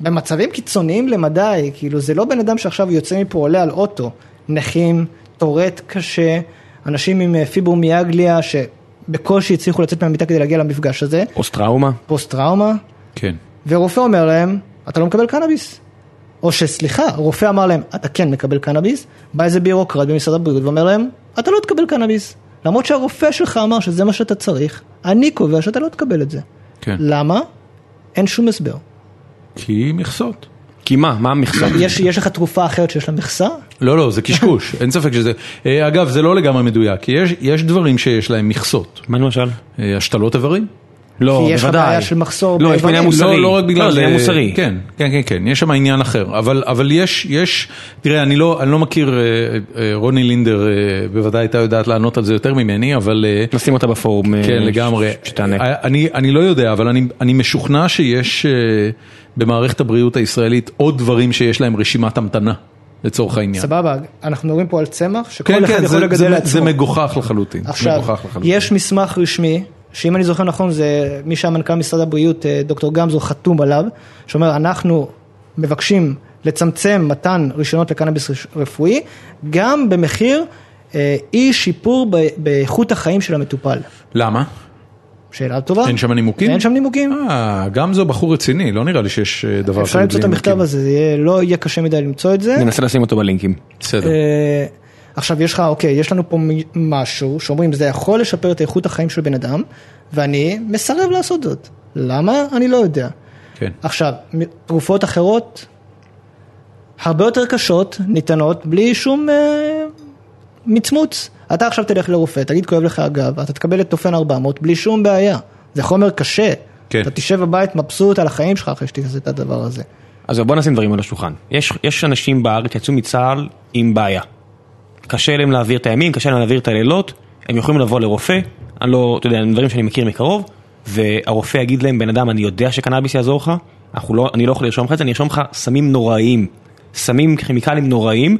Speaker 3: במצבים קיצוניים למדי, כאילו זה לא בן אדם שעכשיו יוצא מפה עולה על אוטו, נכים, טורט קשה, אנשים עם אה, פיברומיאגליה שבקושי הצליחו לצאת מהמיטה כדי להגיע למפגש הזה,
Speaker 5: פוסט טראומה.
Speaker 3: פוסט טראומה,
Speaker 1: כן.
Speaker 3: ורופא אומר להם, אתה לא מקבל קנאביס. או שסליחה, רופא אמר להם, אתה כן מקבל קנאביס, בא איזה בירוקרט במשרד הבריאות ואומר להם, אתה לא תקבל קנאביס. למרות שהרופא שלך אמר שזה מה שאתה צריך, אני קובע שאתה לא תקבל את זה.
Speaker 1: כן.
Speaker 3: למה? אין
Speaker 1: (coughs)
Speaker 3: שום הסבר.
Speaker 1: כי מכסות.
Speaker 5: כי מה, מה המכסה?
Speaker 3: יש, יש לך תרופה אחרת שיש לה מכסה?
Speaker 1: לא, לא, זה
Speaker 3: (laughs)
Speaker 1: קשקוש, אין ספק שזה. אה, אגב, זה לא לגמרי מדויק, כי יש- יש דברים שיש להם מכסות.
Speaker 5: מה למשל?
Speaker 1: אה, השתלות איברים?
Speaker 5: לא,
Speaker 3: כי יש לך
Speaker 5: בוודאי.
Speaker 3: בעיה של מחסור
Speaker 5: לא, יש
Speaker 3: באיברים.
Speaker 5: בעיה מוסרי.
Speaker 1: לא, לא רק בגלל...
Speaker 5: לא, זה עניין
Speaker 1: אה,
Speaker 5: מוסרי.
Speaker 1: כן, כן, כן, כן, יש שם עניין אחר. אבל, אבל יש, יש, תראה, אני לא, אני לא מכיר, אה, אה, רוני לינדר אה, בוודאי הייתה יודעת לענות על זה יותר ממני, אבל... אה,
Speaker 5: נשים אותה בפורום. אה,
Speaker 1: כן,
Speaker 5: ש-
Speaker 1: לגמרי.
Speaker 5: שתענה.
Speaker 1: אני, אני לא יודע, אבל אני, אני משוכנע שיש אה, במערכת הבריאות הישראלית עוד דברים שיש להם רשימת המתנה. לצורך העניין.
Speaker 3: סבבה, אנחנו מדברים פה על צמח שכל
Speaker 1: כן,
Speaker 3: אחד
Speaker 1: כן,
Speaker 3: יכול
Speaker 1: זה, זה,
Speaker 3: לגדל לעצמו.
Speaker 1: זה מגוחך לחלוטין.
Speaker 3: עכשיו,
Speaker 1: מגוחך לחלוטין.
Speaker 3: יש מסמך רשמי, שאם אני זוכר נכון, זה מי שהיה מנכ"ל משרד הבריאות, אה, דוקטור גמזו, חתום עליו, שאומר, אנחנו מבקשים לצמצם מתן רישיונות לקנאביס רש- רפואי, גם במחיר אה, אי שיפור ב- באיכות החיים של המטופל.
Speaker 1: למה?
Speaker 3: שאלה טובה.
Speaker 1: אין שם נימוקים?
Speaker 3: אין שם נימוקים.
Speaker 1: אה, גם זו בחור רציני, לא נראה לי שיש אה, דבר
Speaker 3: אפשר
Speaker 1: כזה
Speaker 3: למצוא את
Speaker 1: בלי
Speaker 3: המכתב
Speaker 1: נימוקים.
Speaker 3: הזה, זה יהיה, לא יהיה קשה מדי למצוא את זה.
Speaker 5: ננסה לשים אותו בלינקים.
Speaker 1: בסדר.
Speaker 3: אה, עכשיו יש לך, אוקיי, יש לנו פה מ- משהו שאומרים זה יכול לשפר את איכות החיים של בן אדם, ואני מסרב לעשות זאת. למה? אני לא יודע.
Speaker 1: כן.
Speaker 3: עכשיו, מ- תרופות אחרות, הרבה יותר קשות, ניתנות בלי שום אה, מצמוץ. אתה עכשיו תלך לרופא, תגיד כואב לך הגב, אתה תקבל את תופן 400 בלי שום בעיה. זה חומר קשה.
Speaker 1: כן.
Speaker 3: אתה תשב בבית מבסוט על החיים שלך אחרי שתעשה את הדבר הזה.
Speaker 5: אז בוא נשים דברים על השולחן. יש, יש אנשים בארץ יצאו מצה"ל עם בעיה. קשה להם להעביר את הימים, קשה להם להעביר את הלילות, הם יכולים לבוא לרופא, אני לא, אתה יודע, הם דברים שאני מכיר מקרוב, והרופא יגיד להם, בן אדם, אני יודע שקנאביס יעזור לך, אנחנו לא, אני לא יכול לרשום לך את זה, אני ארשום לך סמים נוראיים, סמים כימיקלים נוראיים,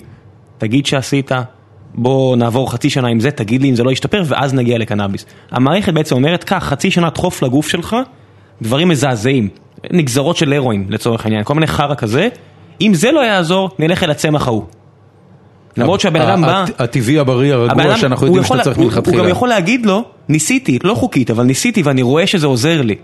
Speaker 5: תגיד שעשית, בוא נעבור חצי שנה עם זה, תגיד לי אם זה לא ישתפר, ואז נגיע לקנאביס. המערכת בעצם אומרת, קח חצי שנה דחוף לגוף שלך, דברים מזעזעים, נגזרות של הרואין לצורך העניין, כל מיני חרא כזה, אם זה לא יעזור, נלך אל הצמח ההוא. למרות שהבן אדם
Speaker 1: ה-
Speaker 5: בא...
Speaker 1: הט- הטבעי הבריא
Speaker 5: הבן
Speaker 1: הרגוע
Speaker 5: אדם-
Speaker 1: אה, שאנחנו
Speaker 5: הוא
Speaker 1: יודעים
Speaker 5: יכול-
Speaker 1: שאתה צריך
Speaker 5: הוא- הוא גם
Speaker 1: מלכתחילה.
Speaker 5: יכול להגיד לו, ניסיתי, לא חוקית, אבל ניסיתי ואני רואה שזה עוזר לי.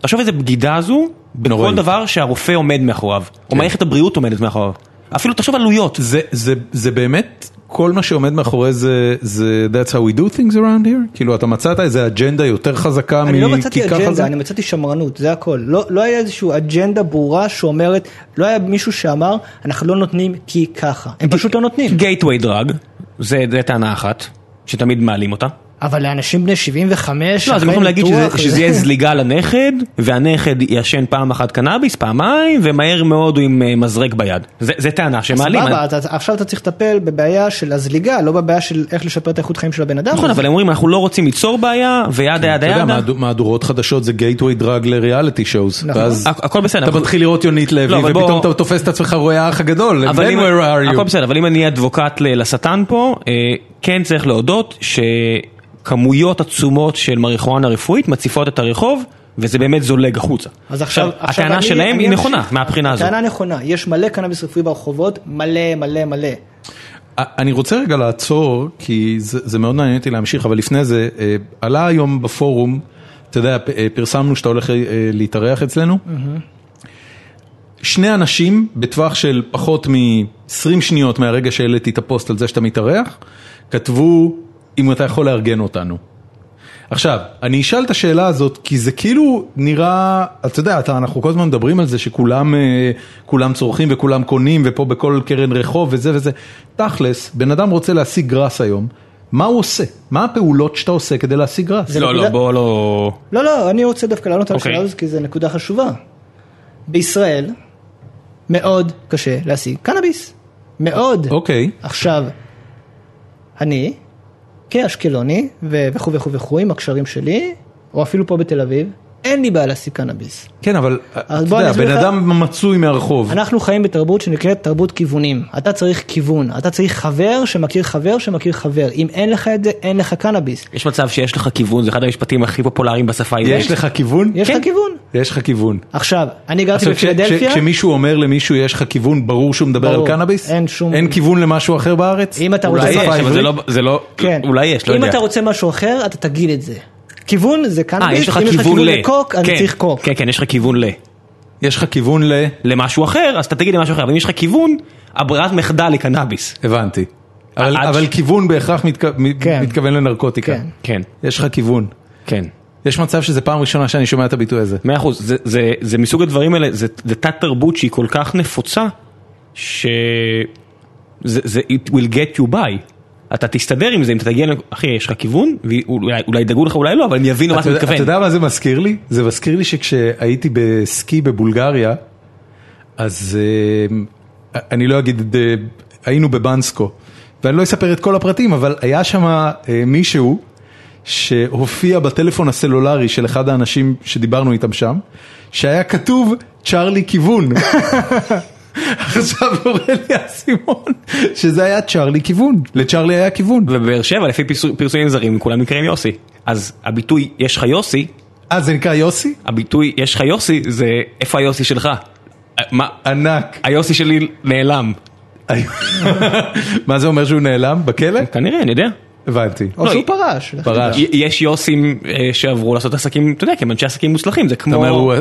Speaker 5: תחשוב איזה בגידה הזו, בכל
Speaker 1: נוראית. כן.
Speaker 5: דבר שהרופא עומד מאחוריו, או מערכת הבריאות עומדת מאחוריו. אפילו תחשוב עלויות.
Speaker 1: זה- זה- זה באמת, כל מה שעומד מאחורי זה, זה that's how we do things around here? כאילו אתה מצאת איזה אג'נדה יותר חזקה
Speaker 3: אני לא מצאתי
Speaker 1: מכיכר
Speaker 3: אג'נדה,
Speaker 1: חזק?
Speaker 3: אני מצאתי שמרנות, זה הכל. לא, לא היה איזושהי אג'נדה ברורה שאומרת, לא היה מישהו שאמר, אנחנו לא נותנים כי ככה. הם פשוט לא נותנים.
Speaker 5: גייטווי דרג, זה זה טענה אחת, שתמיד מעלים אותה.
Speaker 3: אבל לאנשים בני 75,
Speaker 5: לא, אז הם
Speaker 3: אחרי
Speaker 5: יכולים להגיד
Speaker 3: ניתוח,
Speaker 5: שזה-
Speaker 3: (laughs)
Speaker 5: שזה יהיה זליגה לנכד, והנכד ישן פעם אחת קנאביס, פעמיים, ומהר מאוד הוא עם אה, מזרק ביד. זה זה טענה שמעלים.
Speaker 3: סבבה, אתה- עכשיו אתה צריך לטפל בבעיה של הזליגה, לא בבעיה של איך לשפר את איכות חיים של הבן אדם.
Speaker 5: נכון,
Speaker 3: אז-
Speaker 5: אבל הם אומרים אנחנו לא רוצים ליצור בעיה,
Speaker 3: כן,
Speaker 5: וידה ידה
Speaker 1: אתה יודע,
Speaker 5: ידה.
Speaker 1: מהדו- מהדורות חדשות זה gateway drug לריאליטי שואוס.
Speaker 3: נכון.
Speaker 1: ואז
Speaker 5: הכ- הכל בסדר.
Speaker 1: אתה מתחיל לראות יונית לוי,
Speaker 5: לא, אבל
Speaker 1: ופתאום
Speaker 5: בוא-
Speaker 1: אתה תופס את עצמך רואה האח הגדול,
Speaker 5: אבל
Speaker 1: then
Speaker 5: אם-
Speaker 1: where are
Speaker 5: הכל
Speaker 1: you?
Speaker 5: בסדר, אבל אם אני אדבוקט ל- לשטן פה, אה, כן צריך להודות שכמויות עצומות של מריחואנה רפואית מציפות את הרחוב, וזה באמת זולג החוצה.
Speaker 3: אז עכשיו, עכשיו
Speaker 5: הטענה
Speaker 3: אני-
Speaker 5: שלהם
Speaker 3: אני
Speaker 5: היא נכונה,
Speaker 3: אמשיך.
Speaker 5: מהבחינה הזו.
Speaker 3: הטענה נכונה, יש מלא קנאביס רפואי ברחובות, מלא מלא מלא.
Speaker 1: אני רוצה רגע לעצור, כי זה זה מאוד מעניין אותי להמשיך, אבל לפני זה, אה, עלה היום בפורום, אתה יודע, פ- אה, פרסמנו שאתה הולך אה, להתארח אצלנו. שני אנשים בטווח של פחות מ-20 שניות מהרגע שהעליתי את הפוסט על זה שאתה מתארח, כתבו אם אתה יכול לארגן אותנו. עכשיו, אני אשאל את השאלה הזאת, כי זה כאילו נראה, אתה יודע, אתה, אנחנו כל הזמן מדברים על זה שכולם אה, כולם צורכים וכולם קונים, ופה בכל קרן רחוב וזה וזה. תכלס, בן אדם רוצה להשיג גראס היום, מה הוא עושה? מה הפעולות שאתה עושה כדי להשיג גראס?
Speaker 3: זה
Speaker 5: לא,
Speaker 3: נקודה-
Speaker 5: לא, בוא לא...
Speaker 3: לא, לא, אני רוצה דווקא לענות על
Speaker 5: אוקיי.
Speaker 3: השאלה הזאת, כי זו נקודה חשובה. בישראל מאוד קשה להשיג קנאביס. מאוד.
Speaker 1: אוקיי,
Speaker 3: עכשיו, אני, כאשקלוני, ו- וכו' וכו' וכו', עם הקשרים שלי, או אפילו פה בתל אביב, אין לי בעיה להשיג קנאביס.
Speaker 1: כן, אבל אתה
Speaker 3: בוא אני
Speaker 1: יודע,
Speaker 3: אסביר
Speaker 1: בן
Speaker 3: לך.
Speaker 1: אדם מצוי מהרחוב.
Speaker 3: אנחנו חיים בתרבות שנקראת תרבות כיוונים. אתה צריך כיוון, אתה צריך חבר שמכיר חבר שמכיר חבר. אם אין לך את זה, אין לך קנאביס.
Speaker 5: יש מצב שיש לך כיוון, זה אחד המשפטים הכי פופולריים בשפה העברית.
Speaker 1: יש לך כיוון? כן.
Speaker 3: יש לך כיוון.
Speaker 1: יש לך כיוון.
Speaker 3: עכשיו, אני גרתי
Speaker 1: עכשיו, כש-
Speaker 3: בפילדלפיה.
Speaker 1: כש- כשמישהו אומר למישהו יש לך כיוון, ברור שהוא מדבר
Speaker 3: ברור.
Speaker 1: על קנאביס?
Speaker 3: אין שום-
Speaker 1: אין כיוון למשהו אחר בארץ?
Speaker 3: אם אתה
Speaker 5: אולי
Speaker 3: רוצה-
Speaker 5: יש,
Speaker 1: בשפה
Speaker 5: אבל זה
Speaker 1: העברית?
Speaker 5: לא... זה לא-
Speaker 3: כן.
Speaker 5: אולי יש, לא
Speaker 3: אם
Speaker 5: יודע.
Speaker 3: אתה רוצה משהו אחר, אתה תגיד את זה. כיוון זה
Speaker 5: אה,
Speaker 3: קנאביס,
Speaker 5: יש לך
Speaker 3: אם יש לך
Speaker 5: כיוון
Speaker 3: כיוון
Speaker 5: ל...
Speaker 3: לקוק, אז
Speaker 5: כן,
Speaker 3: צריך קוק.
Speaker 5: כן, כן, יש לך כיוון ל...
Speaker 1: יש לך כיוון ל...
Speaker 5: למשהו אחר, אז אתה תגיד למשהו אחר, אבל אם יש לך כיוון, הברירת מחדל היא קנאביס.
Speaker 1: הבנתי. אבל,
Speaker 5: עד
Speaker 1: אבל
Speaker 5: ש-
Speaker 1: כיוון בהכרח מתכ- מ-
Speaker 3: כן.
Speaker 1: מתכוון לנרקוטיקה.
Speaker 3: כן.
Speaker 5: כן,
Speaker 1: יש לך כיוון.
Speaker 5: כן.
Speaker 1: יש מצב שזה פעם ראשונה שאני שומע את הביטוי הזה.
Speaker 5: מאה אחוז, זה, זה, זה מסוג הדברים האלה, זה, זה תת תרבות שהיא כל כך נפוצה, ש... זה, זה it will get you by. אתה תסתדר עם זה, אם אתה תגיע, ל- אחי, יש לך כיוון, ואולי אולי ידאגו לך, אולי לא, אבל הם יבינו
Speaker 1: אתה
Speaker 5: מה אתה
Speaker 1: יודע-
Speaker 5: מתכוון.
Speaker 1: אתה יודע מה זה מזכיר לי? זה מזכיר לי שכשהייתי בסקי בבולגריה, אז אה, אני לא אגיד, אה, היינו בבנסקו, ואני לא אספר את כל הפרטים, אבל היה שם אה, מישהו שהופיע בטלפון הסלולרי של אחד
Speaker 5: (laughs)
Speaker 1: האנשים שדיברנו איתם שם, שהיה כתוב צ'ארלי כיוון. עכשיו יורה לי האסימון, שזה היה צ'ארלי כיוון, לצ'ארלי היה כיוון.
Speaker 5: ובבאר שבע, לפי פרסו- פרסומים זרים, כולם נקראים יוסי. אז הביטוי יש לך יוסי,
Speaker 1: אה, זה נקרא יוסי?
Speaker 5: הביטוי יש לך יוסי זה איפה היוסי שלך? אה, מה?
Speaker 1: ענק.
Speaker 5: היוסי שלי נעלם.
Speaker 1: (laughs) מה זה אומר שהוא נעלם? בכלא?
Speaker 5: כנראה, אני יודע.
Speaker 1: הבנתי.
Speaker 3: או
Speaker 5: לא,
Speaker 3: שהוא
Speaker 5: היא-
Speaker 3: פרש. לך
Speaker 1: פרש.
Speaker 3: תדע.
Speaker 5: י- יש יוסים אה, שעברו לעשות עסקים, אתה יודע, כי הם אנשי עסקים מוצלחים, זה
Speaker 1: אומר,
Speaker 5: כמו...
Speaker 1: הוא-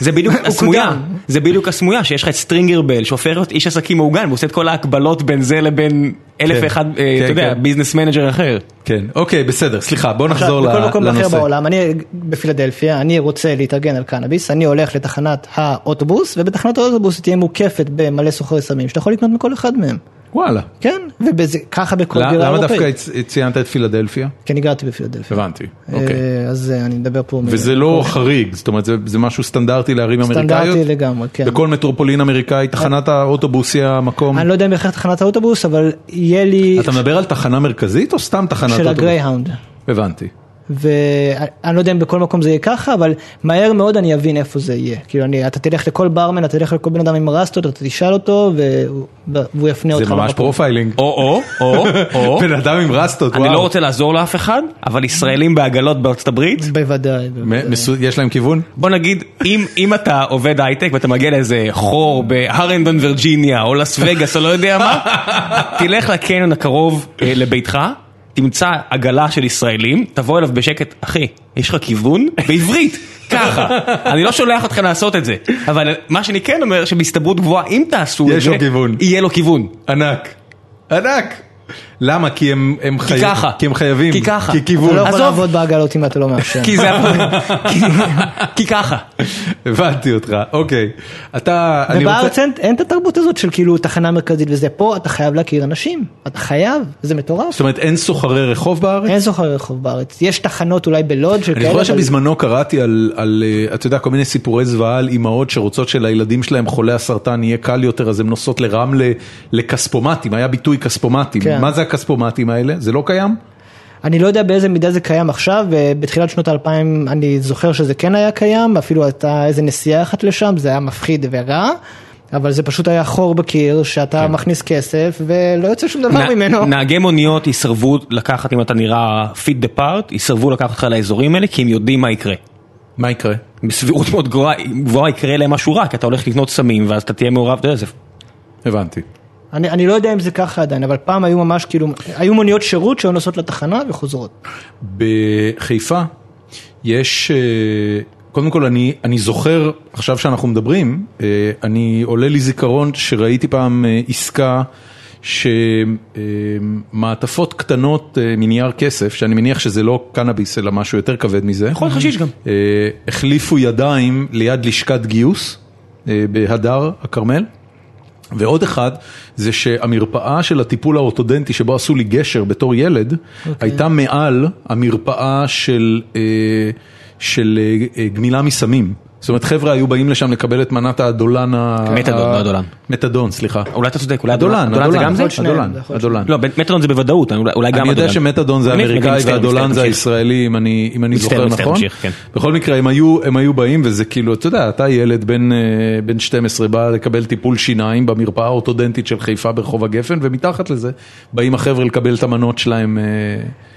Speaker 5: זה בדיוק הסמויה,
Speaker 3: קודם.
Speaker 5: זה בדיוק הסמויה, שיש לך את סטרינגר בל, שהופך להיות איש עסקים מעוגן, ועושה את כל ההקבלות בין זה לבין אלף
Speaker 1: כן.
Speaker 5: ואחד, אה,
Speaker 1: כן,
Speaker 5: אתה יודע,
Speaker 1: כן.
Speaker 5: ביזנס מנג'ר אחר.
Speaker 1: כן, אוקיי, בסדר, סליחה, בוא נחזור ל-
Speaker 3: עכשיו,
Speaker 1: לנושא.
Speaker 3: בכל מקום אחר בעולם, אני בפילדלפיה, אני רוצה להתארגן על קנאביס, אני הולך לתחנת האוטובוס, ובתחנת האוטובוס היא תהיה מוקפת במלא סוחרי סמים, שאתה יכול לקנות מכל אחד מהם.
Speaker 1: וואלה.
Speaker 3: כן, וככה בכל
Speaker 1: למה
Speaker 3: בירה
Speaker 1: למה
Speaker 3: אירופאית.
Speaker 1: דווקא הצ- ציינת את פילדלפיה?
Speaker 3: כי אני גרתי בפילדלפיה.
Speaker 1: הבנתי, אוקיי.
Speaker 3: אה, אז אה, אני מדבר פה. מ-
Speaker 1: וזה לא חריג, זאת אומרת, זה- זה משהו סטנדרטי לערים אמריקאיות?
Speaker 3: סטנדרטי לגמרי, כן. אה,
Speaker 1: בכל מטרופולין אמריקאי, תחנת האוטובוס היא המקום?
Speaker 3: אני לא יודע אם בהכרח תחנת האוטובוס, אבל יהיה לי
Speaker 1: אתה מדבר על תחנה מרכזית או סתם תחנת
Speaker 3: של
Speaker 1: אוטובוס?
Speaker 3: הגרייהאונד.
Speaker 1: הבנתי.
Speaker 3: ואני לא יודע אם בכל מקום זה יהיה ככה, אבל מהר מאוד אני אבין איפה זה יהיה. כאילו, אני, אתה תלך לכל ברמן, אתה תלך לכל בן אדם עם רסטות, אתה תשאל אותו, והוא, והוא יפנה אותך.
Speaker 1: זה ממש
Speaker 3: למקום.
Speaker 1: פרופיילינג.
Speaker 5: או, או, (laughs) או, או,
Speaker 1: בן אדם עם רסטות, וואו.
Speaker 5: אני לא רוצה לעזור לאף אחד, אבל ישראלים בעגלות בארצות הברית,
Speaker 3: בוודאי. בוודאי.
Speaker 1: מ- מסו- יש להם כיוון?
Speaker 5: בוא נגיד, אם, אם אתה עובד הייטק ואתה מגיע לאיזה חור בהרנדון וירג'יניה או לס וגאס או לא
Speaker 1: (laughs)
Speaker 5: יודע מה, תלך לקניון הקרוב אה, לביתך, תמצא עגלה של ישראלים, תבוא אליו בשקט, אחי, יש לך כיוון? בעברית, ככה. אני לא שולח אתכם לעשות את זה, אבל מה שאני כן אומר, שבהסתברות גבוהה, אם תעשו את זה,
Speaker 1: יש לו כיוון.
Speaker 5: יהיה לו כיוון.
Speaker 1: ענק. ענק. למה? כי הם הם
Speaker 5: כי
Speaker 1: חייב-
Speaker 5: ככה.
Speaker 1: כי הם חייבים.
Speaker 5: כי ככה.
Speaker 1: כי
Speaker 3: אתה
Speaker 1: כיוון.
Speaker 3: לא יכול
Speaker 5: עזוב.
Speaker 3: לעבוד בעגלות אם אתה לא מאפשר.
Speaker 5: כי זה... כי, כי ככה.
Speaker 1: (laughs) הבנתי אותך, אוקיי. אתה, אני
Speaker 3: ובארץ
Speaker 1: רוצה...
Speaker 3: אין, אין את התרבות הזאת של כאילו תחנה מרכזית וזה, פה אתה חייב להכיר אנשים, אתה חייב, זה מטורף.
Speaker 1: זאת אומרת, אין סוחרי רחוב בארץ?
Speaker 3: אין סוחרי רחוב בארץ, יש תחנות אולי בלוד של
Speaker 1: אני
Speaker 3: כאלה,
Speaker 1: זוכר
Speaker 3: אבל-
Speaker 1: שבזמנו קראתי על, על, אה, אתה יודע, כל מיני סיפורי זוועה על אימהות שרוצות שלילדים שלהם חולי הסרטן יהיה קל יותר, אז הן נוסעות לרמלה, לכספומטים, היה ביטוי כספומטים.
Speaker 3: כן.
Speaker 1: מה זה הכספומטים האלה? זה לא קיים?
Speaker 3: אני לא יודע באיזה מידה זה קיים עכשיו, בתחילת שנות האלפיים אני זוכר שזה כן היה קיים, אפילו הייתה איזה נסיעה אחת לשם, זה היה מפחיד ורע, אבל זה פשוט היה חור בקיר שאתה כן. מכניס כסף ולא יוצא שום דבר
Speaker 5: נ-
Speaker 3: ממנו.
Speaker 5: נהגי מוניות יסרבו לקחת, אם אתה נראה fit the part, יסרבו לקחת אותך לאזורים האלה, כי הם יודעים מה יקרה.
Speaker 1: מה יקרה?
Speaker 5: בסבירות מאוד גבוהה, גבוהה יקרה להם משהו רע, כי אתה הולך לקנות סמים, ואז אתה תהיה מעורב, אתה יודע, זה...
Speaker 1: הבנתי.
Speaker 3: אני, אני לא יודע אם זה ככה עדיין, אבל פעם היו ממש כאילו, היו מוניות שירות שהיו נוסעות לתחנה וחוזרות.
Speaker 1: בחיפה יש, אה, קודם כל אני, אני זוכר, עכשיו שאנחנו מדברים, אה, אני עולה לי זיכרון שראיתי פעם אה, עסקה שמעטפות קטנות אה, מנייר כסף, שאני מניח שזה לא קנאביס אלא משהו יותר כבד מזה.
Speaker 5: יכול להיות נכון, חשיש גם.
Speaker 1: אה, החליפו ידיים ליד לשכת גיוס אה, בהדר הכרמל. ועוד אחד, זה שהמרפאה של הטיפול האורתודנטי שבו עשו לי גשר בתור ילד,
Speaker 5: אוקיי.
Speaker 1: okay. הייתה מעל המרפאה של, אה, של אה, אה, גמילה מסמים. זאת אומרת, חבר'ה היו באים לשם לקבל את מנת האדולן ה...
Speaker 5: מתדון,
Speaker 1: ה-
Speaker 5: לא אדולן.
Speaker 1: מתדון, סליחה.
Speaker 5: אולי אתה צודק, אולי
Speaker 1: אדולן,
Speaker 5: אדולן לא, זה
Speaker 1: אדולן,
Speaker 5: גם זה?
Speaker 3: יכול להיות שניהם,
Speaker 1: אדולן,
Speaker 3: זה יכול להיות
Speaker 1: אדולן.
Speaker 5: לא, ב- מתדון זה בוודאות, אולי אולי גם
Speaker 1: אני
Speaker 5: אדולן.
Speaker 1: יודע שמתדון זה
Speaker 5: אני- אוקיי.
Speaker 1: אמריקאי
Speaker 5: מצטער,
Speaker 1: והדולן זה
Speaker 5: מצטער,
Speaker 1: הישראלי, אם אני, אם אני
Speaker 5: מצטער,
Speaker 1: זוכר
Speaker 5: מצטער,
Speaker 1: נכון.
Speaker 5: תמשיך, כן.
Speaker 1: בכל מקרה, הם היו, הם היו באים, וזה כאילו, אתה יודע, אתה ילד בן, אה, בן 12, בא לקבל טיפול שיניים במרפאה האורתודנטית של חיפה ברחוב הגפן, ומתחת לזה באים החבר'ה לקבל את המנות שלהם. אה,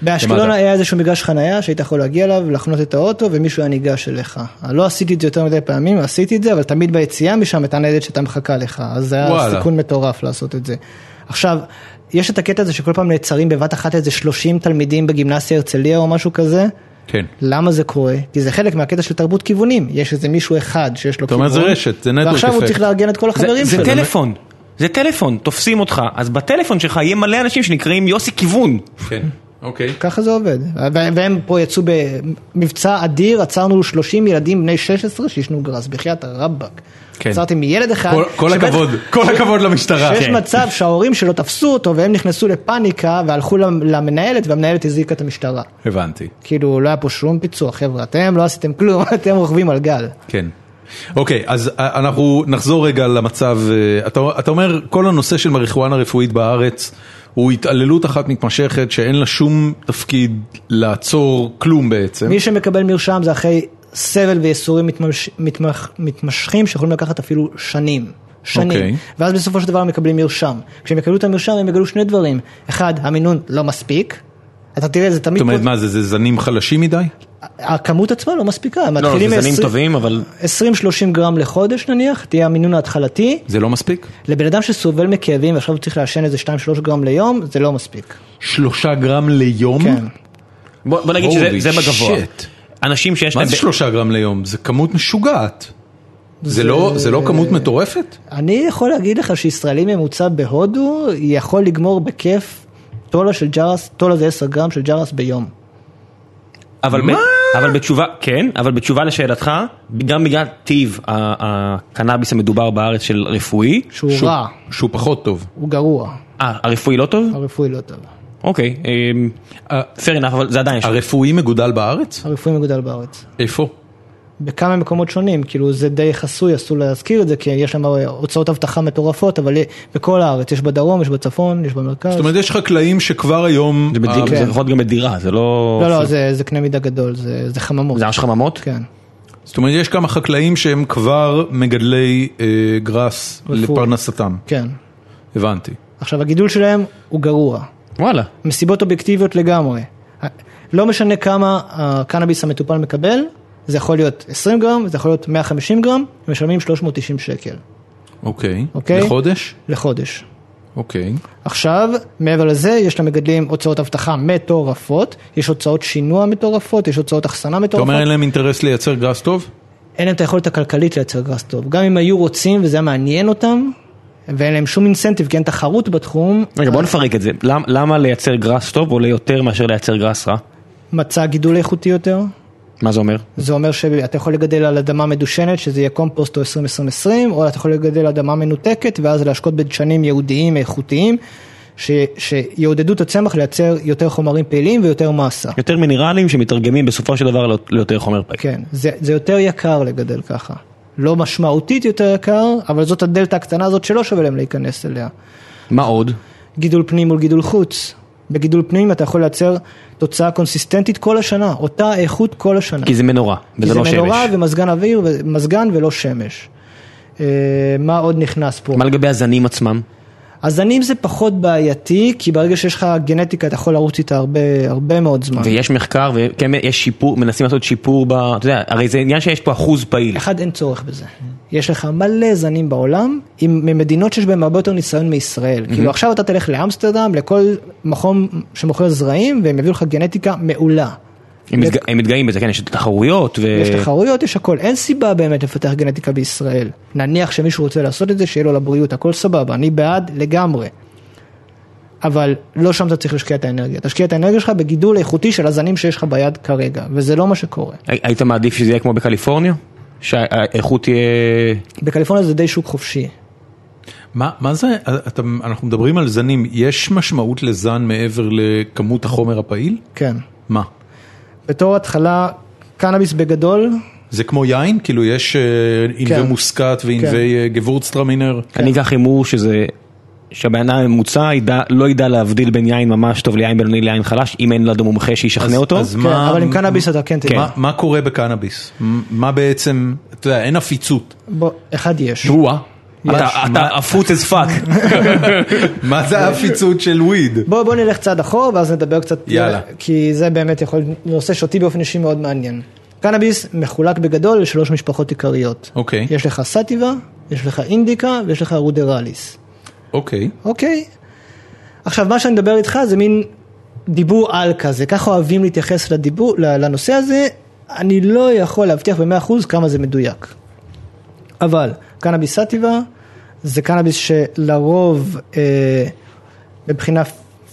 Speaker 3: באשקלון
Speaker 1: למד"א.
Speaker 3: היה איזשהו מגרש חנייה שהיית יכול להגיע אליו, לחנות את האוטו ומישהו היה ניגש אליך. לא עשיתי את זה יותר מדי פעמים, עשיתי את זה, אבל תמיד ביציאה משם הייתה ניידת שהייתה מחכה לך, אז זה היה
Speaker 1: וואלה.
Speaker 3: סיכון מטורף לעשות את זה. עכשיו, יש את הקטע הזה שכל פעם נעצרים בבת אחת איזה 30 תלמידים בגימנסיה הרצליה או משהו כזה.
Speaker 1: כן.
Speaker 3: למה זה קורה? כי זה חלק מהקטע של תרבות כיוונים, יש איזה מישהו אחד שיש לו
Speaker 1: אתה אומר,
Speaker 3: כיוון,
Speaker 1: זה רשת, זה network
Speaker 3: ועכשיו הוא
Speaker 1: effect.
Speaker 3: צריך לארגן את כל
Speaker 5: זה-
Speaker 3: החברים
Speaker 5: זה
Speaker 3: שלו.
Speaker 5: טלפון, זה טלפון, תופסים אותך, אז בטלפון שלך יהיה מלא אנשים שנקראים יוסי כיוון.
Speaker 1: כן, אוקיי.
Speaker 3: ככה זה עובד. ו- והם פה יצאו במבצע אדיר, עצרנו 30 ילדים בני 16 שעישנו גראס, בחייאת הרבאק.
Speaker 1: כן.
Speaker 3: עצרתי מילד אחד.
Speaker 1: כל- כל
Speaker 3: שבטח-
Speaker 1: הכבוד, כל הכבוד למשטרה.
Speaker 3: שיש
Speaker 1: כן.
Speaker 3: מצב שההורים שלו תפסו אותו והם נכנסו לפאניקה והלכו למ- למנהלת והמנהלת הזעיקה את המשטרה.
Speaker 1: הבנתי.
Speaker 3: כאילו לא היה פה שום פיצוח חבר'ה, אתם לא עשיתם כלום, (laughs) אתם רוכבים על גל.
Speaker 1: כן. אוקיי, אז אה, אנחנו נחזור רגע למצב, אה, אתה, אתה אומר כל הנושא של מריחואנה רפואית בארץ הוא התעללות אחת מתמשכת שאין לה שום תפקיד לעצור כלום בעצם.
Speaker 3: מי שמקבל מרשם זה אחרי סבל וייסורים מתממש- מתמח- מתמשכים שיכולים לקחת אפילו שנים. שנים.
Speaker 1: אוקיי.
Speaker 3: ואז בסופו של דבר הם מקבלים מרשם. כשהם יקבלו את המרשם הם יגלו שני דברים. אחד, המינון לא מספיק. אתה תראה, זה תמיד...
Speaker 1: זאת אומרת,
Speaker 3: פה-
Speaker 1: מה זה, זה זנים חלשים מדי?
Speaker 3: הכמות עצמה לא מספיקה. הם
Speaker 5: לא,
Speaker 3: מתחילים
Speaker 5: זה זנים
Speaker 3: מ-
Speaker 5: טובים, אבל
Speaker 3: 20-30 גרם לחודש נניח, תהיה המינון ההתחלתי.
Speaker 1: זה לא מספיק?
Speaker 3: לבן אדם שסובל מכאבים ועכשיו הוא צריך לעשן איזה 2-3 גרם ליום, זה לא מספיק.
Speaker 1: שלושה גרם ליום?
Speaker 3: כן.
Speaker 5: בוא בוא נגיד
Speaker 1: Holy
Speaker 5: שזה זה בגבוה.
Speaker 1: shit.
Speaker 5: אנשים שיש
Speaker 1: מה
Speaker 5: להם...
Speaker 1: זה שלושה גרם ליום? זה כמות משוגעת. זה לא זה לא כמות מטורפת?
Speaker 3: אני יכול להגיד לך שישראלי ממוצע בהודו יכול לגמור בכיף טולה של ג'רס, טולה זה 10 גרם של ג'רס ביום.
Speaker 5: אבל, ב, אבל בתשובה, כן, אבל בתשובה לשאלתך, גם בגלל טיב ה- הקנאביס המדובר בארץ של רפואי,
Speaker 3: שהוא
Speaker 1: שהוא-
Speaker 3: רע,
Speaker 1: שהוא פחות טוב.
Speaker 3: הוא גרוע,
Speaker 5: אה, הרפואי לא טוב?
Speaker 3: הרפואי לא טוב.
Speaker 5: אוקיי, אמ, fair enough, אבל זה עדיין יש.
Speaker 1: הרפואי מגודל בארץ?
Speaker 3: הרפואי מגודל בארץ.
Speaker 1: איפה?
Speaker 3: בכמה מקומות שונים, כאילו זה די חסוי, אסור להזכיר את זה, כי יש שם הוצאות אבטחה מטורפות, אבל בכל הארץ, יש בדרום, יש בצפון, יש במרכז.
Speaker 1: זאת אומרת, יש חקלאים שכבר היום...
Speaker 5: זה בדירה,
Speaker 1: אה,
Speaker 5: זה יכול להיות גם בדירה, זה לא...
Speaker 3: לא, לא, זה, זה קנה מידה גדול, זה, זה חממות.
Speaker 5: זה ממש חממות?
Speaker 3: כן.
Speaker 1: זאת אומרת, יש כמה חקלאים שהם כבר מגדלי אה, גראס
Speaker 3: רפואי.
Speaker 1: לפרנסתם.
Speaker 3: כן.
Speaker 1: הבנתי.
Speaker 3: עכשיו, הגידול שלהם הוא גרוע,
Speaker 5: וואלה.
Speaker 3: מסיבות אובייקטיביות לגמרי. ה- לא משנה כמה הקנאביס המטופל מקבל, זה יכול להיות 20 גרם, זה יכול להיות 150 גרם, הם משלמים 390 שקל
Speaker 1: אוקיי.
Speaker 3: אוקיי.
Speaker 1: לחודש?
Speaker 3: לחודש.
Speaker 1: אוקיי.
Speaker 3: עכשיו, מעבר לזה, יש למגדלים הוצאות אבטחה מטורפות, יש הוצאות שינוע מטורפות, יש הוצאות אחסנה
Speaker 1: אתה
Speaker 3: מטורפות.
Speaker 1: אומר אין להם אינטרס לייצר גראס טוב?
Speaker 3: אין להם את היכולת הכלכלית לייצר גראס טוב. גם אם היו רוצים וזה היה מעניין אותם, ואין להם שום אינסנטיב כי אין תחרות בתחום,
Speaker 5: רגע, בוא נפרק את זה. למ- למה לייצר גראס טוב עולה יותר מאשר לייצר גראס רע?
Speaker 3: מצא גידול איכותי יותר.
Speaker 5: מה זה אומר?
Speaker 3: זה אומר שאתה יכול לגדל על אדמה מדושנת, שזה יהיה קומפוסט או 2020, או אתה יכול לגדל על אדמה מנותקת, ואז להשקות בדשנים ייעודיים איכותיים, ש... שיעודדו את הצמח לייצר יותר חומרים פעילים ויותר מסה.
Speaker 5: יותר מינרלים שמתרגמים בסופו של דבר להיות- ליותר חומר פעיל.
Speaker 3: כן, זה, זה יותר יקר לגדל ככה. לא משמעותית יותר יקר, אבל זאת הדלתא הקטנה הזאת שלא שווה להם להיכנס אליה.
Speaker 5: מה עוד?
Speaker 3: גידול פנים מול גידול חוץ. בגידול פנים אתה יכול לייצר תוצאה קונסיסטנטית כל השנה, אותה איכות כל השנה.
Speaker 5: כי זה מנורה,
Speaker 3: כי
Speaker 5: וזה לא
Speaker 3: זה מנורה
Speaker 5: שמש.
Speaker 3: ומזגן אוויר, מזגן ולא שמש. אה, מה עוד נכנס פה?
Speaker 5: מה לגבי הזנים עצמם?
Speaker 3: הזנים זה פחות בעייתי, כי ברגע שיש לך גנטיקה אתה יכול לרוץ איתה הרבה, הרבה מאוד זמן.
Speaker 1: נכון.
Speaker 5: ויש מחקר וכן יש שיפור, מנסים לעשות שיפור ב... אתה יודע, הרי זה עניין שיש פה אחוז פעיל.
Speaker 3: אחד, אין צורך בזה. יש לך מלא זנים בעולם, עם, ממדינות שיש בהן הרבה יותר ניסיון מישראל. כאילו עכשיו אתה תלך לאמסטרדם, לכל מקום שמוכר זרעים, והם יביאו לך גנטיקה מעולה.
Speaker 5: הם מתג- הם מתגאים בזה, כן, יש תחרויות ו...
Speaker 3: יש תחרויות, יש הכל, אין סיבה באמת לפתח גנטיקה בישראל. נניח שמישהו רוצה לעשות את זה, שיהיה לו לבריאות, הכל סבבה, אני בעד לגמרי. אבל לא שם אתה צריך להשקיע את האנרגיה. תשקיע את האנרגיה שלך בגידול איכותי של הזנים שיש לך ביד כרגע, וזה לא מה שקורה.
Speaker 5: הי- היית מעדיף שזה יהיה כמו בקליפורניה? שהאיכות תהיה...
Speaker 1: כן.
Speaker 3: בקליפורניה זה די שוק חופשי.
Speaker 1: מה, מה זה, אתה, אנחנו מדברים על זנים, יש משמעות לזן מעבר לכמות החומר הפעיל?
Speaker 3: כן.
Speaker 1: מה?
Speaker 3: בתור התחלה, קנאביס בגדול,
Speaker 1: זה כמו יין? כאילו יש אה, ענבי
Speaker 3: כן.
Speaker 1: מוסקת וענבי אה, גבורצטרמינר?
Speaker 5: אני אקח הימור שזה... שהבן אדם הממוצע ידע, לא ידע להבדיל בין יין ממש טוב ליין בינוני ליין חלש, אם אין לנו מומחה שישכנע אותו.
Speaker 1: אז
Speaker 3: כן,
Speaker 1: מה,
Speaker 3: אבל עם קנאביס אתה כן
Speaker 1: מה,
Speaker 3: תדע.
Speaker 1: מה קורה בקנאביס? מ- מה בעצם, אתה יודע, אין עפיצות.
Speaker 3: בוא, אחד יש.
Speaker 1: וואה.
Speaker 5: אתה- אתה עפוץ as fuck.
Speaker 1: (laughs) מה זה העפיצות של וויד?
Speaker 3: בוא, בוא נלך צעד אחורה ואז נדבר קצת,
Speaker 1: יאלה.
Speaker 3: כי זה באמת יכול, להיות נושא שאותי באופן אישי מאוד מעניין. קנאביס מחולק בגדול לשלוש משפחות עיקריות.
Speaker 1: אוקיי.
Speaker 3: יש לך סטיבה, יש לך אינדיקה ויש לך רודרליס.
Speaker 1: אוקיי.
Speaker 3: אוקיי. עכשיו מה שאני מדבר איתך זה מין דיבור על כזה, ככה אוהבים להתייחס לדיבור, ל- לנושא הזה, אני לא יכול להבטיח ב-100% כמה זה מדויק. אבל קנאביס סטיבה זה קנאביס שלרוב אה, מבחינה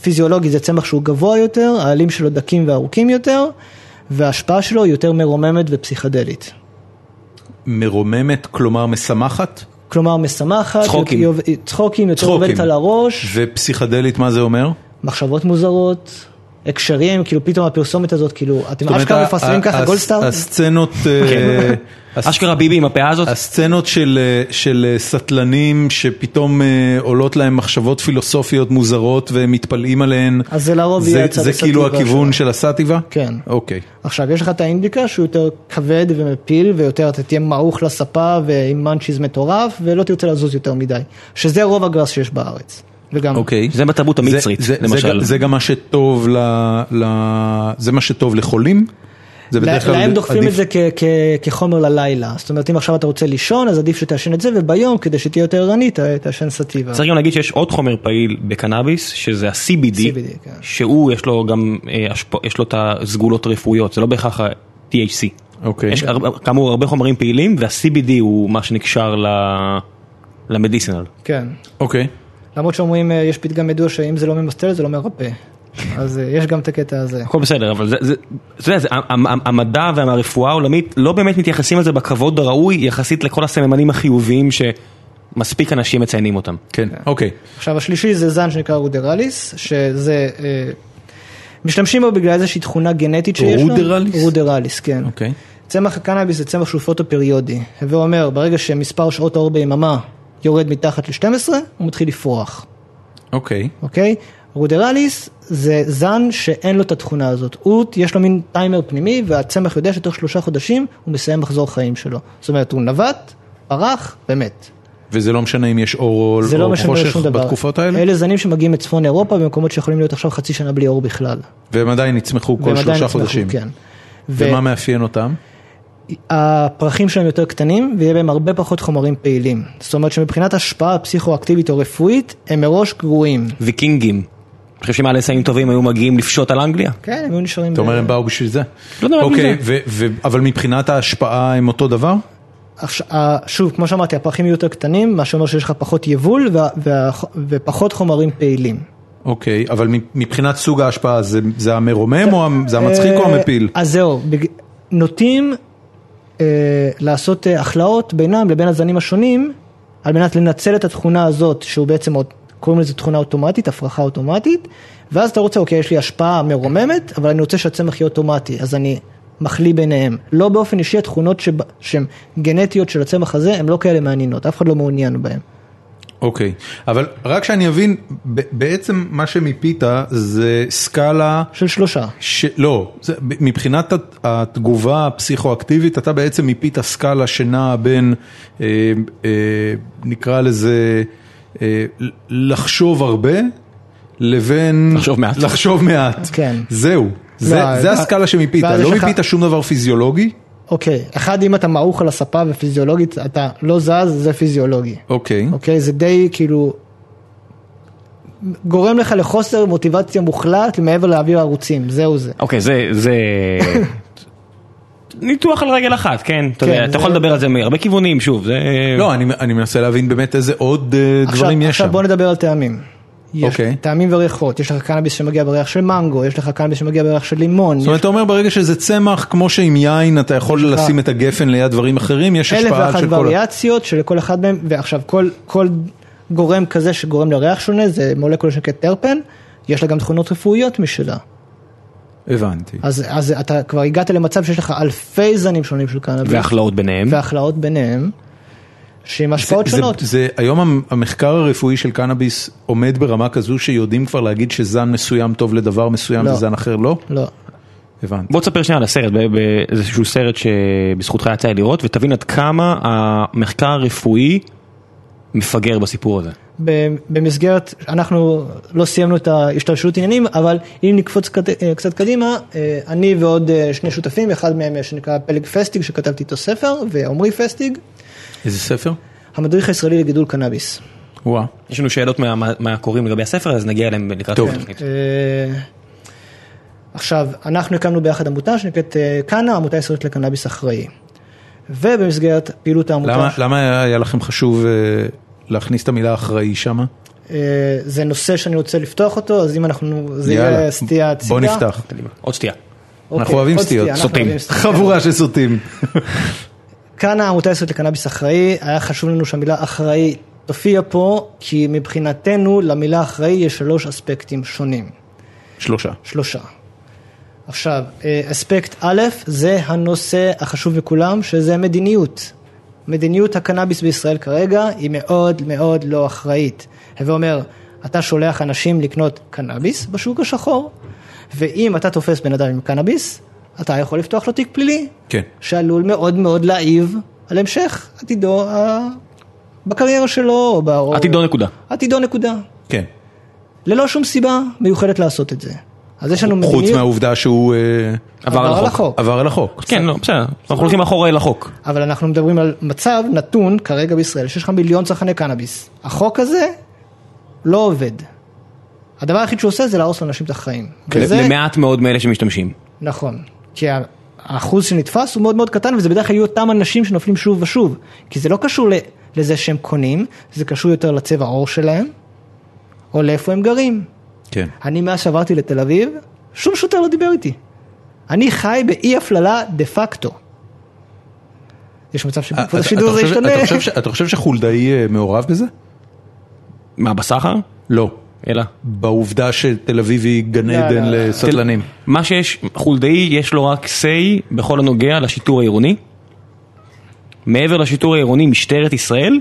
Speaker 3: פיזיולוגית זה צמח שהוא גבוה יותר, העלים שלו דקים וארוכים יותר, וההשפעה שלו היא יותר מרוממת ופסיכדלית.
Speaker 1: מרוממת, כלומר משמחת?
Speaker 3: כלומר משמחת,
Speaker 5: צחוקים.
Speaker 3: היא עובד- היא- צחוקים, יותר עובדת על הראש,
Speaker 1: ופסיכדלית, מה זה אומר?
Speaker 3: מחשבות מוזרות, הקשרים, כאילו פתאום הפרסומת הזאת, כאילו, אתם
Speaker 1: זאת אומרת,
Speaker 3: אשכרה
Speaker 1: ה-
Speaker 3: מפרסמים
Speaker 1: ה-
Speaker 3: ככה
Speaker 1: הס-
Speaker 3: גולדסטאר? כן.
Speaker 1: הסצנות, אה, הס-
Speaker 5: אשכרה ביבי עם הפאה הזאת,
Speaker 1: הסצנות של, אה, של אה, סטלנים שפתאום אה, עולות להם מחשבות פילוסופיות מוזרות והם מתפלאים עליהן,
Speaker 3: אז זה לרוב
Speaker 1: זה,
Speaker 3: יהיה הצד
Speaker 1: זה כאילו
Speaker 3: הסאטיבה
Speaker 1: הכיוון
Speaker 3: שלו.
Speaker 1: של הסאטיבה?
Speaker 3: כן.
Speaker 1: אוקיי.
Speaker 3: עכשיו, יש לך את האינדיקה שהוא יותר כבד ומפיל, ויותר אתה תהיה מעוך לספה ועם מאנצ'יז מטורף, ולא תרצה לזוז יותר מדי. שזה רוב הגראס שיש בארץ. וגם,
Speaker 1: אוקיי.
Speaker 5: זה בתרבות המצרית,
Speaker 1: זה- זה- זה,
Speaker 5: למשל.
Speaker 1: גם- זה גם מה שטוב, ל, ל, זה מה שטוב לחולים? זה
Speaker 3: לה-
Speaker 1: בדרך כלל
Speaker 3: להם דוחפים
Speaker 1: עדיף-
Speaker 3: את זה כ- כ- כחומר ללילה. זאת אומרת, אם עכשיו אתה רוצה לישון, אז עדיף שתעשן את זה, וביום, כדי שתהיה יותר ערני, ת- תעשן סטיבה.
Speaker 5: צריך גם להגיד שיש עוד חומר פעיל בקנאביס, שזה ה-CBD,
Speaker 3: CBD, כן.
Speaker 5: שהוא יש לו גם, אה, השפ- יש לו את הסגולות הרפואיות, זה לא בהכרח ה-THC.
Speaker 1: אוקיי.
Speaker 5: יש הרבה- כאמור הרבה חומרים פעילים, וה-CBD הוא מה שנקשר ל- למדיסינל.
Speaker 3: כן.
Speaker 1: אוקיי.
Speaker 3: למרות שאומרים, אה, יש פתגם ידוע שאם זה לא ממסטל, זה לא מרפא. אז אה, יש גם את הקטע הזה.
Speaker 5: הכל בסדר, אבל זה, זה, אתה יודע, זה- המ- המ- המדע והרפואה העולמית לא באמת מתייחסים לזה בכבוד הראוי יחסית לכל הסממנים החיוביים שמספיק אנשים מציינים אותם.
Speaker 1: כן, אוקיי.
Speaker 3: עכשיו השלישי זה זן שנקרא רודרליס, שזה, אה, משתמשים בו בגלל איזושהי תכונה גנטית שיש לו.
Speaker 1: רודרליס?
Speaker 3: רודרליס, כן.
Speaker 1: אוקיי.
Speaker 3: צמח הקנאביס זה צמח שהוא פוטו-פריודי, הווה אומר, ברגע שמספר שעות האור ביממה יורד מתחת ל-12, הוא מתחיל לפרוח,
Speaker 1: אוקיי.
Speaker 3: אוקיי? רודרליס זה זן שאין לו את התכונה הזאת, הוא, יש לו מין טיימר פנימי והצמח יודע שתוך שלושה חודשים הוא מסיים מחזור חיים שלו, זאת אומרת הוא נווט, פרח ומת.
Speaker 1: וזה לא משנה אם יש אור
Speaker 3: זה
Speaker 1: או-
Speaker 3: לא
Speaker 1: או
Speaker 3: משנה
Speaker 1: חושך
Speaker 3: שום דבר.
Speaker 1: בתקופות האלה?
Speaker 3: אלה זנים שמגיעים מצפון אירופה במקומות שיכולים להיות עכשיו חצי שנה בלי אור בכלל.
Speaker 1: והם עדיין נצמחו כל
Speaker 3: והם עדיין
Speaker 1: שלושה
Speaker 3: יצמחו,
Speaker 1: חודשים.
Speaker 3: כן.
Speaker 1: ומה מאפיין אותם?
Speaker 3: והפרחים שלהם יותר קטנים ויהיה בהם הרבה פחות חומרים פעילים. זאת אומרת שמבחינת השפעה פסיכואקטיבית או רפואית הם מראש גרועים.
Speaker 5: ויקינגים, אני חושב שאם היה לסיים טובים היו מגיעים לפשוט על אנגליה?
Speaker 3: כן, הם היו נשארים...
Speaker 1: אתה
Speaker 3: ב-
Speaker 1: אומר הם באו בשביל זה?
Speaker 5: לא יודע, רק
Speaker 1: אוקיי,
Speaker 5: בשביל
Speaker 1: ו- ו- אבל מבחינת ההשפעה הם אותו דבר?
Speaker 3: עכשיו, ה- שוב, כמו שאמרתי, הפרחים יהיו יותר קטנים, מה שאומר שיש לך פחות יבול וה- וה- ופחות חומרים פעילים.
Speaker 1: אוקיי, אבל מבחינת סוג ההשפעה זה זה המרומם או המ- זה המצחיק או
Speaker 3: אה,
Speaker 1: המפיל?
Speaker 3: אז זהו, בג- נוטים אה, לעשות אה, הכלאות בינם לבין הזנים השונים, על מנת לנצל את התכונה הזאת, שהוא בעצם עוד, קוראים לזה תכונה אוטומטית, הפרחה אוטומטית, ואז אתה רוצה, אוקיי, יש לי השפעה מרוממת, אבל אני רוצה שהצמח יהיה אוטומטי, אז אני מחליא ביניהם. לא באופן אישי, התכונות שב- שהן גנטיות של הצמח הזה, הן לא כאלה מעניינות, אף אחד לא מעוניין בהן.
Speaker 1: אוקיי, אבל רק שאני אבין, ב- בעצם מה שמיפית זה סקאלה,
Speaker 3: של שלושה.
Speaker 1: ש- לא, זה- ב- מבחינת הת- התגובה הפסיכואקטיבית, אתה בעצם מיפית סקאלה שנעה בין, אה, אה, נקרא לזה, אה, ל- לחשוב הרבה, לבין...
Speaker 5: לחשוב מעט.
Speaker 1: לחשוב מעט.
Speaker 3: כן.
Speaker 1: זהו, זה
Speaker 3: לא,
Speaker 1: זה
Speaker 3: אה,
Speaker 1: הסקאלה שמיפית,
Speaker 3: ואז
Speaker 1: לא
Speaker 3: יש לך-
Speaker 1: מיפית שום דבר פיזיולוגי?
Speaker 3: אוקיי, אחד אם אתה מעוך על הספה ופיזיולוגית, אתה לא זז, זה פיזיולוגי.
Speaker 1: אוקיי.
Speaker 3: אוקיי? זה די כאילו גורם לך לחוסר מוטיבציה מוחלט מעבר להעביר ערוצים, זהו זה.
Speaker 5: אוקיי, זה, זה... (laughs) ניתוח על רגל אחת, כן, אתה
Speaker 3: כן,
Speaker 5: יודע, אתה
Speaker 3: זה-
Speaker 5: יכול לדבר על זה מהרבה כיוונים, שוב, זה...
Speaker 1: לא, אני אני מנסה להבין באמת איזה עוד אה, דברים יש
Speaker 3: עכשיו
Speaker 1: שם.
Speaker 3: בוא נדבר על טעמים. יש
Speaker 1: אוקיי.
Speaker 3: טעמים וריחות, יש לך קנאביס שמגיע בריח של מנגו, יש לך קנאביס שמגיע בריח של לימון,
Speaker 1: זאת אומרת, אתה אומר ברגע שזה צמח, כמו שעם יין אתה יכול
Speaker 3: לך-
Speaker 1: לשים את הגפן ליד דברים אחרים, יש
Speaker 3: אלף
Speaker 1: השפעה
Speaker 3: ואחת
Speaker 1: של כל... ה-
Speaker 3: וריאציות שלכל אחד מהם, ועכשיו כל, כל גורם כזה שגורם לריח שונה זה מולקולה שנקראת טרפן, יש לה גם תכונות רפואיות משלה.
Speaker 1: הבנתי.
Speaker 3: אז, אז אתה כבר הגעת למצב שיש לך אלפי זנים שונים של קנאביס,
Speaker 5: והכלאות ביניהם.
Speaker 3: והכלאות ביניהם, שעם השפעות
Speaker 1: זה-
Speaker 3: שונות.
Speaker 1: זה, זה, היום המ- המחקר הרפואי של קנאביס עומד ברמה כזו שיודעים כבר להגיד שזן מסוים טוב לדבר מסוים
Speaker 3: לא.
Speaker 1: וזן אחר לא?
Speaker 3: לא.
Speaker 1: הבנתי.
Speaker 5: בוא תספר שנייה על הסרט, ב- ב- איזשהו סרט שבזכותך יצא לי לראות, ותבין עד כמה המחקר הרפואי מפגר בסיפור הזה.
Speaker 3: ב- במסגרת, אנחנו לא סיימנו את ההשתלשלות עניינים, אבל אם נקפוץ קד- אה, קצת קדימה, אה, אני ועוד אה, שני שותפים, אחד מהם אה, שנקרא פלג פסטיג, שכתבתי איתו ספר, ועמרי פסטיג,
Speaker 1: איזה ספר?
Speaker 3: המדריך הישראלי לגידול קנאביס.
Speaker 1: וואה.
Speaker 5: יש לנו שאלות מה- מה- מהקוראים לגבי הספר, אז נגיע אליהם לקראת
Speaker 1: טוב.
Speaker 5: התוכנית.
Speaker 3: אה, עכשיו, אנחנו הקמנו ביחד עמותה שנקראת אה, קאנה, עמותה ישראלית לקנאביס אחראי. ובמסגרת פעילות העמותה...
Speaker 1: למה, למה היה לכם חשוב אה, להכניס את המילה אחראי שמה?
Speaker 3: אה, זה נושא שאני רוצה לפתוח אותו, אז אם אנחנו, זה
Speaker 1: יאללה,
Speaker 3: יהיה סטייה הצידה.
Speaker 1: בוא נפתח.
Speaker 5: עוד שתייה.
Speaker 3: אוקיי,
Speaker 1: אנחנו אוהבים
Speaker 3: עוד סטייה,
Speaker 1: סטיות,
Speaker 3: אנחנו
Speaker 5: סוטים.
Speaker 3: אוהבים סטייה.
Speaker 1: חבורה של סוטים.
Speaker 3: כאן העמותה הישראלית לקנאביס אחראי, היה חשוב לנו שהמילה אחראי תופיע פה, כי מבחינתנו למילה אחראי יש שלוש אספקטים שונים.
Speaker 1: שלושה.
Speaker 3: שלושה. עכשיו, אה, אספקט א' זה הנושא החשוב מכולם, שזה מדיניות. מדיניות הקנאביס בישראל כרגע היא מאוד מאוד לא אחראית. הווה אומר, אתה שולח אנשים לקנות קנאביס בשוק השחור, ואם אתה תופס בן אדם עם קנאביס, אתה יכול לפתוח לו תיק פלילי,
Speaker 1: כן.
Speaker 3: שעלול מאוד מאוד להעיב על המשך עתידו ה... בקריירה שלו, או ב...
Speaker 5: עתידו נקודה.
Speaker 3: עתידו נקודה.
Speaker 1: כן.
Speaker 3: ללא שום סיבה מיוחדת לעשות את זה. אז יש לנו מדיניות...
Speaker 1: חוץ מהעובדה שהוא אה,
Speaker 5: עבר על החוק.
Speaker 1: עבר על החוק.
Speaker 5: כן, לא, בסדר. אנחנו הולכים אחורה אל החוק.
Speaker 3: אבל אנחנו מדברים על מצב נתון כרגע בישראל, שיש לך מיליון צרכני קנאביס. החוק הזה לא עובד. הדבר היחיד שהוא עושה זה להרוס לאנשים את החיים.
Speaker 5: כן,
Speaker 3: וזה,
Speaker 5: למעט מאוד מאלה שמשתמשים.
Speaker 3: נכון. כי ה- האחוז שנתפס הוא מאוד מאוד קטן, וזה בדרך כלל יהיו אותם אנשים שנופלים שוב ושוב. כי זה לא קשור ל- לזה שהם קונים, זה קשור יותר לצבע העור שלהם, או לאיפה הם גרים.
Speaker 1: כן.
Speaker 3: אני מאז שעברתי לתל אביב, שום שוטר לא דיבר איתי. אני חי באי הפללה דה פקטו. יש מצב
Speaker 1: אה, אתה-
Speaker 3: שבעקבות השידור זה
Speaker 1: אתה חושב-
Speaker 3: ישתנה.
Speaker 1: אתה חושב ש- אתה חושב שחולדאי אה, מעורב בזה?
Speaker 5: מה, בסחר?
Speaker 1: לא.
Speaker 5: אלא.
Speaker 1: בעובדה שתל אביב היא גן
Speaker 3: לא,
Speaker 1: עדן
Speaker 3: לא.
Speaker 1: לסטלנים.
Speaker 5: כן, מה שיש, חולדאי יש לו רק say בכל הנוגע לשיטור העירוני. מעבר לשיטור העירוני, משטרת ישראל,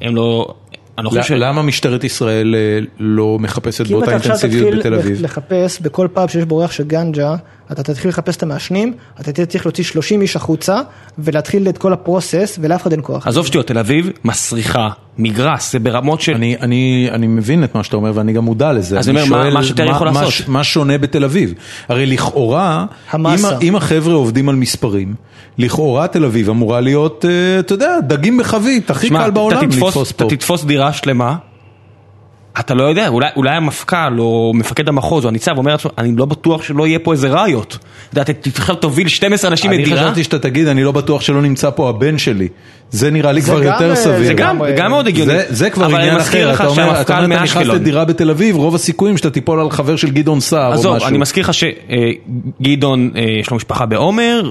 Speaker 5: הם לא... אני לא חושב ש...
Speaker 1: ל- למה משטרת ישראל אה, לא מחפשת
Speaker 3: כי אם
Speaker 1: באותה
Speaker 3: אתה עכשיו
Speaker 1: אינטנסיביות
Speaker 3: תתחיל
Speaker 1: בתל אביב?
Speaker 3: לחפש בכל פאב שיש בו ריח של גנג'ה, אתה תתחיל לחפש את המעשנים, אתה תהיה צריך להוציא 30 איש החוצה ולהתחיל את כל הפרוסס ולאף אחד אין כוח.
Speaker 5: עזוב שטויות, תל אביב מסריחה, מגרס, זה ברמות של...
Speaker 1: אני, אני, אני מבין את מה שאתה אומר ואני גם מודע לזה.
Speaker 5: אז
Speaker 1: אני
Speaker 5: אני אומר, מה- מה שטרן יכול
Speaker 1: מה,
Speaker 5: לעשות?
Speaker 1: ש- מה שונה בתל אביב? הרי לכאורה, אם,
Speaker 3: המאסה.
Speaker 1: ה- אם החבר'ה עובדים על מספרים, לכאורה תל אביב אמורה להיות, אה, אתה יודע, דגים בחבית, הכי
Speaker 5: שמע,
Speaker 1: קל
Speaker 5: אתה
Speaker 1: בעולם
Speaker 5: תתפוס-
Speaker 1: לתפוס פה.
Speaker 5: אתה תתפוס דירה שלמה, אתה לא יודע, אולי, אולי המפכ"ל או מפקד המחוז או הניצב אומר לעצמו, אני לא בטוח שלא יהיה פה איזה ראיות. אתה יודע, אתה תתחיל תוביל 12 אנשים
Speaker 1: אני
Speaker 5: לדירה.
Speaker 1: חשבתי שאתה תגיד, אני לא בטוח שלא נמצא פה הבן שלי. זה נראה לי כבר
Speaker 3: גם,
Speaker 1: יותר
Speaker 3: אה,
Speaker 1: סביר.
Speaker 5: זה גם, זה גם מאוד הגיוני.
Speaker 1: זה, זה כבר
Speaker 5: אבל אני
Speaker 1: עניין
Speaker 5: מזכיר
Speaker 1: אחר,
Speaker 5: לך
Speaker 1: אתה אומר, אתה,
Speaker 5: שהמפכ"ל
Speaker 1: אומר, אתה נכנס
Speaker 5: מאשקלון-
Speaker 1: לדירה בתל אביב, רוב הסיכויים שאתה תיפול על חבר של גדעון סער או
Speaker 5: עזוב,
Speaker 1: משהו.
Speaker 5: אני מזכיר לך שגדעון אה, יש לו משפחה בעומר,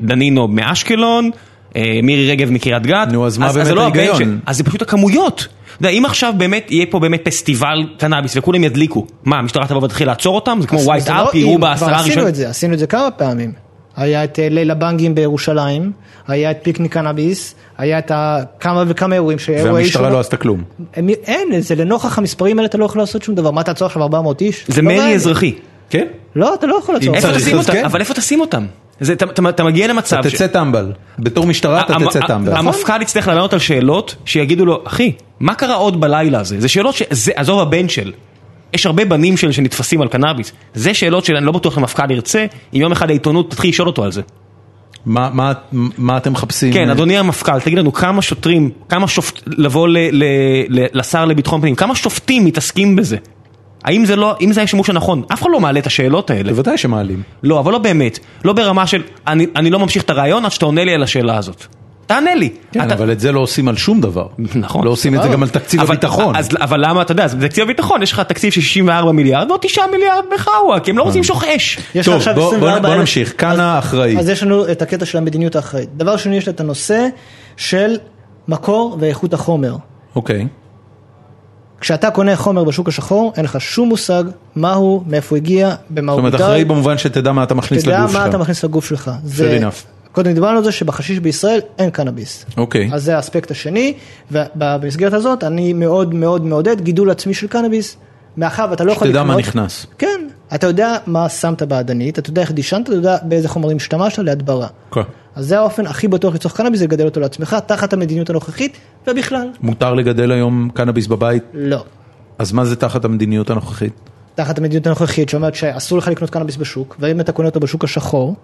Speaker 5: ודנינו מאשקלון, אה, מירי רגב מקריית גת.
Speaker 1: נו, אז מה באמת
Speaker 5: זה לא הבן
Speaker 1: ההיגיון?
Speaker 5: ש- אז זה פשוט הכמויות. אתה יודע, אם עכשיו באמת יהיה פה באמת פסטיבל קנאביס וכולם ידליקו, מה, המשטרה תבוא ותתחיל לעצור אותם? זה כמו
Speaker 3: אז
Speaker 5: ווייט
Speaker 3: זה לא
Speaker 5: אפ,
Speaker 3: אם,
Speaker 5: יראו
Speaker 3: כבר
Speaker 5: בעשרה
Speaker 3: עשינו
Speaker 5: הראשונים.
Speaker 3: את זה, עשינו את זה כמה פעמים. היה את אה, ליל הבנגים בירושלים, היה את פיקניק קנאביס, היה את ה- כמה וכמה אירועים ש...
Speaker 1: והמשטרה
Speaker 3: אה,
Speaker 1: לא עשתה כלום.
Speaker 3: אין, זה לנוכח המספרים האלה אתה לא יכול לעשות שום דבר. מה תעצור עכשיו 400 איש?
Speaker 5: זה
Speaker 3: לא
Speaker 5: מרי
Speaker 3: מעניין.
Speaker 5: אזרחי.
Speaker 1: כן?
Speaker 3: לא, אתה לא יכול לעצור.
Speaker 5: איפה
Speaker 1: צריך,
Speaker 5: תשים
Speaker 1: אז
Speaker 5: אותם?
Speaker 1: כן.
Speaker 5: אבל איפה תשים אותם? זה- אתה- אתה אתה מגיע למצב
Speaker 1: אתה
Speaker 5: ש- אה,
Speaker 1: תצא טמבל. בתור משטרה אתה
Speaker 5: המ-
Speaker 1: תצא טמבל.
Speaker 5: המפכ"ל יצטרך לענות על שאלות שיגידו לו, אחי, מה קרה עוד בלילה הזה? זה שאלות ש... זה, עזוב הבן של. יש הרבה בנים של שנתפסים על קנאביס. זה שאלות שאני לא בטוח שהמפכ"ל ירצה, אם יום אחד העיתונות תתחיל לשאול אותו על זה.
Speaker 1: מה, מה, מה אתם מחפשים?
Speaker 5: כן, אדוני המפכ"ל, תגיד לנו כמה שוטרים, כמה שופט... לבוא ל, ל, ל, לשר לביטחון פנים, כמה שופטים מתעסקים בזה? האם זה לא, אם זה השימוש הנכון? אף אחד לא מעלה את השאלות האלה.
Speaker 1: בוודאי שמעלים.
Speaker 5: לא, אבל לא באמת. לא ברמה של, אני, אני לא ממשיך את הרעיון עד שאתה עונה לי על השאלה הזאת. תענה לי.
Speaker 1: כן,
Speaker 5: אתה,
Speaker 1: אבל את זה לא עושים על שום דבר.
Speaker 5: נכון.
Speaker 1: לא עושים את
Speaker 3: אה.
Speaker 1: זה גם על תקציב
Speaker 5: אבל-
Speaker 1: הביטחון.
Speaker 5: אז, אבל למה, אתה יודע, אז בתקציב הביטחון יש לך תקציב של 64 מיליארד ועוד 9 מיליארד בחאווה, כי הם לא רוצים למשוך אש.
Speaker 3: אה. יש לך
Speaker 1: טוב,
Speaker 3: עכשיו
Speaker 1: בוא- בוא-
Speaker 3: 24,000
Speaker 1: בוא נמשיך. כאן האחראי.
Speaker 3: אז יש לנו את הקטע של המדיניות האחראית. דבר שני, יש לה את הנושא של מקור ואיכות החומר.
Speaker 1: אוקיי.
Speaker 3: כשאתה קונה חומר בשוק השחור, אין לך שום מושג מה הוא, מאיפה הוא הגיע,
Speaker 1: זאת
Speaker 3: במה הוא
Speaker 1: אומרת,
Speaker 3: מותר.
Speaker 1: אחראי במובן שתדע מה אתה מכניס
Speaker 3: תדע
Speaker 1: לגוף
Speaker 3: מה אתה
Speaker 1: שלך.
Speaker 3: מכניס לגוף שלך.
Speaker 1: Fair enough.
Speaker 3: קודם דיברנו על זה שבחשיש בישראל אין קנאביס.
Speaker 1: אוקיי.
Speaker 3: אז זה האספקט השני, ובמסגרת הזאת אני מאוד מאוד מעודד גידול עצמי של קנאביס. מאחר ואתה לא יכול
Speaker 1: שתדע
Speaker 3: לקנות...
Speaker 1: מה נכנס.
Speaker 3: כן, אתה יודע מה שמת באדנית, אתה יודע איך דישנת, אתה יודע באיזה חומרים השתמשת להדברה.
Speaker 1: כן.
Speaker 3: אז זה האופן הכי בטוח לצורך קנאביס, זה לגדל אותו לעצמך, תחת המדיניות הנוכחית, ובכלל,
Speaker 1: מותר לגדל היום קנאביס בבית,
Speaker 3: לא.
Speaker 1: אז מה זה תחת המדיניות הנוכחית?
Speaker 3: תחת המדיניות הנוכחית שאומרת שאסור לך לקנות קנאביס בשוק, ואם אתה קונה אותו בשוק השחור,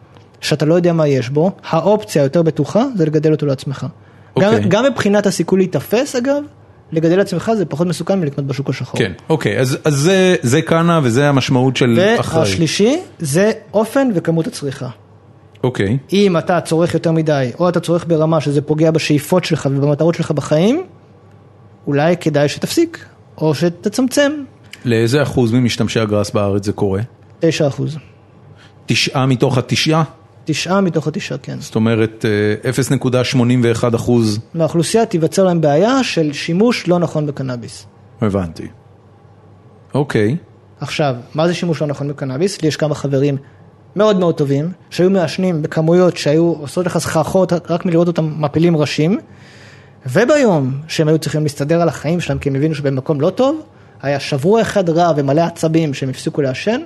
Speaker 3: שאתה לא יודע מה יש בו, האופציה היותר בטוחה זה לגדל אותו לעצמך. גם,
Speaker 1: אוקיי.
Speaker 3: גם מבחינת הסיכוי להיתפס אגב, לגדל לעצמך זה פחות מסוכן מלקנות בשוק השחור.
Speaker 1: כן, אוקיי, אז אז זה- זה קאנה וזה המשמעות של אחראי.
Speaker 3: והשלישי זה אופן וכמות הצריכה.
Speaker 1: אוקיי,
Speaker 3: אם אתה צורך יותר מדי, או אתה צורך ברמה שזה פוגע בשאיפות שלך ובמטרות שלך בחיים, אולי כדאי שתפסיק, או שתצמצם.
Speaker 1: לאיזה אחוז ממשתמשי הגראס בארץ זה קורה?
Speaker 3: 9 אחוז.
Speaker 1: תשעה מתוך התשעה?
Speaker 3: תשעה מתוך התשעה, כן.
Speaker 1: זאת אומרת, אה, 0.81 אחוז,
Speaker 3: מהאוכלוסייה תיווצר להם בעיה של שימוש לא נכון בקנאביס.
Speaker 1: הבנתי. אוקיי,
Speaker 3: עכשיו, מה זה שימוש לא נכון בקנאביס? לי יש כמה חברים מאוד מאוד טובים, שהיו מעשנים בכמויות שהיו עושות לך סחרחורת רק מלראות אותם מפילים ראשים, וביום שהם היו צריכים להסתדר על החיים שלהם כי הם הבינו שבמקום לא טוב, היה שבוע אחד רע ומלא עצבים שהם הפסיקו לעשן,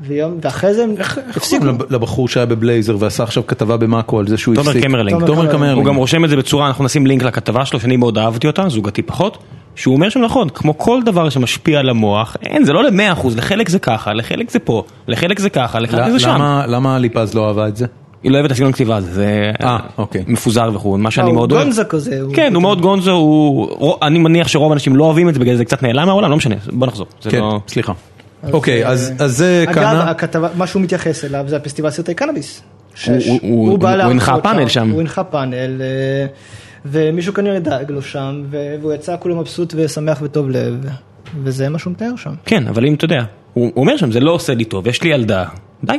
Speaker 3: ויום, ואחרי זה הם הפסיקו.
Speaker 1: קוראים לב- לבחור שהיה בבלייזר ועשה עכשיו כתבה במאקו על זה שהוא הפסיק.
Speaker 5: תומר קמרלינג.
Speaker 3: תומר
Speaker 1: תומר
Speaker 3: קמרלינג.
Speaker 1: קמרלינג.
Speaker 5: הוא גם רושם את זה בצורה, אנחנו נשים לינק לכתבה שלו, שאני מאוד אהבתי אותה, זוגתי פחות, שהוא אומר שם נכון, כמו כל דבר שמשפיע על המוח, אין, זה לא למאה אחוז, לחלק זה ככה, לחלק זה פה, לחלק זה ככה, לחלק זה
Speaker 1: ל-
Speaker 5: שם.
Speaker 1: למה- למה ליפז לא אהבה את זה?
Speaker 5: היא לא אוהבת את הסגנון כתיבה הזה, זה
Speaker 1: אה, אוקיי.
Speaker 5: מפוזר וכו', מה שאני
Speaker 3: אה, הוא
Speaker 5: מאוד אוהב.
Speaker 3: גונזו כזה, הוא-
Speaker 5: כן, הוא מאוד גונזו, הוא... רו- אני מניח שרוב האנשים לא אוהבים את זה, בגלל זה קצת נעלם מהעולם, לא משנה, בוא נחזור. זה
Speaker 1: כן,
Speaker 5: לא-
Speaker 1: סליחה. אוקיי, אז אז זה
Speaker 3: אה, אגב,
Speaker 1: כהנא.
Speaker 3: הכתבה, מה שהוא מתייחס אליו זה הפסטיבל סרטי קנאביס. שש.
Speaker 5: הוא- הוא-
Speaker 3: בא
Speaker 5: הוא
Speaker 3: להרצות
Speaker 5: הנחה פאנל שם.
Speaker 3: הוא הנחה פאנל, אה, ומישהו כנראה דאג לו שם, ו- והוא יצא כולו מבסוט ושמח וטוב לב, וזה מה שהוא מתאר שם.
Speaker 5: כן, אבל אם אתה יודע, הוא הוא אומר שם, זה לא עושה לי טוב, יש לי ילדה, די,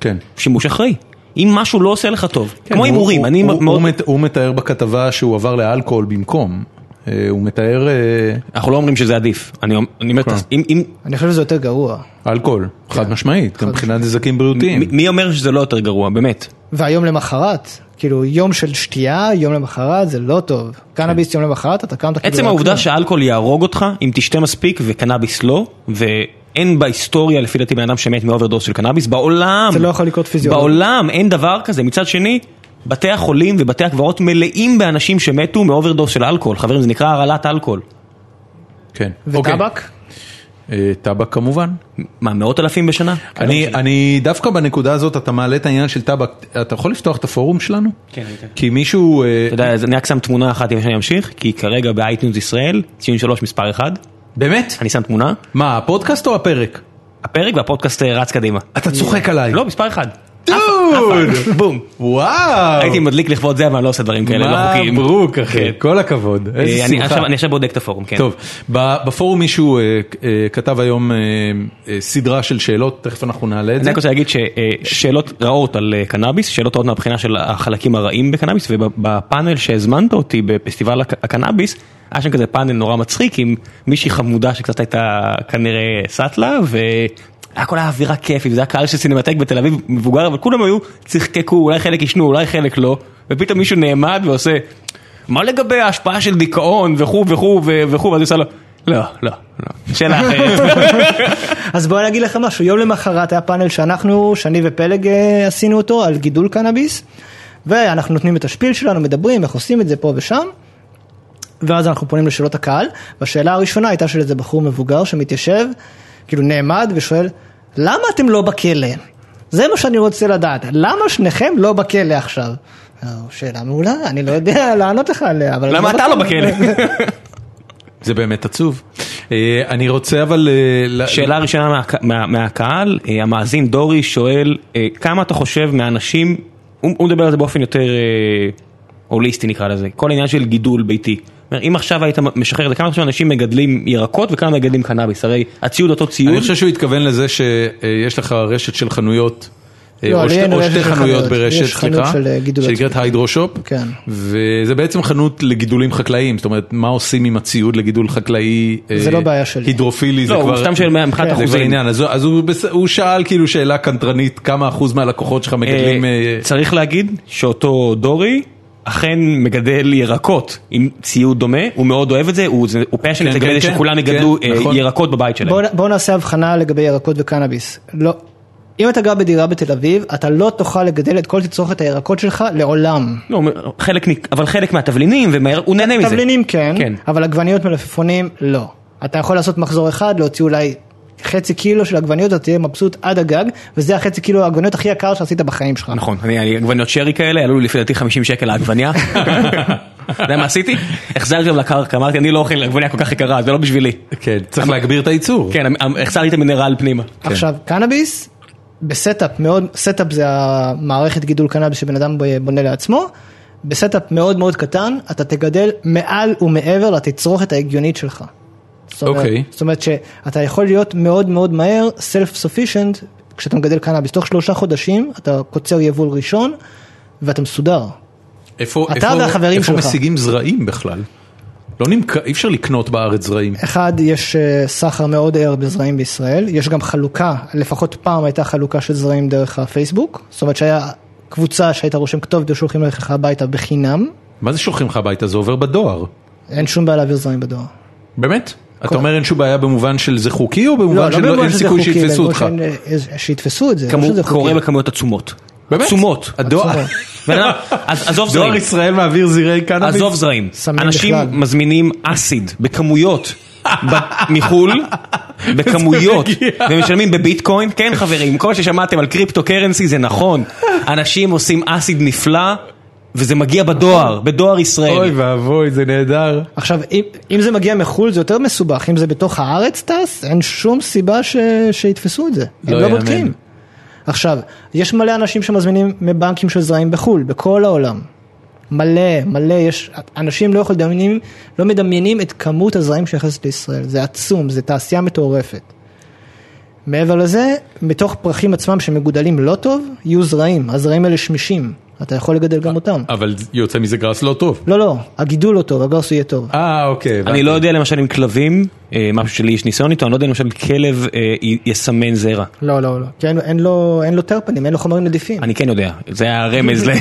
Speaker 1: כן.
Speaker 5: שימוש אחראי. אם משהו לא עושה לך טוב,
Speaker 1: כן,
Speaker 5: כמו
Speaker 1: הוא-
Speaker 5: הימורים,
Speaker 1: הוא-
Speaker 5: אני
Speaker 1: הוא-
Speaker 5: מאוד...
Speaker 1: הוא מת- הוא מתאר בכתבה שהוא עבר לאלכוהול במקום. אה, הוא מתאר אה,
Speaker 5: אנחנו לא אומרים שזה עדיף, אני אומר, אני אומר,
Speaker 1: כן.
Speaker 5: אם- אם-
Speaker 3: אני חושב שזה יותר גרוע.
Speaker 1: אלכוהול,
Speaker 5: כן.
Speaker 1: חד משמעית, גם מבחינת נזקים בריאותיים.
Speaker 5: מי- מי אומר שזה לא יותר גרוע, באמת?
Speaker 3: והיום למחרת, כאילו יום של שתייה, יום למחרת זה לא טוב. קנאביס יום למחרת, אתה קמת כאילו...
Speaker 5: כן. עצם
Speaker 3: רק
Speaker 5: העובדה
Speaker 3: לא.
Speaker 5: שאלכוהול יהרוג אותך אם תשתה מספיק וקנאביס לא, ואין בהיסטוריה לפי דעתי בן אדם שמת מאוברדוס של קנאביס, בעולם,
Speaker 3: זה לא יכול לקרות פיזיולוגית.
Speaker 5: בעולם אין דבר כזה, מצד שני, בתי החולים ובתי הקברות מלאים באנשים שמתו מאוברדוס של אלכוהול, חברים זה נקרא הרעלת אלכוהול,
Speaker 1: כן. אוקיי.
Speaker 3: וטבק?
Speaker 1: אה, טבק כמובן.
Speaker 5: מה מאות אלפים בשנה?
Speaker 1: אני, אני דווקא בנקודה הזאת, אתה מעלה את העניין של טבק, אתה יכול לפתוח את הפורום שלנו?
Speaker 5: כן, אני אתן.
Speaker 1: כי מישהו, אה,
Speaker 5: אתה יודע, אז אני רק שם תמונה אחת לפני שאני אמשיך, כי כרגע באייטיונס ישראל, ציון שלוש מספר אחד,
Speaker 1: באמת?
Speaker 5: אני שם תמונה,
Speaker 1: מה, הפודקאסט או הפרק?
Speaker 5: הפרק והפודקאסט אה, רץ קדימה.
Speaker 1: אתה צוחק עליי.
Speaker 5: לא, מספר אחד.
Speaker 1: דוד!
Speaker 5: אף אחד. בום.
Speaker 1: (laughs) וואו!
Speaker 5: הייתי מדליק לכבוד זה, אבל אני לא עושה דברים כאלה לא חוקיים.
Speaker 1: מברוק אחי,
Speaker 5: כן.
Speaker 1: כל הכבוד, איזה
Speaker 5: אה, אני
Speaker 1: שמחה.
Speaker 5: עכשיו- אני עכשיו בודק את הפורום, כן.
Speaker 1: טוב, ב- בפורום מישהו אה, אה, כתב היום אה, אה, סדרה של שאלות, תכף אנחנו נעלה את
Speaker 5: אני
Speaker 1: זה.
Speaker 5: רק רוצה להגיד ששאלות אה, רעות על אה, קנאביס, שאלות רעות מהבחינה של החלקים הרעים בקנאביס, ובפאנל שהזמנת אותי בפסטיבל הק- הקנאביס, היה שם כזה פאנל נורא מצחיק עם מישהי חמודה שקצת הייתה כנראה סאטלה, והיה כל האווירה כיפית, זה היה קהל של סינמטק בתל אביב, מבוגר, אבל כולם היו צחקקו, אולי חלק ישנו, אולי חלק לא, ופתאום מישהו נעמד ועושה, מה לגבי ההשפעה של דיכאון וכו' וכו' ו- וכו', ואז היא עושה לו, לא, לא, לא, שאלה אחרת. (laughs)
Speaker 3: אז בוא אני אגיד לך משהו, יום למחרת היה פאנל שאנחנו, שאני ופלג אה, עשינו אותו על גידול קנאביס, ואנחנו נותנים את השפיל שלנו, מדברים איך עושים את זה פה ושם, ואז אנחנו פונים לשאלות הקהל, והשאלה הראשונה הייתה של איזה בחור מבוגר שמתיישב, כאילו נעמד ושואל, למה אתם לא בכלא? זה מה שאני רוצה לדעת, למה שניכם לא בכלא עכשיו? אה, שאלה מעולה, אני לא יודע (laughs) לענות לך עליה, אבל...
Speaker 5: למה אתה לא בכלא?
Speaker 1: זה באמת עצוב. אה, אני רוצה אבל... אה, ל-
Speaker 5: שאלה ראשונה מהק- מה- מהקהל, אה, המאזין דורי שואל, אה, כמה אתה חושב מהאנשים, הוא הוא מדבר על זה באופן יותר אה, הוליסטי נקרא לזה, כל העניין של גידול ביתי. אומר, אם עכשיו היית משחרר את זה, כמה אתה חושב אנשים מגדלים ירקות וכמה מגדלים קנאביס, הרי הציוד אותו ציוד,
Speaker 1: אני חושב שהוא התכוון לזה שיש לך רשת של חנויות. אה,
Speaker 3: לא,
Speaker 1: או
Speaker 3: לי
Speaker 1: שתי-
Speaker 3: אין
Speaker 1: או
Speaker 3: רשת
Speaker 1: שתי
Speaker 3: של
Speaker 1: חנויות
Speaker 3: חנויות.
Speaker 1: ברשת,
Speaker 3: יש חנות
Speaker 1: סליחה,
Speaker 3: של, אה, גידול
Speaker 1: שנקראת היידרושופ,
Speaker 3: כן.
Speaker 1: וזה בעצם חנות לגידולים חקלאיים, זאת אומרת, מה עושים עם הציוד לגידול חקלאי אה,
Speaker 3: זה לא בעיה שלי.
Speaker 1: הידרופילי, זה
Speaker 5: לא,
Speaker 1: כבר... כן,
Speaker 5: הוא סתם שואל מה- מבחינת
Speaker 1: זה כבר
Speaker 5: אחוזים.
Speaker 1: עניין, אז הוא- אז הוא בס- הוא שאל כאילו שאלה קנטרנית, כמה אחוז מהלקוחות שלך מגדלים...
Speaker 5: אה,
Speaker 1: אה,
Speaker 5: צריך להגיד שאותו דורי אכן מגדל ירקות עם ציוד דומה, הוא מאוד אוהב את זה, הוא זה- הוא פשן
Speaker 1: כן,
Speaker 5: לגבי
Speaker 1: כן,
Speaker 5: זה
Speaker 1: כן,
Speaker 5: שכולם
Speaker 1: כן,
Speaker 5: יגדלו אה,
Speaker 1: נכון.
Speaker 5: ירקות בבית שלהם.
Speaker 3: בואו בוא נעשה הבחנה לגבי ירקות וקנאביס. לא. אם אתה גר בדירה בתל אביב, אתה לא תוכל לגדל את כל תצרוכת הירקות שלך לעולם.
Speaker 5: לא, חלק, ניק- אבל חלק מהתבלינים, ומהר- הוא נהנה מזה.
Speaker 3: תבלינים כן,
Speaker 5: כן.
Speaker 3: אבל עגבניות מלפפונים לא. אתה יכול לעשות מחזור אחד, להוציא אולי חצי קילו של עגבניות, אתה תהיה מבסוט עד הגג, וזה החצי קילו העגבניות הכי יקר שעשית בחיים שלך.
Speaker 5: נכון, אני, אני עגבניות שרי כאלה, עלו לי לפי דעתי 50 שקל העגבניה. אתה יודע מה עשיתי? החזרתי אותם לקרקע, אמרתי אני לא אוכל עגבניה כל כך יקרה, זה לא בשבילי.
Speaker 1: כן, צריך להגביר את הייצור.
Speaker 5: כן, המ- החזרתי את המינרל פנימה.
Speaker 3: עכשיו, קנאביס, בסטאפ מאוד, סטאפ זה המערכת גידול קנאביס שבן אדם בונה לעצמו, בסטאפ מאוד מאוד קטן, אתה תגדל מעל ומעבר לתצרוכת ההגיונית שלך. זאת אומרת-
Speaker 1: אוקיי.
Speaker 3: זאת אומרת שאתה יכול להיות מאוד מאוד מהר self sufficient כשאתה מגדל קנאביס, תוך שלושה חודשים אתה קוצר יבול ראשון ואתה מסודר.
Speaker 1: איפה
Speaker 3: אתה
Speaker 1: איפה-
Speaker 3: והחברים
Speaker 1: איפה
Speaker 3: שלך.
Speaker 1: משיגים זרעים בכלל? לא נמכר, אי אפשר לקנות בארץ זרעים.
Speaker 3: אחד, יש אה, סחר מאוד ער בזרעים בישראל, יש גם חלוקה, לפחות פעם הייתה חלוקה של זרעים דרך הפייסבוק, זאת אומרת שהיה קבוצה שהיית רושם כתובת ושולחים לך הביתה בחינם,
Speaker 1: מה זה שולחים לך הביתה? זה עובר בדואר.
Speaker 3: אין שום בעיה להעביר זרעים בדואר.
Speaker 1: באמת? אתה אומר אין שום בעיה במובן של זה חוקי או במובן של לא-
Speaker 3: במובן
Speaker 1: אין
Speaker 3: לא, שזה
Speaker 1: סיכוי
Speaker 3: חוקי,
Speaker 1: שיתפסו
Speaker 3: במובן
Speaker 1: אותך?
Speaker 3: שאין, אה, שיתפסו את זה, לא שזה
Speaker 5: כמובן
Speaker 3: חוקי.
Speaker 5: קורה בכמויות עצומות.
Speaker 1: באמת? (laughs)
Speaker 5: עצומות.
Speaker 1: הדואר-
Speaker 3: עצומות.
Speaker 5: בן אדם, אז- עזוב
Speaker 1: דואר
Speaker 5: זרעים.
Speaker 1: ישראל מעביר זרעי קנאביס?
Speaker 5: עזוב זרעים.
Speaker 3: סמים
Speaker 5: אנשים
Speaker 3: בכלל.
Speaker 5: מזמינים אסיד בכמויות ב-
Speaker 1: (laughs)
Speaker 5: מחו"ל, בכמויות,
Speaker 1: מגיע.
Speaker 5: ומשלמים בביטקוין. כן חברים, כל מה ששמעתם על קריפטו קרנסי זה נכון. אנשים עושים אסיד נפלא, וזה מגיע בדואר, בדואר
Speaker 1: אוי
Speaker 5: ישראל.
Speaker 1: ואבוי, זה נהדר.
Speaker 3: עכשיו, אם, אם זה מגיע מחו"ל זה יותר מסובך, אם זה בתוך הארץ טס, אין שום סיבה ש, שיתפסו את זה.
Speaker 1: לא
Speaker 3: הם לא
Speaker 1: יאמן.
Speaker 3: בודקים. עכשיו, יש מלא אנשים שמזמינים מבנקים של זרעים בחו"ל, בכל העולם. מלא, מלא, יש, אנשים לא יכולים לדמיינים, לא מדמיינים את כמות הזרעים שנכנסת לישראל, זה עצום, זה תעשייה מטורפת. מעבר לזה, מתוך פרחים עצמם שמגודלים לא טוב, יהיו זרעים, הזרעים האלה שמישים, אתה יכול לגדל גם אותם.
Speaker 1: אבל יוצא מזה גראס לא טוב.
Speaker 3: לא, לא, הגידול לא טוב, הגרס יהיה טוב.
Speaker 1: אה, אוקיי. הבנתי.
Speaker 5: אני לא יודע למשל אם כלבים, אה, משהו שלי יש ניסיון איתו, אני לא יודע אם למשל כלב אה, י- יסמן זרע.
Speaker 3: לא, לא, לא. כי אין, אין, לו, אין לו טרפנים, אין לו חומרים נדיפים.
Speaker 5: אני כן יודע, זה היה הרמז ל...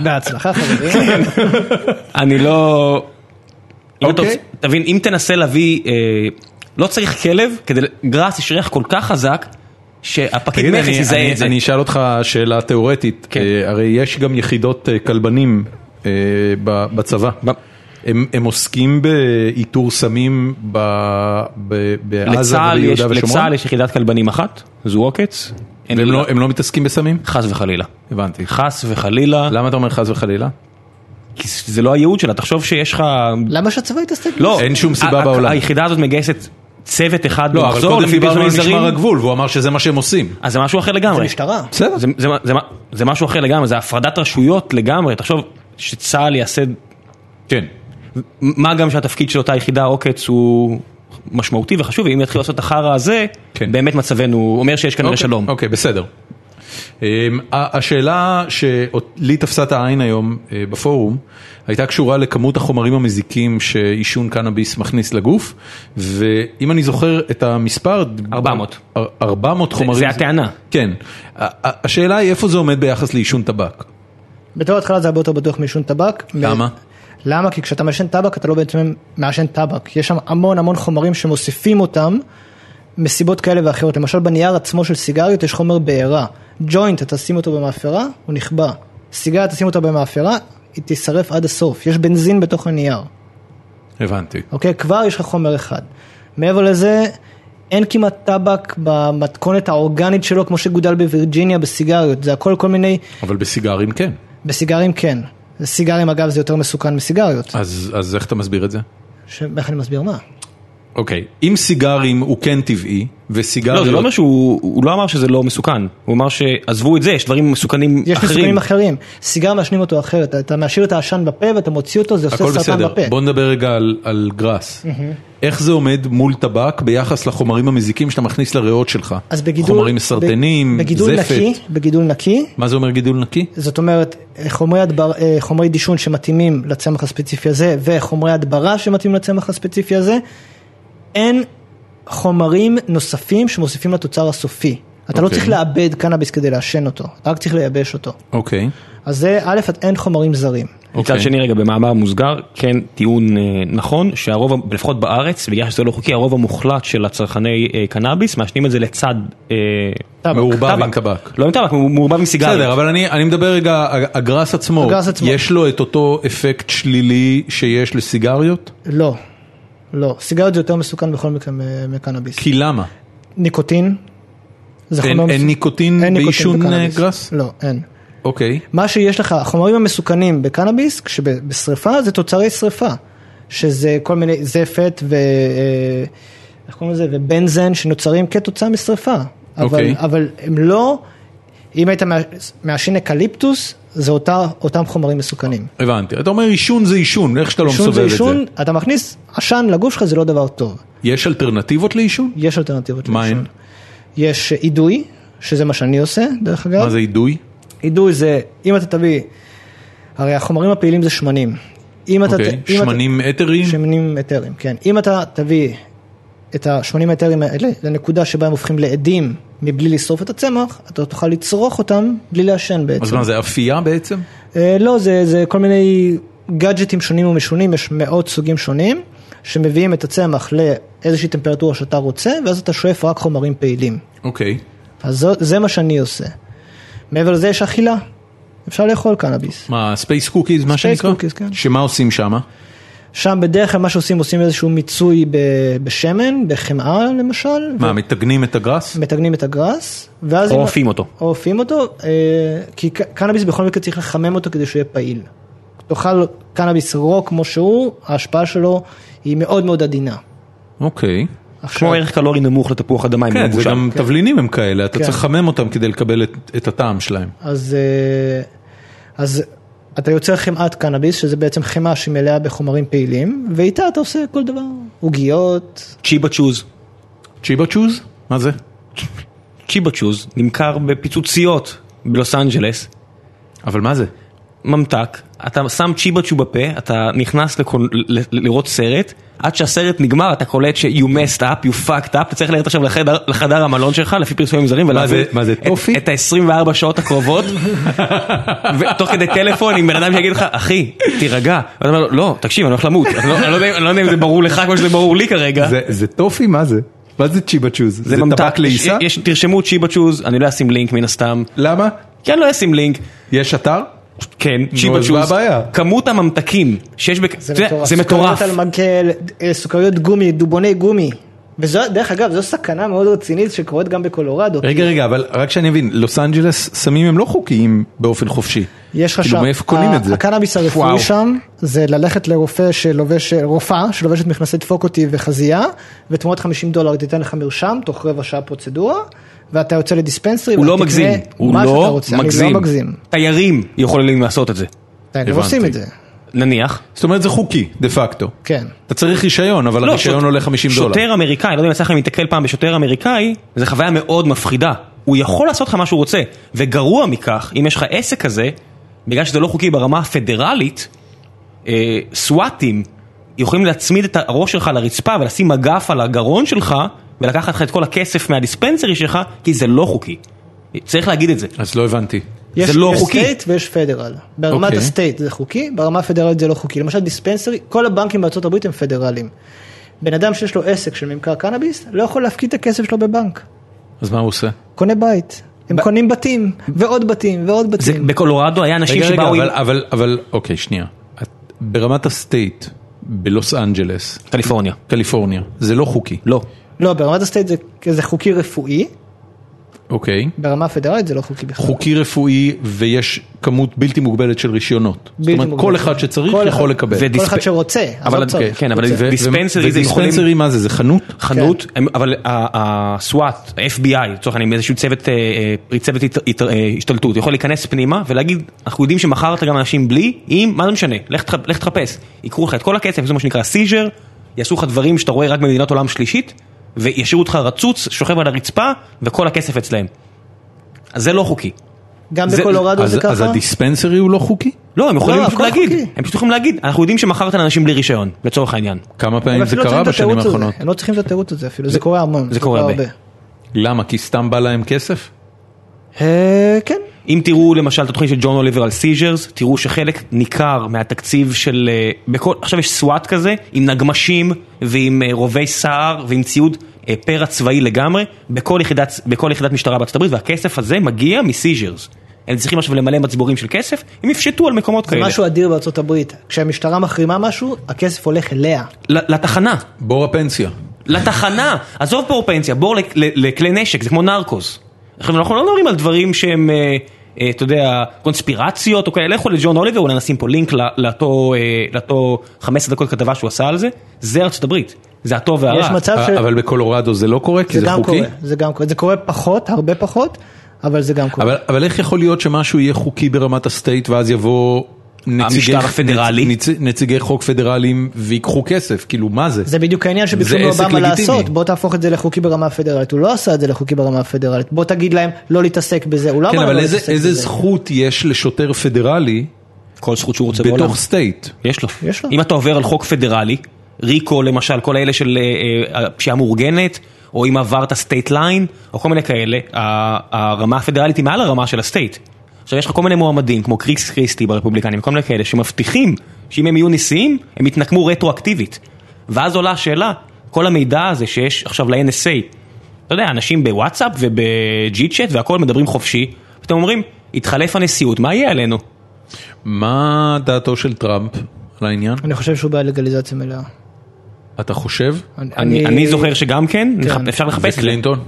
Speaker 3: בהצלחה חברים.
Speaker 5: אני לא... אם אתה
Speaker 1: אוקיי.
Speaker 5: רוצה- תבין, אם תנסה להביא... אה, לא צריך כלב, כדי... גראס יש ריח כל כך חזק, שהפקיד
Speaker 1: תגיד,
Speaker 5: מכס
Speaker 1: אני-
Speaker 5: יזהה
Speaker 1: אני-
Speaker 5: את זה.
Speaker 1: אני אשאל אותך שאלה תיאורטית.
Speaker 5: כן.
Speaker 1: אה, הרי יש גם יחידות אה, כלבנים אה, ב- בצבא.
Speaker 5: ב-
Speaker 1: הם, הם עוסקים באיתור סמים ב, ב, בעזה
Speaker 5: לצה"ל יש-
Speaker 1: וביהודה ושומרון?
Speaker 5: לצה"ל יש יחידת כלבנים אחת, זו עוקץ. אין
Speaker 1: והם
Speaker 5: לה-
Speaker 1: לא, הם לא מתעסקים בסמים?
Speaker 5: חס וחלילה.
Speaker 1: הבנתי.
Speaker 5: חס וחלילה,
Speaker 1: למה אתה אומר חס וחלילה?
Speaker 5: כי זה לא הייעוד שלה, תחשוב שיש לך...
Speaker 3: למה שהצבא יתעסק?
Speaker 5: לא,
Speaker 1: אין שום סיבה
Speaker 5: ה- ה-
Speaker 1: בעולם.
Speaker 5: היחידה הזאת מגייסת צוות אחד
Speaker 1: לא, אבל קודם
Speaker 5: למפגעים
Speaker 1: דיברנו על
Speaker 5: זרים.
Speaker 1: משמר הגבול, והוא אמר שזה מה שהם עושים.
Speaker 5: אז זה משהו אחר לגמרי.
Speaker 3: זה משטרה.
Speaker 1: בסדר.
Speaker 5: זה, זה, זה, זה משהו אחר לגמרי, זה הפרדת רשויות לגמרי, תחשוב שצה"ל יעשה,
Speaker 1: כן.
Speaker 5: מה גם שהתפקיד של אותה יחידה עוקץ הוא משמעותי וחשוב, ואם יתחילו לעשות את החרא הזה,
Speaker 1: כן.
Speaker 5: באמת מצבנו, הוא אומר שיש כנראה
Speaker 1: אוקיי,
Speaker 5: שלום.
Speaker 1: אוקיי, בסדר. אמ, ה- השאלה שלי תפסה את העין היום אה, בפורום, הייתה קשורה לכמות החומרים המזיקים שעישון קנאביס מכניס לגוף, ואם אני זוכר את המספר...
Speaker 5: 400.
Speaker 1: אר- 400 חומרים...
Speaker 5: זה הטענה.
Speaker 1: כן. ה- ה- השאלה היא איפה זה עומד ביחס לעישון טבק.
Speaker 3: בתור התחלה זה הרבה יותר בטוח מעישון טבק.
Speaker 1: למה?
Speaker 3: למה? כי כשאתה מעשן טבק אתה לא בעצם מעשן טבק. יש שם המון המון חומרים שמוסיפים אותם מסיבות כאלה ואחרות. למשל בנייר עצמו של סיגריות יש חומר בעירה. ג'וינט, אתה שים אותו במאפרה, הוא נכבה. סיגריה, תשים אותה במאפרה, היא תישרף עד הסוף. יש בנזין בתוך הנייר.
Speaker 1: הבנתי.
Speaker 3: אוקיי? כבר יש לך חומר אחד. מעבר לזה, אין כמעט טבק במתכונת האורגנית שלו, כמו שגודל בווירג'יניה בסיגריות. זה הכל כל מיני,
Speaker 1: אבל בסיגרים כן.
Speaker 3: בסיגרים כן. סיגרים אגב זה יותר מסוכן מסיגריות.
Speaker 1: אז אז איך אתה מסביר את זה?
Speaker 3: ש... איך אני מסביר מה?
Speaker 1: אוקיי, אם סיגרים הוא כן טבעי,
Speaker 5: לא,
Speaker 1: וסיגריות...
Speaker 5: זה לא אומר שהוא, הוא לא אמר שזה לא מסוכן, הוא אמר שעזבו את זה, יש דברים מסוכנים
Speaker 3: יש
Speaker 5: אחרים.
Speaker 3: מסוכנים אחרים. סיגר מעשנים אותו אחרת. אתה משאיר את העשן בפה ואתה מוציא אותו, זה עושה
Speaker 1: הכל
Speaker 3: סרטן
Speaker 1: בסדר,
Speaker 3: בפה.
Speaker 1: בוא נדבר רגע על, על גראס. איך זה עומד מול טבק ביחס לחומרים המזיקים שאתה מכניס לריאות שלך?
Speaker 3: אז בגידול,
Speaker 1: חומרים
Speaker 3: ב-
Speaker 1: מסרטנים,
Speaker 3: בגידול
Speaker 1: זפת.
Speaker 3: נקי, בגידול נקי,
Speaker 1: מה זה אומר גידול נקי?
Speaker 3: זאת אומרת חומרי, הדבר, אה, חומרי דישון שמתאימים לצמח הספציפי הזה וחומרי הדברה שמתאימים לצמח הספציפי הזה, אין חומרים נוספים שמוסיפים לתוצר הסופי. אתה לא
Speaker 1: אוקיי.
Speaker 3: צריך לעבד קנאביס כדי לעשן אותו, אתה רק צריך לייבש אותו.
Speaker 1: אוקיי.
Speaker 3: אז זה א', אין חומרים זרים.
Speaker 1: אוקיי.
Speaker 5: מצד שני רגע במאמר מוסגר כן טיעון אה, נכון שהרוב ה- לפחות בארץ בגלל שזה לא חוקי הרוב המוחלט של הצרכני אה, קנאביס מעשנים את זה לצד אה,
Speaker 3: טבק.
Speaker 1: מעורבב עם טבק.
Speaker 5: לא עם טבק הוא מעורבב עם
Speaker 1: בסדר,
Speaker 5: סיגריות.
Speaker 1: אבל אני, אני מדבר רגע, ה- הגראס עצמו,
Speaker 3: הגראס עצמו.
Speaker 1: יש לו את אותו אפקט שלילי שיש לסיגריות?
Speaker 3: לא, לא. סיגריות זה יותר מסוכן בכל מקרה מ- מקנאביס.
Speaker 1: כי למה?
Speaker 3: ניקוטין, זה
Speaker 1: אין-
Speaker 3: חומר
Speaker 1: אין
Speaker 3: מסוכן.
Speaker 1: ניקוטין
Speaker 3: אין ניקוטין
Speaker 1: בעישון, אה,
Speaker 3: בקנאביס.
Speaker 1: גראס?
Speaker 3: לא, אין.
Speaker 1: אוקיי.
Speaker 3: מה שיש לך, החומרים המסוכנים בקנאביס, כשבשריפה זה תוצרי שריפה, שזה כל מיני זפת ו... אה, איך קוראים לזה? ובנזן שנוצרים כתוצאה משריפה. אבל,
Speaker 1: אוקיי.
Speaker 3: אבל הם לא, אם היית מע- מעשן אקליפטוס, זה אותה, אותם חומרים מסוכנים.
Speaker 1: הבנתי. אתה אומר עישון זה עישון, איך שאתה לא
Speaker 3: עישון
Speaker 1: מסובב
Speaker 3: זה
Speaker 1: את זה.
Speaker 3: עישון, אתה מכניס עשן לגוף שלך, זה לא דבר טוב.
Speaker 1: יש אלטרנטיבות לעישון?
Speaker 3: יש אלטרנטיבות.
Speaker 1: מה
Speaker 3: לעישון.
Speaker 1: הן?
Speaker 3: יש אידוי, שזה מה שאני עושה, דרך אגב.
Speaker 1: מה זה אידוי?
Speaker 3: אידוי זה, אם אתה תביא הרי החומרים הפעילים זה שמנים. אם אתה...
Speaker 1: אוקיי,
Speaker 3: אם אתה-
Speaker 1: שמנים אתרים?
Speaker 3: שמנים אתרים, כן. אם אתה תביא את השמנים האתרים האלה לנקודה שבה הם הופכים לעדים מבלי לשרוף את הצמח, אתה תוכל לצרוך אותם בלי לעשן בעצם.
Speaker 1: אז מה זה אפייה בעצם?
Speaker 3: אה, לא, זה, זה כל מיני גאדג'טים שונים ומשונים, יש מאות סוגים שונים, שמביאים את הצמח לאיזושהי טמפרטורה שאתה רוצה, ואז אתה שואף רק חומרים פעילים.
Speaker 1: אוקיי.
Speaker 3: אז זו, זה מה שאני עושה. מעבר לזה יש אכילה, אפשר לאכול קנאביס.
Speaker 1: מה, ספייס קוקיז, מה
Speaker 3: Space
Speaker 1: שנקרא?
Speaker 3: cookies, כן.
Speaker 1: שמה עושים שמה?
Speaker 3: שם בדרך כלל מה שעושים, עושים איזשהו מיצוי ב- בשמן, בחמאה למשל,
Speaker 1: מה, מתגנים את הגראס?
Speaker 3: מתגנים את הגראס, ואז...
Speaker 5: או
Speaker 3: אם-
Speaker 5: עופים אותו.
Speaker 3: או עופים אותו, אה, כי ק- קנאביס בכל מקרה צריך לחמם אותו כדי שהוא יהיה פעיל. תאכל קנאביס רוק כמו שהוא, ההשפעה שלו היא מאוד מאוד עדינה.
Speaker 1: אוקיי.
Speaker 3: עכשיו,
Speaker 5: כמו ערך קלורי נמוך לתפוח אדמה. אם הוא
Speaker 1: כן, זה
Speaker 5: מבושל.
Speaker 1: גם תבלינים הם כאלה, אתה
Speaker 3: כן.
Speaker 1: צריך לחמם אותם כדי לקבל את- את הטעם שלהם.
Speaker 3: אז, אה, אז אתה יוצר חמאת קנאביס, שזה בעצם חמאה שמלאה בחומרים פעילים, ואיתה אתה עושה כל דבר, עוגיות,
Speaker 5: צ'יבה צ'וז.
Speaker 1: צ'יבה צ'וז? מה זה?
Speaker 5: צ'יבה צ'וז נמכר בפיצוציות בלוס אנג'לס.
Speaker 1: אבל מה זה?
Speaker 5: ממתק, אתה שם צ'יבה צ'ו בפה, אתה נכנס לקול- ל- ל- לראות סרט, עד שהסרט נגמר אתה קולט ש- you messed up, you fucked up, אתה צריך ללכת עכשיו לחדר, לחדר המלון שלך לפי פרסומים זרים ולהבין
Speaker 1: זה- מה זה,
Speaker 5: את-
Speaker 1: טופי?
Speaker 5: את ה-24
Speaker 1: (laughs)
Speaker 5: שעות הקרובות, ותוך כדי טלפון עם בן אדם שיגיד לך, אחי, תירגע, ואתה אומר לו, לא, תקשיב, אני הולך למות, אני לא- אני לא יודע- אני לא יודע אם זה ברור לך כמו שזה ברור לי כרגע.
Speaker 1: זה- זה טופי? מה זה? מה זה צ'יבה צ'וז? זה
Speaker 5: ממתק.
Speaker 1: טבק
Speaker 5: יש-
Speaker 1: לעיסה?
Speaker 5: יש- תרשמו צ'יבה צ'וז, אני לא אשים לינק מן הסתם,
Speaker 1: למה?
Speaker 5: כי אני לא אשים לינק,
Speaker 1: יש אתר?
Speaker 5: כן, צ'יבה
Speaker 1: אז מה
Speaker 5: צ'וז,
Speaker 1: הבעיה?
Speaker 5: כמות הממתקים שיש, בק- אתה יודע, זה מטורף,
Speaker 3: סוכריות על מקל, אה, סוכריות גומי, דובוני גומי. וזו, דרך אגב, זו סכנה מאוד רצינית שקורית גם בקולורדו.
Speaker 5: אה,
Speaker 1: רגע, רגע, אבל רק שאני אבין, לוס אנג'לס סמים הם לא חוקיים באופן חופשי.
Speaker 3: יש לך שם,
Speaker 1: כאילו מאיפה קונים
Speaker 3: ה-
Speaker 1: את זה?
Speaker 3: הקנאביס
Speaker 1: וואו.
Speaker 3: הרפואי שם זה ללכת לרופא שלובש, אה, רופאה שלובשת מכנסי דפוקוטי וחזייה, ותמורת 50 דולר היא תיתן לך מרשם תוך רבע שעה פרוצדורה, ואתה יוצא לדיספנסרי,
Speaker 5: הוא לא
Speaker 3: ואתה תקנה
Speaker 5: מגזים, הוא
Speaker 3: מה שאתה
Speaker 5: לא
Speaker 3: רוצה, אני
Speaker 5: מגזים,
Speaker 3: לא מגזים, כן,
Speaker 5: תיירים יכולים לעשות את זה,
Speaker 3: הם גם עושים את זה,
Speaker 5: נניח,
Speaker 1: זאת אומרת זה חוקי, דה פקטו.
Speaker 3: כן.
Speaker 1: אתה צריך רישיון, אבל
Speaker 5: לא,
Speaker 1: הרישיון
Speaker 5: שוט-
Speaker 1: עולה 50 דולר.
Speaker 5: שוטר אמריקאי, לא יודע אם יצא לכם להתקל פעם בשוטר אמריקאי, זה חוויה מאוד מפחידה, הוא יכול לעשות לך מה שהוא רוצה, וגרוע מכך, אם יש לך עסק כזה, בגלל שזה לא חוקי ברמה הפדרלית, אה, סוואטים יכולים להצמיד את הראש שלך לרצפה ולשים מגף על הגרון שלך, ולקחת לך את כל הכסף מהדיספנסרי שלך, כי זה לא חוקי, צריך להגיד את זה.
Speaker 1: אז לא הבנתי.
Speaker 3: יש,
Speaker 5: לא
Speaker 3: יש
Speaker 5: חוקי.
Speaker 3: סטייט ויש פדרל. ברמת
Speaker 1: אוקיי.
Speaker 3: הסטייט זה חוקי, ברמה הפדרלית זה לא חוקי. למשל דיספנסרי, כל הבנקים בארצות הברית הם פדרליים. בן אדם שיש לו עסק של ממכר קנאביס, לא יכול להפקיד את הכסף שלו בבנק.
Speaker 1: אז מה הוא עושה?
Speaker 3: קונה בית. הם קונים בתים, ועוד בתים, ועוד
Speaker 5: זה,
Speaker 3: בתים.
Speaker 5: בקולורדו היה אנשים
Speaker 1: רגע, רגע,
Speaker 5: שבאו עם...
Speaker 1: אבל, אבל, אבל, אוקיי, שנייה. את- ברמת הסטייט, בלוס אנג'לס,
Speaker 5: קליפורניה.
Speaker 1: קליפורניה, זה לא חוקי.
Speaker 5: לא.
Speaker 3: לא, ברמת הסטייט זה, זה חוקי רפואי,
Speaker 1: אוקיי.
Speaker 3: ברמה הפדרלית זה לא חוקי בכלל.
Speaker 1: חוקי רפואי ויש כמות בלתי מוגבלת של רישיונות. זאת אומרת,
Speaker 3: מוגבלת.
Speaker 1: כל אחד שצריך
Speaker 3: כל
Speaker 1: יכול
Speaker 3: אחד.
Speaker 1: לקבל.
Speaker 5: ודיספ-
Speaker 3: כל אחד שרוצה, אז
Speaker 5: אבל-
Speaker 3: לא צריך.
Speaker 5: כן, אבל
Speaker 3: רוצה.
Speaker 1: ו-
Speaker 5: דיספנסרי זה יכולים-
Speaker 1: ודיספנסרי מה זה? זה חנות?
Speaker 5: חנות, כן. אבל הסוואט, ה-FBI, לצורך העניין, איזשהו צוות, אה, אה, פרי צוות הת- הת- אה, השתלטות, יכול להיכנס פנימה ולהגיד, אנחנו יודעים שמכרת גם אנשים בלי, אם, מה זה משנה, לך תח- לך תחפש, יקחו לך את כל הכסף, זה מה שנקרא סיז'ר, יעשו לך דברים שאתה רואה רק במדינות עולם שלישית, וישאירו אותך רצוץ, שוכב על הרצפה, וכל הכסף אצלהם. אז זה לא חוקי.
Speaker 3: גם
Speaker 5: זה-
Speaker 3: בקולורדו
Speaker 1: אז,
Speaker 3: זה
Speaker 1: אז
Speaker 3: ככה.
Speaker 1: הדיספנסרי הוא לא חוקי?
Speaker 5: לא, הם יכולים
Speaker 3: לא,
Speaker 5: פשוט
Speaker 3: הכל
Speaker 5: להגיד,
Speaker 3: חוקי.
Speaker 5: הם פשוט יכולים להגיד, אנחנו יודעים שמכרת לאנשים בלי רישיון, לצורך העניין.
Speaker 1: כמה
Speaker 3: הם
Speaker 1: פעמים זה
Speaker 3: אפילו לא
Speaker 1: קרה
Speaker 3: צריכים את
Speaker 1: בשנים
Speaker 3: התירוץ הזה.
Speaker 1: האחרונות?
Speaker 3: הם לא צריכים את התירוץ הזה אפילו, זה קורה המון.
Speaker 5: זה קורה הרבה.
Speaker 1: למה? כי סתם בא להם כסף?
Speaker 3: אה, כן.
Speaker 5: אם תראו למשל את התוכנית של ג'ון אוליבר על סיז'רס, תראו שחלק ניכר מהתקציב של... אה, בכל, עכשיו יש סוואט כזה, עם נגמשים ועם אה, רובי סער ועם ציוד אה, פרא צבאי לגמרי, בכל יחידת, בכל יחידת משטרה בארצות הברית, והכסף הזה מגיע מסיז'רס. הם צריכים עכשיו למלא מצבורים של כסף, הם יפשטו על מקומות
Speaker 3: זה
Speaker 5: כאלה.
Speaker 3: משהו אדיר בארצות הברית. כשהמשטרה מחרימה משהו, הכסף הולך אליה.
Speaker 5: ל- לתחנה,
Speaker 1: בור הפנסיה.
Speaker 5: לתחנה, עזוב פרופנציה, בור לק- ל- לכלי נשק, זה כמו נרקוס. עכשיו אנחנו לא מדברים על דברים שהם, אה, אה, אתה יודע, קונספירציות או כאלה, לכו לג'ון אוליבר, אולי נשים פה לינק ל- לאותו אה, לאותו 15 דקות כתבה שהוא עשה על זה, זה ארצות הברית, זה הטוב והרע.
Speaker 3: יש מצב ש...
Speaker 1: אה, אבל בקולורדו זה לא קורה? כי
Speaker 3: זה
Speaker 1: זה
Speaker 3: גם
Speaker 1: חוקי?
Speaker 3: קורה, זה גם קורה. זה קורה פחות, הרבה פחות, אבל זה גם קורה.
Speaker 1: אבל, אבל איך יכול להיות שמשהו יהיה חוקי ברמת הסטייט ואז יבוא נציגי,
Speaker 5: המשטר הפדרלי.
Speaker 1: נצ, נצ, נציגי חוק פדרליים ויקחו כסף? כאילו מה זה?
Speaker 3: זה בדיוק העניין שביקשו
Speaker 1: זה עסק
Speaker 3: מאובמה
Speaker 1: לגיטימי.
Speaker 3: לעשות, בוא תהפוך את זה לחוקי ברמה הפדרלית, הוא לא עשה את זה לחוקי ברמה הפדרלית, בוא תגיד להם לא להתעסק בזה, הוא לא
Speaker 1: כן,
Speaker 3: אמר להם
Speaker 1: אבל
Speaker 3: לא
Speaker 1: איזה,
Speaker 3: להתעסק
Speaker 1: איזה
Speaker 3: בזה.
Speaker 1: זכות יש לשוטר פדרלי
Speaker 5: כל זכות שהוא רוצה בעולם.
Speaker 1: בתוך סטייט.
Speaker 5: יש לו.
Speaker 3: יש לו.
Speaker 5: אם אתה עובר על חוק פדרלי, ריקו למשל, כל האלה של אה, אה, הפשיעה המאורגנת, או אם עברת סטייט ליין, או כל מיני כאלה, ה- הרמה הפדרלית היא מעל הרמה של הסטייט. עכשיו יש לך כל מיני מועמדים, כמו קריס קריסטי ברפובליקנים, כל מיני כאלה, שמבטיחים שאם הם יהיו נשיאים, הם יתנקמו רטרואקטיבית. ואז עולה השאלה, כל המידע הזה שיש עכשיו ל-NSA, אתה יודע, אנשים בוואטסאפ ובג'י צ'אט והכל מדברים חופשי, ואתם אומרים, התחלף הנשיאות, מה יהיה עלינו?
Speaker 1: מה דעתו של טראמפ על העניין?
Speaker 3: אני חושב שהוא בעד לגליזציה מלאה.
Speaker 1: אתה חושב?
Speaker 5: אני, אני זוכר שגם כן, כן. אפשר לחפש את זה.
Speaker 1: וקלינטון?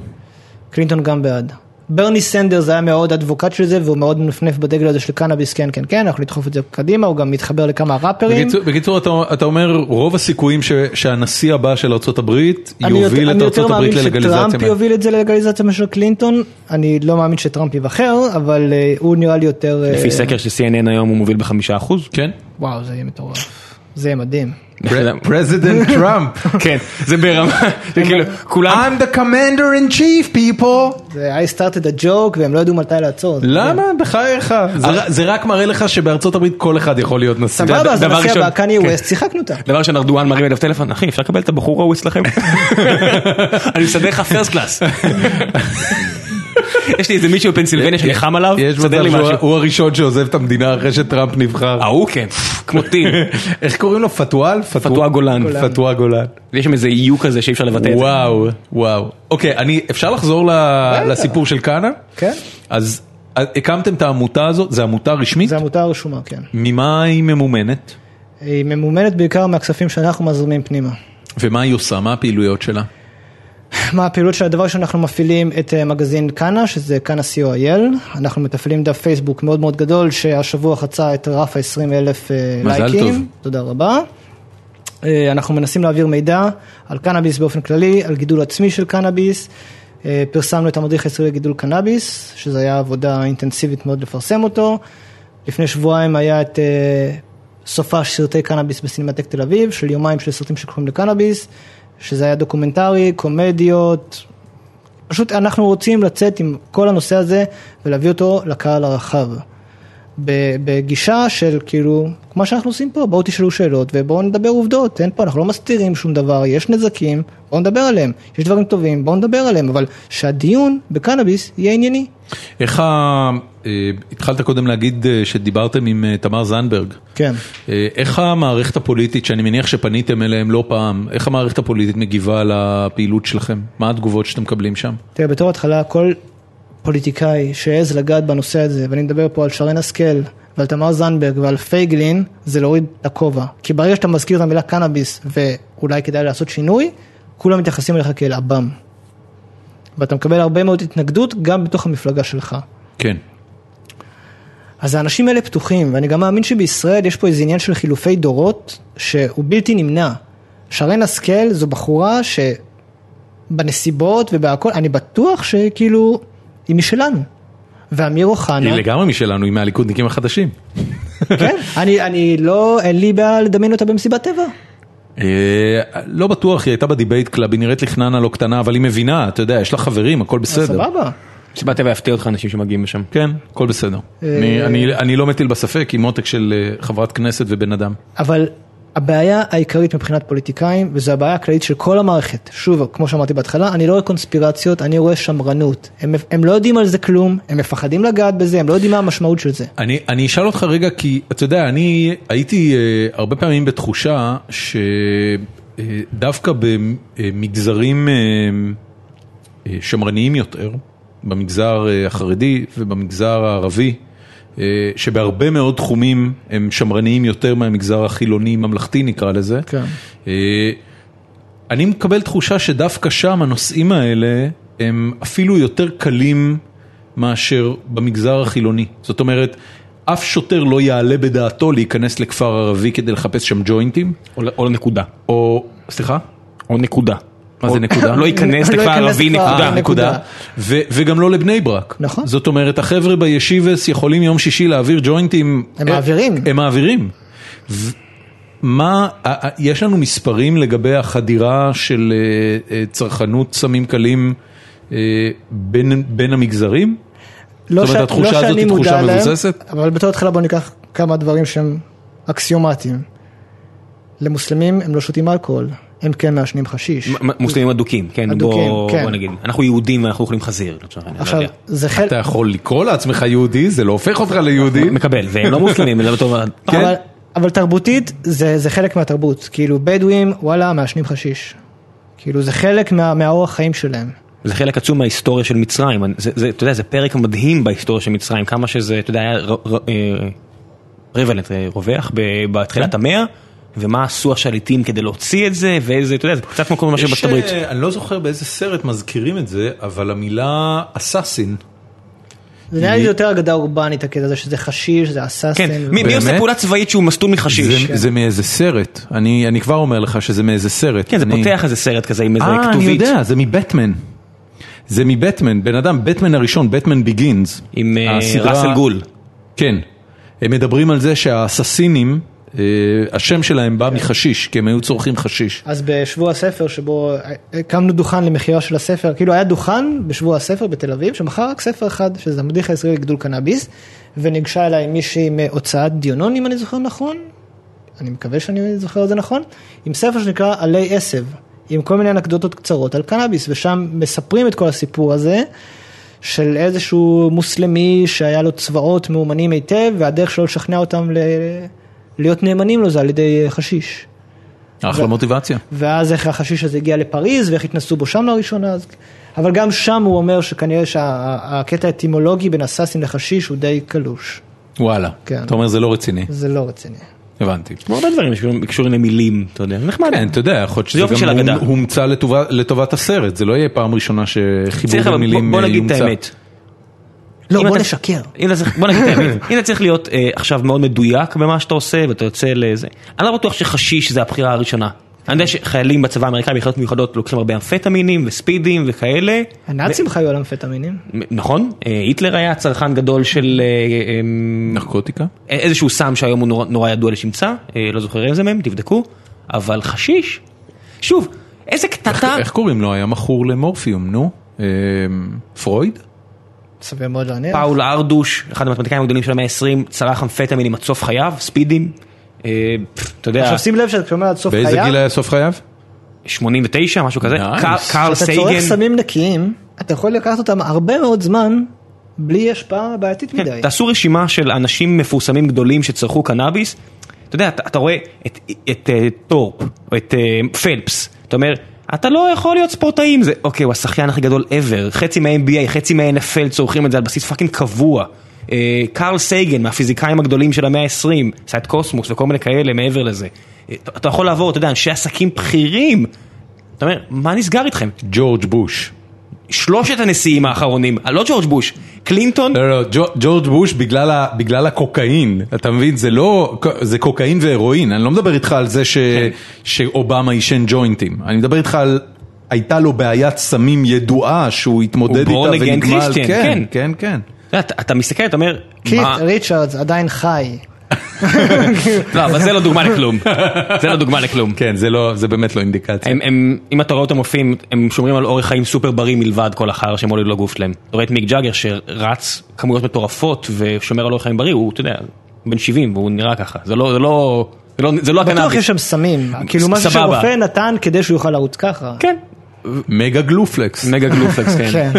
Speaker 3: קלינטון גם בעד. ברני סנדרס היה מאוד אדבוקט של זה והוא מאוד מנפנף בדגל הזה של קנאביס כן כן כן אנחנו נדחוף את זה קדימה הוא גם מתחבר לכמה ראפרים.
Speaker 1: בקיצור, בקיצור אתה, אתה אומר רוב הסיכויים ש, שהנשיא הבא של ארה"ב
Speaker 3: אני יותר-
Speaker 1: יוביל את
Speaker 3: אני יותר
Speaker 1: ארה"ב
Speaker 3: מאמין
Speaker 1: ללגליזציה.
Speaker 3: שטראמפ יוביל את זה ללגליזציה מאשר קלינטון אני לא מאמין שטראמפ ייבחר אבל אה, הוא נראה לי יותר אה,
Speaker 5: לפי סקר של CNN היום הוא מוביל בחמישה אחוז.
Speaker 1: כן?
Speaker 3: וואו זה יהיה מטורף. זה יהיה מדהים.
Speaker 1: פרזידנט טראמפ.
Speaker 5: כן, זה ברמה, זה (laughs) כאילו, כולם...
Speaker 1: the commander in chief people.
Speaker 3: זה I started a joke והם לא ידעו מתי לעצור.
Speaker 1: למה? בחייך. זה- זה רק מראה לך שבארצות הברית כל אחד יכול להיות נשיא.
Speaker 3: סבבה אז
Speaker 5: דבר
Speaker 3: הנשיא
Speaker 5: ראשון,
Speaker 3: הבא קניה
Speaker 5: כן.
Speaker 3: ווסט שיחקנו אותה.
Speaker 5: דבר ראשון, ארדואן מרים אליו טלפון, אחי, אפשר לקבל את הבחור
Speaker 1: (laughs)
Speaker 5: ההוא אצלכם? אני מסדר לך פרסט קלאס. (laughs) יש לי איזה מישהו בפנסילבניה שנלחם עליו,
Speaker 1: יש
Speaker 5: תסדר לי
Speaker 1: מצב שהוא
Speaker 5: משהו.
Speaker 1: הוא הראשון שעוזב את המדינה אחרי שטראמפ נבחר.
Speaker 5: ההוא כן, כמו טיל.
Speaker 1: (laughs) איך קוראים לו? פתואל?
Speaker 5: פתואה גולן.
Speaker 1: פתואל גולן.
Speaker 5: יש שם איזה איוק כזה שאי אפשר לבטא את זה.
Speaker 1: וואו, וואו. אוקיי, אני, אפשר לחזור ל- לסיפור של כהנא?
Speaker 3: כן.
Speaker 1: אז אה, הקמתם את העמותה הזאת, זו עמותה רשמית?
Speaker 3: זה עמותה רשומה כן.
Speaker 1: ממה היא ממומנת?
Speaker 3: היא ממומנת בעיקר מהכספים שאנחנו מזרימים פנימה. (laughs)
Speaker 1: ומה היא עושה? מה הפעילויות שלה?
Speaker 3: מה הפעילות של הדבר שאנחנו מפעילים את אה, מגזין קאנה שזה קאנה co.il אנחנו מתפעלים דף פייסבוק מאוד מאוד גדול שהשבוע חצה את רף ה-20 אלף
Speaker 1: מזל
Speaker 3: לייקים.
Speaker 1: טוב.
Speaker 3: תודה רבה. אה, אנחנו מנסים להעביר מידע על קנאביס באופן כללי, על גידול עצמי של קנאביס. אה, פרסמנו את המדריך הישראלי לגידול קנאביס, שזו הייתה עבודה אינטנסיבית מאוד לפרסם אותו. לפני שבועיים היה את אה, סופה של סרטי קנאביס בסינמטק תל אביב, של יומיים של סרטים שקשורים לקנאביס, שזה היה דוקומנטרי, קומדיות. פשוט אנחנו רוצים לצאת עם כל הנושא הזה ולהביא אותו לקהל הרחב. ב- בגישה של כאילו, כמו שאנחנו עושים פה, בואו תשאלו שאלות ובואו נדבר עובדות, אין פה, אנחנו לא מסתירים שום דבר, יש נזקים, בואו נדבר עליהם, יש דברים טובים, בואו נדבר עליהם, אבל שהדיון בקנאביס יהיה ענייני.
Speaker 1: איך ה... אה, התחלת קודם להגיד אה, שדיברתם עם אה, תמר זנדברג.
Speaker 3: כן.
Speaker 1: אה, איך המערכת הפוליטית, שאני מניח שפניתם אליהם לא פעם, איך המערכת הפוליטית מגיבה לפעילות שלכם? מה התגובות שאתם מקבלים שם?
Speaker 3: תראה, בתור התחלה, כל פוליטיקאי שהעז לגעת בנושא הזה, ואני מדבר פה על שרן השכל, ועל תמר זנדברג ועל פייגלין, זה להוריד את הכובע. כי ברגע שאתה מזכיר את המילה קנאביס, ואולי כדאי לעשות שינוי, כולם מתייחסים אליך כאל עב"ם. ואתה מקבל הרבה מאוד התנגדות גם בתוך המפלגה שלך.
Speaker 1: כן.
Speaker 3: אז האנשים האלה פתוחים, ואני גם מאמין שבישראל יש פה איזה עניין של חילופי דורות שהוא בלתי נמנע. שרן השכל זו בחורה שבנסיבות ובהכל, אני בטוח שכאילו היא משלנו. ואמיר
Speaker 1: היא
Speaker 3: אוחנה,
Speaker 1: לגמרי משלנו, היא מהליכודניקים החדשים.
Speaker 3: כן, אני, אני לא, אין לי בעיה לדמיין אותה במסיבת טבע.
Speaker 1: אה, לא בטוח, היא הייתה בדיבייט קלאב, היא נראית לי חננה לא קטנה, אבל היא מבינה, אתה יודע, יש לה חברים, הכל
Speaker 3: אז
Speaker 1: בסדר.
Speaker 3: סבבה.
Speaker 5: שבאת ויפתיע אותך אנשים שמגיעים לשם.
Speaker 1: כן, הכל בסדר. אני- אני- אני לא מטיל בספק, היא מותק של אה, חברת כנסת ובן אדם.
Speaker 3: אבל הבעיה העיקרית מבחינת פוליטיקאים, וזו הבעיה הכללית של כל המערכת, שוב, כמו שאמרתי בהתחלה, אני לא רואה קונספירציות, אני רואה שמרנות. הם, הם לא יודעים על זה כלום, הם מפחדים לגעת בזה, הם לא יודעים מה המשמעות של זה.
Speaker 1: אני, אני אשאל אותך רגע, כי אתה יודע, אני הייתי אה, הרבה פעמים בתחושה שדווקא במגזרים אה, אה, שמרניים יותר, במגזר אה, החרדי ובמגזר הערבי, אה, שבהרבה מאוד תחומים הם שמרניים יותר מהמגזר החילוני ממלכתי נקרא לזה,
Speaker 3: כן.
Speaker 1: אה, אני מקבל תחושה שדווקא שם הנושאים האלה הם אפילו יותר קלים מאשר במגזר החילוני. זאת אומרת, אף שוטר לא יעלה בדעתו להיכנס לכפר ערבי כדי לחפש שם ג'וינטים,
Speaker 5: או או נקודה.
Speaker 1: או... סליחה?
Speaker 5: או נקודה.
Speaker 1: מה זה
Speaker 5: או-
Speaker 1: נקודה?
Speaker 5: לא ייכנס
Speaker 3: לא
Speaker 5: לכפר
Speaker 3: ייכנס
Speaker 5: ערבי
Speaker 3: לכפר
Speaker 5: נקודה.
Speaker 1: אה,
Speaker 3: ערבי.
Speaker 1: נקודה.
Speaker 3: נקודה.
Speaker 1: ו- וגם לא לבני ברק.
Speaker 3: נכון.
Speaker 1: זאת אומרת, החבר'ה בישיבס יכולים יום שישי להעביר ג'וינטים.
Speaker 3: הם מעבירים.
Speaker 1: הם מעבירים. ו- מה, ה- ה- יש לנו מספרים לגבי החדירה של אה, אה, צרכנות סמים קלים אה, בין בין המגזרים?
Speaker 3: לא
Speaker 1: זאת אומרת, התחושה
Speaker 3: לא
Speaker 1: הזאת
Speaker 3: שאני
Speaker 1: היא
Speaker 3: מודע
Speaker 1: תחושה
Speaker 3: להם,
Speaker 1: מבוססת?
Speaker 3: אבל בתור התחלה בוא ניקח כמה דברים שהם אקסיומטיים. למוסלמים הם לא שותים אלכוהול, הם כן מעשנים חשיש.
Speaker 5: מ- מ- מוסלמים אדוקים, כן,
Speaker 3: אדוקים,
Speaker 5: בוא
Speaker 3: כן.
Speaker 5: בוא נגיד, אנחנו יהודים ואנחנו אוכלים חזיר, לצורך העניין,
Speaker 3: עכשיו,
Speaker 5: לא יודע.
Speaker 3: זה חלק...
Speaker 1: אתה יכול לקרוא לעצמך יהודי, זה לא הופך אותך ליהודי.
Speaker 5: מקבל, והם לא מוסלמים, זה לא טוב,
Speaker 1: כן.
Speaker 3: אבל, אבל תרבותית זה, זה חלק מהתרבות, כאילו בדואים וואלה מעשנים חשיש, כאילו זה חלק מה, מהאורח חיים שלהם.
Speaker 5: זה חלק עצום מההיסטוריה של מצרים, זה, זה, אתה יודע, זה פרק מדהים בהיסטוריה של מצרים, כמה שזה, אתה יודע, היה ר- ר- אה, prevalent, אה, רווח ב- בתחילת
Speaker 1: כן.
Speaker 5: המאה, ומה עשו השליטים כדי להוציא את זה, ואיזה, אתה יודע, זה קצת מקום ממה שבארצות הברית.
Speaker 1: יש, אה, אני לא זוכר באיזה סרט מזכירים את זה, אבל המילה אסאסין,
Speaker 3: זה נראה לי יותר אגדה אורבנית הקטע הזה שזה חשיש, זה אסאסין.
Speaker 5: כן, מי, מי עושה
Speaker 1: באמת?
Speaker 5: פעולה צבאית שהוא מסטול מחשיש?
Speaker 3: כן.
Speaker 1: זה- זה מאיזה סרט, אני אני כבר אומר לך שזה מאיזה סרט.
Speaker 5: כן, זה
Speaker 1: אני-
Speaker 5: פותח איזה סרט כזה עם איזה
Speaker 1: אה, אני
Speaker 5: כתובית.
Speaker 1: יודע, זה מבטמן. זה מבטמן, בן אדם, בטמן הראשון, בטמן ביגינס.
Speaker 5: עם, אה, ראסל גול.
Speaker 1: כן. הם מדברים על זה שהאססינים, אה, השם שלהם
Speaker 3: כן.
Speaker 1: בא מחשיש, כי הם היו צורכים חשיש.
Speaker 3: אז בשבוע הספר שבו הקמנו דוכן למכירה של הספר, כאילו היה דוכן בשבוע הספר בתל אביב שמכר רק ספר אחד, שזה המדריך הישראלי לגידול קנאביס, וניגשה אליי מישהי מהוצאת דיונון אם אני זוכר נכון, אני מקווה שאני זוכר את זה נכון, עם ספר שנקרא עלי עשב, עם כל מיני אנקדוטות קצרות על קנאביס, ושם מספרים את כל הסיפור הזה. של איזשהו מוסלמי שהיה לו צבאות מאומנים היטב והדרך שלו לשכנע אותם ל... להיות נאמנים לו זה על ידי אה, חשיש.
Speaker 5: נכון.
Speaker 1: אחלה מוטיבציה.
Speaker 3: ואז איך החשיש הזה הגיע לפריז ואיך התנסו בו שם לראשונה, אז... אבל גם שם הוא אומר שכנראה שהקטע האטימולוגי בין אסאסין לחשיש הוא די קלוש,
Speaker 1: וואלה.
Speaker 3: כן.
Speaker 1: אתה אומר זה לא רציני,
Speaker 3: זה לא רציני.
Speaker 1: הבנתי.
Speaker 5: כמו הרבה דברים שקשורים- שקשורים למילים, אתה יודע, נחמד.
Speaker 1: כן, אתה יודע, יכול להיות
Speaker 5: יופי
Speaker 1: שזה
Speaker 5: של
Speaker 1: גם
Speaker 5: אגדה.
Speaker 1: הומ- הומצא לטובה- לטובת הסרט, זה לא יהיה פעם ראשונה
Speaker 5: צריך,
Speaker 1: שחיבור
Speaker 5: אבל בוא-
Speaker 1: במילים
Speaker 5: בוא
Speaker 1: אה,
Speaker 5: נגיד את
Speaker 1: יומצא.
Speaker 5: האמת.
Speaker 3: לא,
Speaker 5: אם
Speaker 3: בוא
Speaker 5: אתה-
Speaker 3: נשקר.
Speaker 5: הנה צריך, בוא נגיד את
Speaker 3: (laughs)
Speaker 5: האמת, הנה צריך להיות אה, עכשיו מאוד מדויק במה שאתה עושה ואתה יוצא לזה. אני לא בטוח שחשיש זה הבחירה הראשונה. אני יודע שחיילים בצבא האמריקאי ביחידות מיוחדות לוקחים הרבה אמפטמינים וספידים וכאלה.
Speaker 3: הנאצים חיו על אמפטמינים.
Speaker 5: מ- נכון? אה, היטלר היה צרכן גדול של אה, אה, אמ,
Speaker 1: נרקוטיקה?
Speaker 5: איזשהו סם שהיום הוא נורא, נורא ידוע לשמצה, אה, לא זוכר איזה מהם, תבדקו. אבל חשיש, שוב, איזה קטטה.
Speaker 1: איך קוראים לו? היה מכור למורפיום, נו? אה, פרויד?
Speaker 3: סביר מאוד להניח.
Speaker 5: פאול ארדוש, אחד המתמטיקאים הגדולים של המאה ה-20, צרך אמפטמינים עד סוף חייו, ספידים. אה, פפ, אתה יודע,
Speaker 3: עכשיו שים לב שאתה אומר עד סוף
Speaker 1: באיזה גיל
Speaker 3: חייו,
Speaker 1: היה סוף חייו?
Speaker 5: 89, משהו כזה.
Speaker 1: Nice.
Speaker 5: קאר- קארל
Speaker 3: אתה צורך
Speaker 5: סייגן.
Speaker 3: סמים נקיים, אתה יכול לקחת אותם הרבה מאוד זמן בלי השפעה בעייתית מדי.
Speaker 5: כן, תעשו רשימה של אנשים מפורסמים גדולים שצרכו קנאביס. אתה יודע, אתה, אתה רואה את, את, אה, טורפ, או את אה, פלפס, אתה אומר, אתה לא יכול להיות ספורטאים, זה, אוקיי, הוא השחיין הכי גדול ever, חצי מה-NBA, חצי מה-NFL צורכים את זה על בסיס פאקינג קבוע. אה, קארל סייגן, מהפיזיקאים הגדולים של המאה ה-20, עשה את קוסמוס וכל מיני כאלה מעבר לזה. אה, אתה- אתה יכול לעבור, אתה יודע, אנשי עסקים בכירים. אתה אומר, מה נסגר איתכם?
Speaker 1: ג'ורג' בוש.
Speaker 5: שלושת הנשיאים האחרונים, אה, לא ג'ורג' בוש, קלינטון,
Speaker 1: לא, לא, ג'ו- ג'ורג' בוש בגלל ה- בגלל הקוקאין, אתה מבין? זה לא, זה קוקאין והרואין, אני לא מדבר איתך על זה ש-
Speaker 5: כן.
Speaker 1: שאובמה עישן ג'וינטים, אני מדבר איתך על... הייתה לו בעיית סמים ידועה שהוא התמודד
Speaker 5: הוא born
Speaker 1: איתה
Speaker 5: again
Speaker 1: ונגמל,
Speaker 5: Christian,
Speaker 1: כן,
Speaker 5: כן.
Speaker 1: כן, כן.
Speaker 5: אתה יודע, אתה- אתה מסתכל, אתה אומר,
Speaker 3: קית'
Speaker 5: מה, אוקיי,
Speaker 3: ריצ'רדס עדיין חי.
Speaker 5: לא, אבל זה לא דוגמה לכלום, זה לא דוגמה לכלום.
Speaker 1: כן, זה לא, זה באמת לא אינדיקציה.
Speaker 5: הם, הם, אם אתה רואה אותם מופיעים, הם שומרים על אורח חיים סופר בריא מלבד כל החרא שהם עולים לגוף שלהם. אתה רואה את מיק ג'אגר שרץ כמויות מטורפות ושומר על אורח חיים בריא, הוא, אתה יודע, בן 70 והוא נראה ככה. זה לא, זה לא, זה לא, זה לא
Speaker 3: בטוח יש
Speaker 5: הקנאביס.
Speaker 3: שם סמים, כאילו משהו
Speaker 5: סבבה.
Speaker 3: שרופא נתן כדי שהוא יוכל לרוץ ככה.
Speaker 5: כן,
Speaker 1: מגה גלופלקס.
Speaker 5: מגה גלופלקס, כן.
Speaker 3: כן.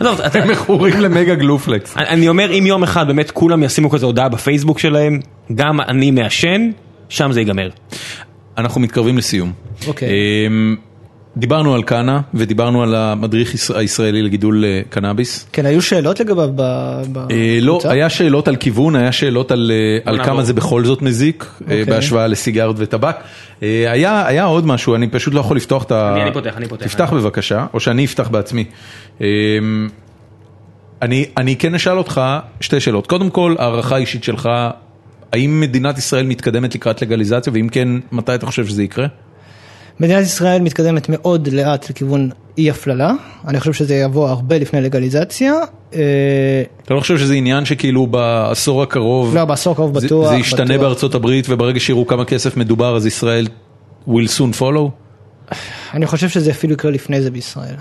Speaker 5: עזוב, אתה-
Speaker 1: הם מכורים למגה גלופלקס.
Speaker 5: אני- אני אומר, אם יום אחד באמת כולם ישימו כזה הודעה בפייסבוק שלהם, גם אני מעשן, שם זה ייגמר.
Speaker 1: אנחנו מתקרבים לסיום.
Speaker 3: אוקיי.
Speaker 1: אמ, דיברנו על קאנה ודיברנו על המדריך יש- הישראלי לגידול אה, קנאביס.
Speaker 3: כן, היו שאלות לגביו ב- ב-
Speaker 1: אה, לא,
Speaker 3: בקבוצה?
Speaker 1: היה שאלות על כיוון, היה שאלות על, אה, על
Speaker 5: נעבור.
Speaker 1: כמה זה בכל זאת מזיק אה,
Speaker 3: אוקיי.
Speaker 1: בהשוואה לסיגרת וטבק. אה, היה היה עוד משהו, אני פשוט לא יכול לפתוח את ה...
Speaker 5: אני- אני פותח, אני פותח.
Speaker 1: תפתח בבקשה, או שאני אפתח בעצמי. אמ, אני אני כן אשאל אותך שתי שאלות. קודם כל, הערכה אישית שלך, האם מדינת ישראל מתקדמת לקראת לגליזציה, ואם כן, מתי אתה חושב שזה יקרה?
Speaker 3: מדינת ישראל מתקדמת מאוד לאט לכיוון אי הפללה, אני חושב שזה יבוא הרבה לפני לגליזציה, אה,
Speaker 1: אתה לא חושב שזה עניין שכאילו בעשור הקרוב,
Speaker 3: לא, בעשור הקרוב
Speaker 1: זה-
Speaker 3: בטוח,
Speaker 1: זה ישתנה
Speaker 3: בטוח.
Speaker 1: בארצות הברית וברגע שיראו כמה כסף מדובר אז ישראל will soon follow?
Speaker 3: אני חושב שזה אפילו יקרה לפני זה בישראל,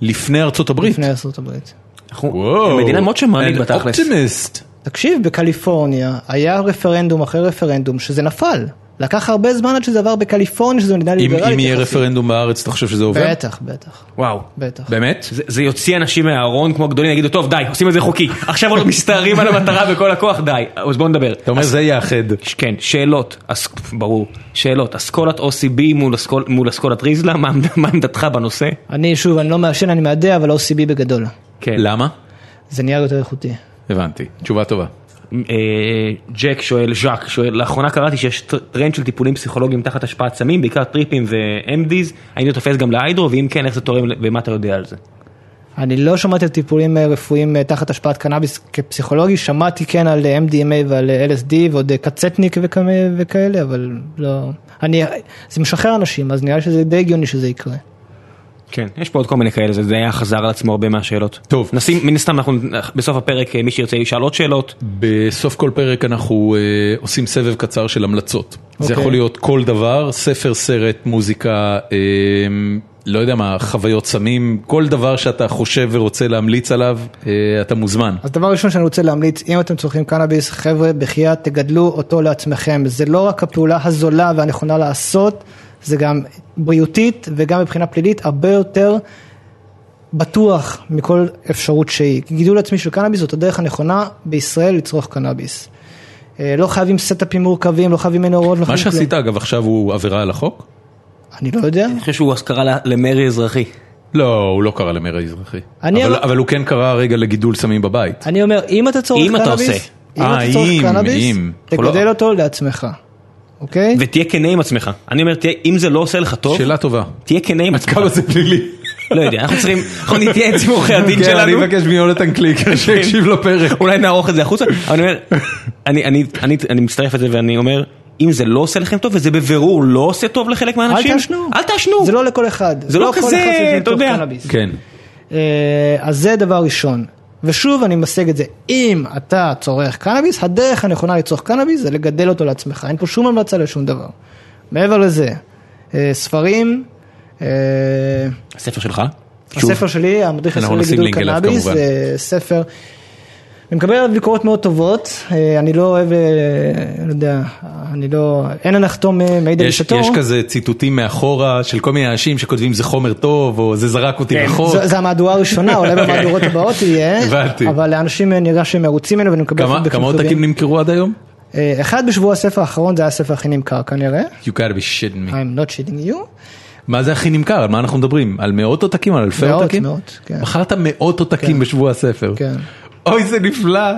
Speaker 1: לפני ארצות הברית?
Speaker 3: לפני ארצות הברית.
Speaker 5: אנחנו- המדינה מאוד שמרנית בתכלס.
Speaker 1: אופטימיסט.
Speaker 3: תקשיב, בקליפורניה היה רפרנדום אחרי רפרנדום שזה נפל. לקח הרבה זמן עד שזה עבר בקליפורניה, שזו מדינה
Speaker 1: אם
Speaker 3: ליברלית.
Speaker 1: אם יהיה
Speaker 3: יחסית.
Speaker 1: רפרנדום כן? בארץ, אתה חושב שזה עובר?
Speaker 3: בטח, בטח,
Speaker 5: וואו.
Speaker 3: בטח.
Speaker 1: באמת?
Speaker 5: זה, זה יוציא אנשים מהארון כמו גדולים, יגידו, טוב, די, עושים את זה חוקי. עכשיו עוד מסתערים על המטרה בכל הכוח, די. אז בואו נדבר.
Speaker 1: אתה אומר זה יאחד.
Speaker 5: כן, שאלות, אז, ברור. שאלות, אסכולת OCB מול, אסכול, מול אסכולת ריזלה, מה, עמד- מה עמדתך בנושא?
Speaker 3: אני, שוב, אני לא מעשן, אני מעדה, אבל OCB בגדול.
Speaker 5: כן.
Speaker 1: למה?
Speaker 3: זה נהיה יותר איכותי.
Speaker 1: הבנתי. תשובה טובה.
Speaker 5: אה, ג'ק שואל, ז'אק שואל, לאחרונה קראתי שיש טר- טרנד של טיפולים פסיכולוגיים תחת השפעת סמים, בעיקר טריפים ו-MDs, האם זה תופס גם להיידרו, ואם כן, איך זה תורם ל- ומה אתה יודע על זה?
Speaker 3: אני לא שמעתי על טיפולים אה, רפואיים אה, תחת השפעת קנאביס כפסיכולוגי, שמעתי כן על אה, MDMA ועל אה, LSD ועוד אה, קצטניק וכמה- וכאלה, אבל לא... אני... זה משחרר אנשים, אז נראה לי שזה די הגיוני שזה יקרה.
Speaker 5: כן, יש פה עוד כל מיני כאלה, זה זה היה חזר על עצמו הרבה מהשאלות.
Speaker 1: טוב.
Speaker 5: נשים, מן הסתם אנחנו, בסוף הפרק, אה, מי שירצה ישאל עוד שאלות.
Speaker 1: בסוף כל פרק אנחנו אה, עושים סבב קצר של המלצות. זה
Speaker 3: אוקיי.
Speaker 1: יכול להיות כל דבר, ספר, סרט, מוזיקה, אה, לא יודע מה, חוויות סמים, כל דבר שאתה חושב ורוצה להמליץ עליו, אה, אתה מוזמן.
Speaker 3: אז דבר ראשון שאני רוצה להמליץ, אם אתם צורכים קנאביס, חבר'ה, בחייאת, תגדלו אותו לעצמכם. זה לא רק הפעולה הזולה והנכונה לעשות, זה גם בריאותית וגם מבחינה פלילית הרבה יותר בטוח מכל אפשרות שהיא. כי גידול עצמי של קנאביס זאת הדרך הנכונה בישראל לצרוך קנאביס. אה, לא חייבים סטאפים מורכבים, לא חייבים מנהרות, לא
Speaker 1: מה
Speaker 3: חייבים כלום.
Speaker 1: שעשית אגב עכשיו הוא עבירה על החוק?
Speaker 3: אני לא יודע.
Speaker 5: אני חושב שהוא אז קרא ל- למרי אזרחי.
Speaker 1: לא, הוא לא קרא למרי אזרחי.
Speaker 3: אני
Speaker 1: אבל,
Speaker 3: אמר-
Speaker 1: אבל הוא כן קרא רגע לגידול סמים בבית.
Speaker 3: אני אומר, אם אתה צורך
Speaker 5: אם אתה
Speaker 3: קנאביס,
Speaker 5: עושה.
Speaker 3: אם אתה
Speaker 1: אה,
Speaker 3: צורך
Speaker 1: אם,
Speaker 3: קנאביס,
Speaker 1: אם. אנחנו לא-
Speaker 3: תגדל אותו לעצמך, אוקיי?
Speaker 5: ותהיה כנה עם עצמך. אני אומר, תהיה- אם זה לא עושה לך טוב,
Speaker 1: שאלה (laughs) טובה.
Speaker 5: תהיה כנה עם עצמך.
Speaker 1: כמה זה פלילי?
Speaker 5: לא יודע, אנחנו צריכים,
Speaker 1: (laughs)
Speaker 5: אנחנו נתייעץ עם עורכי הדין
Speaker 1: כן, אני
Speaker 5: שלנו.
Speaker 1: מבקש מיונתן קליקר שיקשיב לפרק.
Speaker 5: אולי נערוך את זה החוצה, אבל אני אומר, אני, אני, אני, אני מצטרף לזה ואני אומר, אם זה לא עושה לכם טוב, וזה בבירור לא עושה טוב לחלק מהאנשים,
Speaker 3: אל תעשנו.
Speaker 5: אל תעשנו.
Speaker 3: זה לא לכל אחד.
Speaker 5: זה לא
Speaker 3: כל
Speaker 5: כזה,
Speaker 3: אחד צריך
Speaker 5: אתה
Speaker 3: לצרוך
Speaker 5: יודע.
Speaker 3: קנאביס.
Speaker 1: כן.
Speaker 3: אה, אז זה דבר ראשון. ושוב אני מסייג את זה, אם אתה צורך קנאביס, הדרך הנכונה לצורך קנאביס זה לגדל אותו לעצמך, אין פה שום המלצה לשום דבר. מעבר לזה, אה, ספרים, אה,
Speaker 5: הספר שלך?
Speaker 3: הספר שלי, המדריך
Speaker 1: אנחנו
Speaker 3: הישראלי
Speaker 1: נשים
Speaker 3: לגידול
Speaker 1: לינק אליו,
Speaker 3: קנאביס,
Speaker 1: כמובן.
Speaker 3: זה ספר. אני מקבל עליו ביקורות מאוד טובות, אה, אני לא אוהב, אה, לא יודע, אני לא, אין הנחתום אה, מעיד על
Speaker 1: יש,
Speaker 3: אישתו.
Speaker 1: יש כזה ציטוטים מאחורה של כל מיני אנשים שכותבים זה חומר טוב או כן, זה זרק אותי רחוק.
Speaker 3: זו- זו המהדורה הראשונה,
Speaker 1: (laughs)
Speaker 3: אולי במהדורות הבאות תהיה,
Speaker 1: כן. הבנתי.
Speaker 3: אבל לאנשים נראה שהם מרוצים ממנו ואני מקבל
Speaker 1: כמה,
Speaker 3: פידבקים
Speaker 1: כמה עותקים
Speaker 3: טובים.
Speaker 1: נמכרו עד היום?
Speaker 3: אה, אחד בשבוע הספר האחרון זה היה הספר הכי נמכר כנראה,
Speaker 1: You gotta be shitting me.
Speaker 3: I'm not shitting you,
Speaker 1: מה זה הכי נמכר? על מה אנחנו מדברים? על מאות עותקים? על אלפי
Speaker 3: מאות,
Speaker 1: עותקים?
Speaker 3: מאות, כן.
Speaker 1: מכרת מאות עותקים בשבוע הספר.
Speaker 3: כן.
Speaker 1: אוי זה נפלא.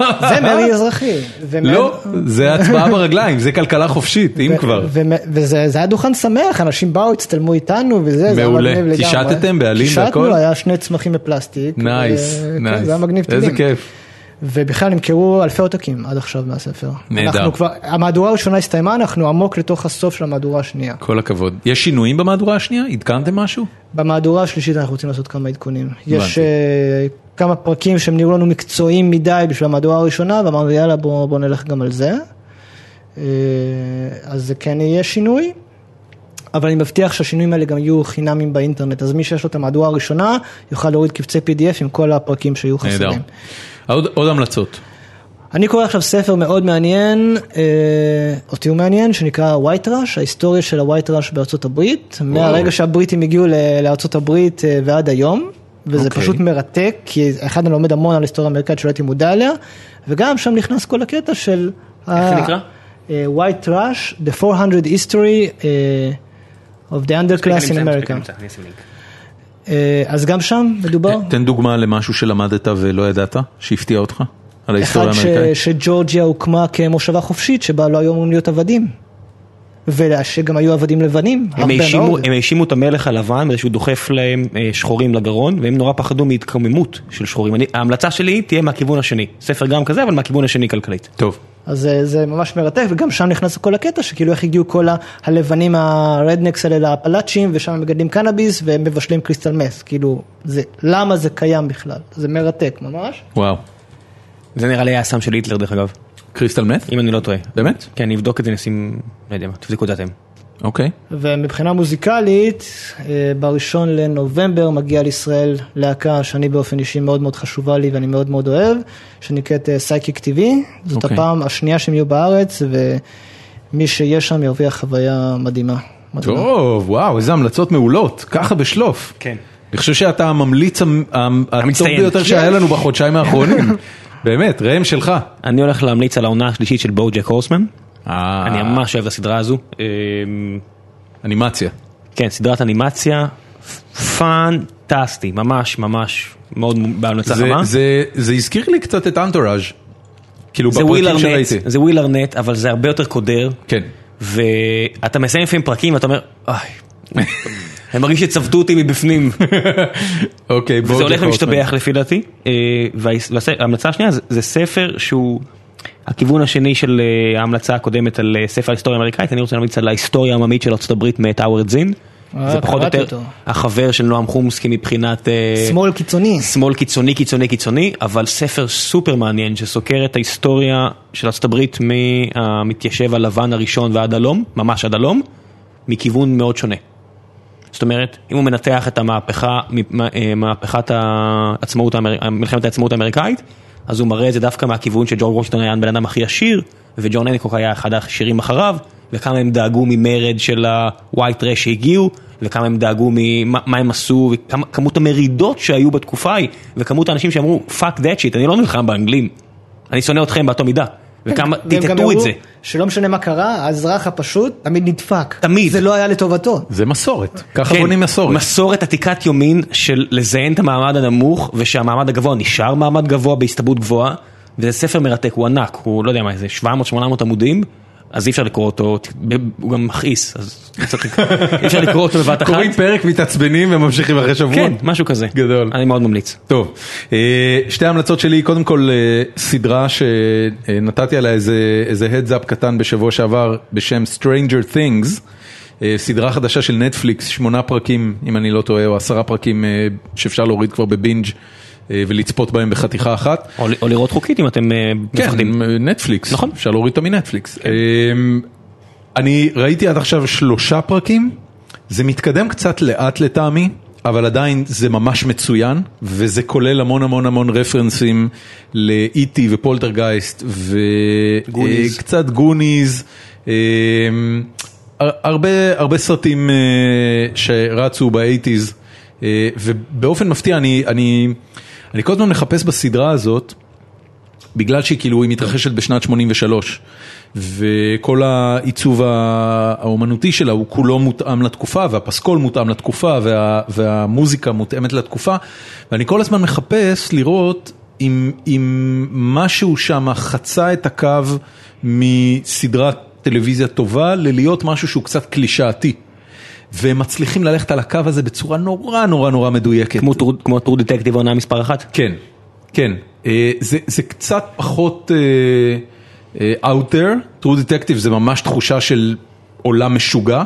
Speaker 3: זה מרי אזרחי. ומ-
Speaker 1: אה, לא, זה הצבעה ברגליים, זה כלכלה חופשית, אם
Speaker 3: ו-
Speaker 1: כבר.
Speaker 3: ומ- וזה זה היה דוכן שמח, אנשים באו, הצטלמו איתנו וזה, זה היה
Speaker 1: מעולה.
Speaker 3: מגניב לגמרי.
Speaker 1: קישטתם בעלים והכל?
Speaker 3: קישטנו, היה שני צמחים בפלסטיק.
Speaker 1: נייס,
Speaker 3: ו- כן,
Speaker 1: נייס.
Speaker 3: זה היה מגניב
Speaker 1: איזה
Speaker 3: תמיד.
Speaker 1: כיף.
Speaker 3: ובכלל נמכרו אלפי עותקים עד עכשיו מהספר.
Speaker 1: נהדר.
Speaker 3: אנחנו כבר, המהדורה הראשונה הסתיימה, אנחנו עמוק לתוך הסוף של המהדורה השנייה.
Speaker 1: כל הכבוד. יש שינויים במהדורה השנייה? עדכנתם משהו?
Speaker 3: במהדורה השלישית אנחנו רוצים לעשות כמה עדכונים. יש אה, כמה פרקים שהם נראו לנו מקצועיים מדי בשביל המהדורה הראשונה, ואמרנו יאללה בוא, בוא נלך גם על זה. אה, אז זה כן יהיה שינוי, אבל אני מבטיח שהשינויים האלה גם יהיו חינמים באינטרנט, אז מי שיש לו את המהדורה הראשונה יוכל להוריד קבצי PDF עם כל הפרקים שהיו
Speaker 1: נהדר.
Speaker 3: חסרים.
Speaker 1: עוד עוד המלצות.
Speaker 3: אני קורא עכשיו ספר מאוד מעניין, אה, אותי הוא מעניין, שנקרא White Rush, ההיסטוריה של ה-White Rush בארצות הברית, מהרגע שהבריטים הגיעו ל- לארצות הברית אה, ועד היום, וזה
Speaker 1: אוקיי.
Speaker 3: פשוט מרתק, כי אחד אני לומד המון על היסטוריה אמריקאית שלא הייתי מודע אליה, וגם שם נכנס כל הקטע של... אה,
Speaker 5: איך זה נקרא?
Speaker 3: White Rush, The 400 History אה, of the
Speaker 5: כן,
Speaker 3: Underclass in America. אה, אז גם שם מדובר.
Speaker 1: תן דוגמה למשהו שלמדת ולא ידעת, שהפתיע אותך, על
Speaker 3: אחד
Speaker 1: ההיסטוריה
Speaker 3: ש,
Speaker 1: האמריקאית.
Speaker 3: שג'ורג'יה הוקמה כמושבה חופשית שבה לא היו אמורים להיות עבדים. ושגם היו עבדים לבנים,
Speaker 5: הם
Speaker 3: הרבה
Speaker 5: האשימו,
Speaker 3: מאוד.
Speaker 5: הם האשימו את המלך הלבן בזה שהוא דוחף להם אה, שחורים לגרון והם נורא פחדו מהתקוממות של שחורים. אני, ההמלצה שלי תהיה מהכיוון השני. ספר גם כזה אבל מהכיוון השני כלכלית.
Speaker 1: טוב.
Speaker 3: אז זה, זה ממש מרתק, וגם שם נכנס כל הקטע שכאילו איך הגיעו כל ה- הלבנים הרדנקס האלה לאפלאצ'ים, ושם הם מגדלים קנאביס והם מבשלים קריסטל מס, כאילו, זה, למה זה קיים בכלל? זה מרתק ממש.
Speaker 1: וואו.
Speaker 5: זה נראה לי היה הסם של היטלר דרך אגב,
Speaker 1: קריסטל מת?
Speaker 5: אם אני לא טועה.
Speaker 1: באמת?
Speaker 5: כן, נבדוק את זה, נשים, לא יודע מה, תבדקו את זה אתם.
Speaker 1: אוקיי.
Speaker 3: ומבחינה מוזיקלית, אה, בראשון לנובמבר מגיעה לישראל להקה שאני באופן אישי מאוד מאוד חשובה לי ואני מאוד מאוד אוהב, שנקראת אה, סייקיק TV, זאת
Speaker 1: אוקיי.
Speaker 3: הפעם השנייה שהם יהיו בארץ, ומי שיהיה שם ירוויח חוויה מדהימה. מדהימה.
Speaker 1: טוב, וואו, איזה המלצות מעולות, ככה בשלוף.
Speaker 5: כן.
Speaker 1: אני חושב שאתה הממליץ המ- המ- הטוב
Speaker 5: המצטיין.
Speaker 1: ביותר שהיה לנו בחודשיים
Speaker 5: (laughs)
Speaker 1: האחרונים. באמת, ראם שלך.
Speaker 5: אני הולך להמליץ על העונה השלישית של בואו ג'ק הורסמן.
Speaker 1: אה,
Speaker 5: אני ממש אוהב את הסדרה הזו. אמ,
Speaker 1: אנימציה.
Speaker 5: כן, סדרת אנימציה פנטסטי, ממש ממש מאוד בהמלצה
Speaker 1: זה-
Speaker 5: חמה.
Speaker 1: זה- זה הזכיר לי קצת את אנטוראז'. כאילו
Speaker 5: זה וויל
Speaker 1: בפרקים
Speaker 5: ארנט,
Speaker 1: שראיתי.
Speaker 5: זה וויל ארנט, אבל זה הרבה יותר קודר,
Speaker 1: כן.
Speaker 5: ואתה מסיים לפעמים פרקים ואתה אומר, "איי, אני מרגיש שצבטו אותי מבפנים,
Speaker 1: אוקיי, בואו.
Speaker 5: וזה הולך ומשתבח
Speaker 3: כן.
Speaker 5: לפי דעתי. אה, וההס- והס- וההמלצה השנייה זה- זה ספר שהוא הכיוון השני של אה, ההמלצה הקודמת על אה, ספר היסטוריה אמריקאית, אני רוצה להמליץ על ההיסטוריה העממית של ארה"ב מאת האוורד זין.
Speaker 3: אה,
Speaker 5: זה פחות או
Speaker 3: קראתי
Speaker 5: יותר
Speaker 3: אותו.
Speaker 5: החבר של נועם חומסקי מבחינת... אה,
Speaker 3: שמאל קיצוני.
Speaker 5: שמאל קיצוני קיצוני קיצוני, אבל ספר סופר מעניין שסוקר את ההיסטוריה של ארצות הברית מהמתיישב הלבן הראשון ועד הלום, ממש עד הלום, מכיוון מאוד שונה. זאת אומרת, אם הוא מנתח את המהפכה, מ- מה- אה, מהפכת העצמאות, האמר- מלחמת העצמאות האמריקאית, אז הוא מראה את זה דווקא מהכיוון שג'ורג' וושינגטון היה הבן אדם הכי עשיר, וג'ון הנקוק היה אחד העשירים אחריו, וכמה הם דאגו ממרד של ה-white trash שהגיעו, וכמה הם דאגו ממה מה הם עשו, וכמות המרידות שהיו בתקופה ההיא, וכמות האנשים שאמרו, fuck that shit, אני לא נלחם באנגלים, אני שונא אתכם באותה מידה, וכמה,
Speaker 3: כן, והם גם
Speaker 5: תתעטו את
Speaker 3: הראו
Speaker 5: זה,
Speaker 3: שלא משנה מה קרה, האזרח הפשוט תמיד נדפק.
Speaker 5: תמיד.
Speaker 3: זה לא היה לטובתו.
Speaker 1: זה מסורת. ככה בונים מסורת.
Speaker 5: כן, מסורת עתיקת יומין של לזיין את המעמד הנמוך, ושהמעמד הגבוה נשאר מעמד גבוה בהסתברות גבוהה, וזה ספר מרתק, הוא ענק, הוא לא יודע מה, איזה 700-800 עמודים, אז אי אפשר לקרוא אותו, הוא גם מכעיס, אז צריך-
Speaker 1: (laughs)
Speaker 5: אי אפשר לקרוא אותו בבת אחת.
Speaker 1: קוראים פרק, מתעצבנים וממשיכים אחרי שבוע.
Speaker 5: כן, משהו כזה.
Speaker 1: גדול.
Speaker 5: אני מאוד ממליץ.
Speaker 1: טוב, אה, שתי ההמלצות שלי, קודם כל אה, סדרה שנתתי עליה איזה, איזה heads up קטן בשבוע שעבר בשם Stranger Things, אה, סדרה חדשה של נטפליקס, שמונה פרקים, אם אני לא טועה, או עשרה פרקים אה, שאפשר להוריד כבר בבינג' אה, ולצפות בהם בחתיכה אחת.
Speaker 5: או ל- או לראות חוקית אם אתם אה, מפחדים.
Speaker 1: כן, נטפליקס,
Speaker 5: נכון. כן.
Speaker 1: אפשר להוריד אותה מנטפליקס. אמ, אני ראיתי עד עכשיו שלושה פרקים, זה מתקדם קצת לאט לטעמי, אבל עדיין זה ממש מצוין, וזה כולל המון המון המון רפרנסים ל-E.T. ופולטרגייסט,
Speaker 5: גוניז.
Speaker 1: וקצת גוניז. אמ, הר- הרבה, הרבה סרטים אה, שרצו באייטיז, אה, ובאופן מפתיע אני, אני, אני כל הזמן מחפש בסדרה הזאת, בגלל שהיא כאילו, היא מתרחשת בשנת 83, וכל העיצוב ה- האומנותי שלה הוא כולו מותאם לתקופה, והפסקול מותאם לתקופה, וה, והמוזיקה מותאמת לתקופה, ואני כל הזמן מחפש לראות אם, אם משהו שם חצה את הקו מסדרת טלוויזיה טובה ללהיות משהו שהוא קצת קלישאתי. והם מצליחים ללכת על הקו הזה בצורה נורא נורא נורא מדויקת.
Speaker 5: כמו טור- כמו טור דטקטיב עונה מספר אחת.
Speaker 1: כן, כן. אה, זה, זה קצת פחות אה, אה, out there, true detective זה ממש תחושה של עולם משוגע,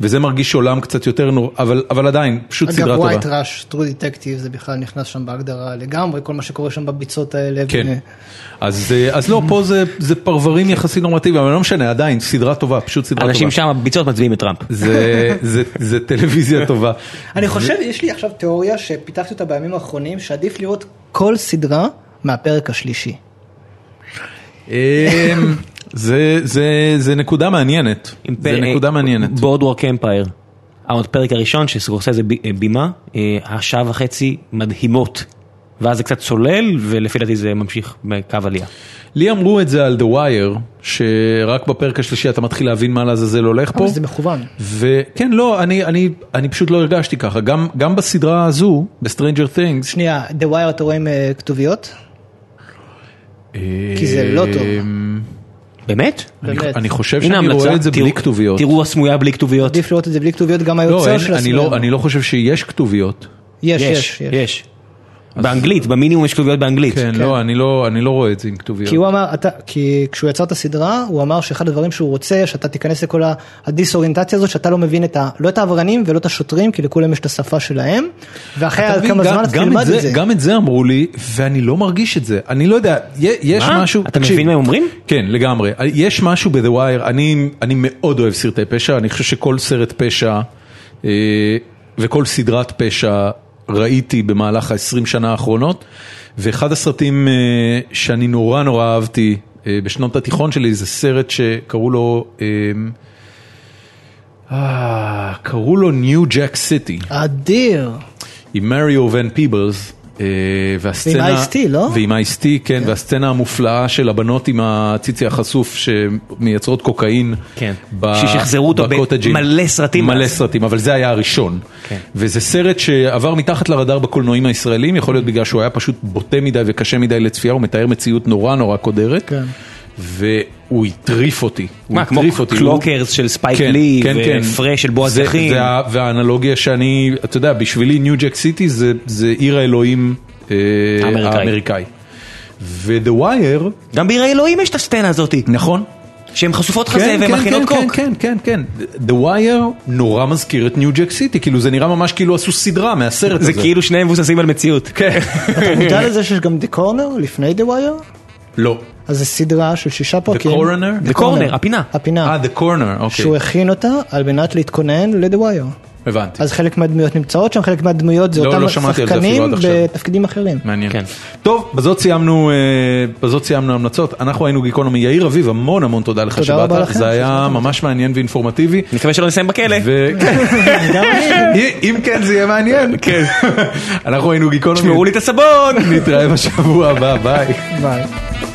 Speaker 1: וזה מרגיש עולם קצת יותר נורא, אבל, אבל עדיין, פשוט סדרה
Speaker 3: אגב,
Speaker 1: טובה.
Speaker 3: ווייט ראש, טרו דטקטיב, זה בכלל נכנס שם בהגדרה לגמרי, כל מה שקורה שם בביצות האלה.
Speaker 1: כן,
Speaker 3: ו-
Speaker 1: אז, אה, אז לא, פה זה, זה פרברים יחסית נורמטיביים, אבל לא משנה, עדיין, סדרה טובה, פשוט סדרה
Speaker 5: אנשים
Speaker 1: טובה.
Speaker 5: שם ביצות מצביעים את טראמפ.
Speaker 1: זה, זה, זה טלוויזיה טובה.
Speaker 3: אני חושב, יש לי עכשיו תיאוריה שפיתחתי אותה בימים האחרונים, שעדיף לראות כל סדרה מהפרק השלישי.
Speaker 1: אה, זה, זה, זה נקודה מעניינת,
Speaker 5: אה,
Speaker 1: זה נקודה מעניינת.
Speaker 5: בורדוורק אמפייר. הפרק הראשון שסקורסזה ב- אה, בימה, אה, השעה וחצי מדהימות. ואז זה קצת צולל, ולפי דעתי זה ממשיך בקו עלייה.
Speaker 1: לי אמרו את זה על The Wire, שרק בפרק השלישי אתה מתחיל להבין מה לעזאזל הולך פה.
Speaker 3: אבל זה מכוון.
Speaker 1: וכן, לא, אני, אני, אני פשוט לא הרגשתי ככה. גם, גם בסדרה הזו, ב-Stranger Things,
Speaker 3: שנייה, The Wire אתה רואה עם אה, כתוביות? כי זה לא טוב.
Speaker 1: אמ,
Speaker 5: באמת?
Speaker 1: אני,
Speaker 3: באמת.
Speaker 1: אני חושב
Speaker 5: הנה
Speaker 1: שאני
Speaker 5: המלצה,
Speaker 1: רואה את זה בלי
Speaker 5: תראו-
Speaker 1: כתוביות.
Speaker 5: תראו הסמויה בלי כתוביות.
Speaker 3: עדיף לראות את זה בלי כתוביות, גם
Speaker 1: לא,
Speaker 3: היוצר
Speaker 1: אין,
Speaker 3: של
Speaker 1: אני,
Speaker 3: הסרט.
Speaker 1: לא, אני לא חושב שיש כתוביות.
Speaker 3: יש, יש, יש.
Speaker 5: יש. באנגלית, במינימום יש כתוביות באנגלית.
Speaker 1: כן, לא, אני לא, אני לא רואה את זה עם
Speaker 3: כי הוא
Speaker 1: כתוביות.
Speaker 3: אמר, אתה, כי כשהוא יצר את הסדרה, הוא אמר שאחד הדברים שהוא רוצה, שאתה תיכנס לכל ה- הדיסאוריינטציה הזאת, שאתה לא מבין את ה, לא את העבריינים ולא את השוטרים, כי לכולם יש את השפה שלהם, ואחרי
Speaker 1: אתה מבין,
Speaker 3: כמה
Speaker 1: גם-
Speaker 3: זמן אתה
Speaker 1: גם
Speaker 3: תלמד את זה.
Speaker 1: גם את זה אמרו לי, ואני לא מרגיש את זה. אני לא יודע, י- יש
Speaker 5: מה?
Speaker 1: משהו...
Speaker 5: אתה
Speaker 1: תקשיב,
Speaker 5: מבין מה הם אומרים?
Speaker 1: כן, לגמרי. יש משהו ב-The Wire, אני, אני מאוד אוהב סרטי פשע, אני חושב שכל סרט פשע אה, וכל סדרת פשע ראיתי במהלך ה-20 שנה האחרונות, ואחד הסרטים אה, שאני נורא נורא אהבתי אה, בשנות התיכון שלי זה סרט שקראו לו... אה, אה, קראו לו ניו ג'ק סיטי.
Speaker 3: אדיר.
Speaker 1: עם מריו ון פיבלס. אה, והסצנה,
Speaker 3: ועם Ice-T, לא?
Speaker 1: ועם אייסטי, כן, והסצנה המופלאה של הבנות עם הציצי החשוף שמייצרות קוקאין.
Speaker 5: כן.
Speaker 1: ב-
Speaker 5: ששחזרו אותו
Speaker 1: בקוטג'ים.
Speaker 5: במלא סרטים.
Speaker 1: מלא סרטים, אבל זה היה הראשון.
Speaker 5: כן.
Speaker 1: וזה סרט שעבר מתחת לרדאר בקולנועים הישראלים, יכול להיות בגלל שהוא היה פשוט בוטה מדי וקשה מדי לצפייה, הוא מתאר מציאות נורא נורא קודרת.
Speaker 3: כן.
Speaker 1: והוא הטריף אותי. הוא
Speaker 5: מה, כמו
Speaker 1: הטריף אותי. הוא-
Speaker 5: קלוקרס של ספייק לי, ופרש של בועז
Speaker 1: כן, זה-
Speaker 5: זכין.
Speaker 1: זה ה- והאנלוגיה שאני, אתה יודע, בשבילי ניו ג'ק סיטי זה זה עיר האלוהים אה,
Speaker 5: האמריקאי.
Speaker 1: האמריקאי. ו-The Wire,
Speaker 5: גם בעיר האלוהים יש את הסצנה הזאת,
Speaker 1: נכון,
Speaker 5: שהן חשופות חזה והן מכינות
Speaker 1: כן,
Speaker 5: קוק.
Speaker 1: כן, כן, כן, כן. The Wire נורא מזכיר את ניו ג'ק סיטי, כאילו זה נראה ממש כאילו עשו סדרה מהסרט הזה.
Speaker 5: זה כאילו שניהם מבוססים על מציאות. כן.
Speaker 3: אתה מודע לזה שיש גם The Corner לפני The Wire?
Speaker 1: לא.
Speaker 3: אז זו סדרה של שישה פרקים.
Speaker 1: Coroner?
Speaker 5: The corner,
Speaker 3: The Corner.
Speaker 5: הפינה.
Speaker 1: אה,
Speaker 3: הפינה.
Speaker 1: The Corner, אוקיי,
Speaker 3: שהוא הכין אותה על מנת להתכונן ל-The Wire.
Speaker 1: הבנתי,
Speaker 3: אז חלק מהדמויות נמצאות שם, חלק מהדמויות זה
Speaker 1: לא,
Speaker 3: אותם
Speaker 1: לא שמעתי על זה אפילו
Speaker 3: שחקנים
Speaker 1: עד עכשיו.
Speaker 3: בתפקידים אחרים.
Speaker 1: מעניין.
Speaker 5: כן.
Speaker 1: טוב, בזאת סיימנו, אה, בזאת סיימנו המלצות, אנחנו היינו גיקונומי. יאיר אביב, המון המון תודה לך
Speaker 3: תודה
Speaker 1: שבאת,
Speaker 3: רבה לכם
Speaker 1: זה היה
Speaker 3: שהזמנתם
Speaker 1: ממש מעניין ואינפורמטיבי.
Speaker 5: נקווה שלא נסיים בכלא.
Speaker 3: (laughs)
Speaker 1: ו- (laughs)
Speaker 3: גם אני.
Speaker 1: אם כן זה יהיה מעניין, כן. (laughs) אנחנו היינו גיקונומי,
Speaker 5: תשמעו לי את הסבון!
Speaker 1: נתראה בשבוע הבא, ביי.
Speaker 3: ביי.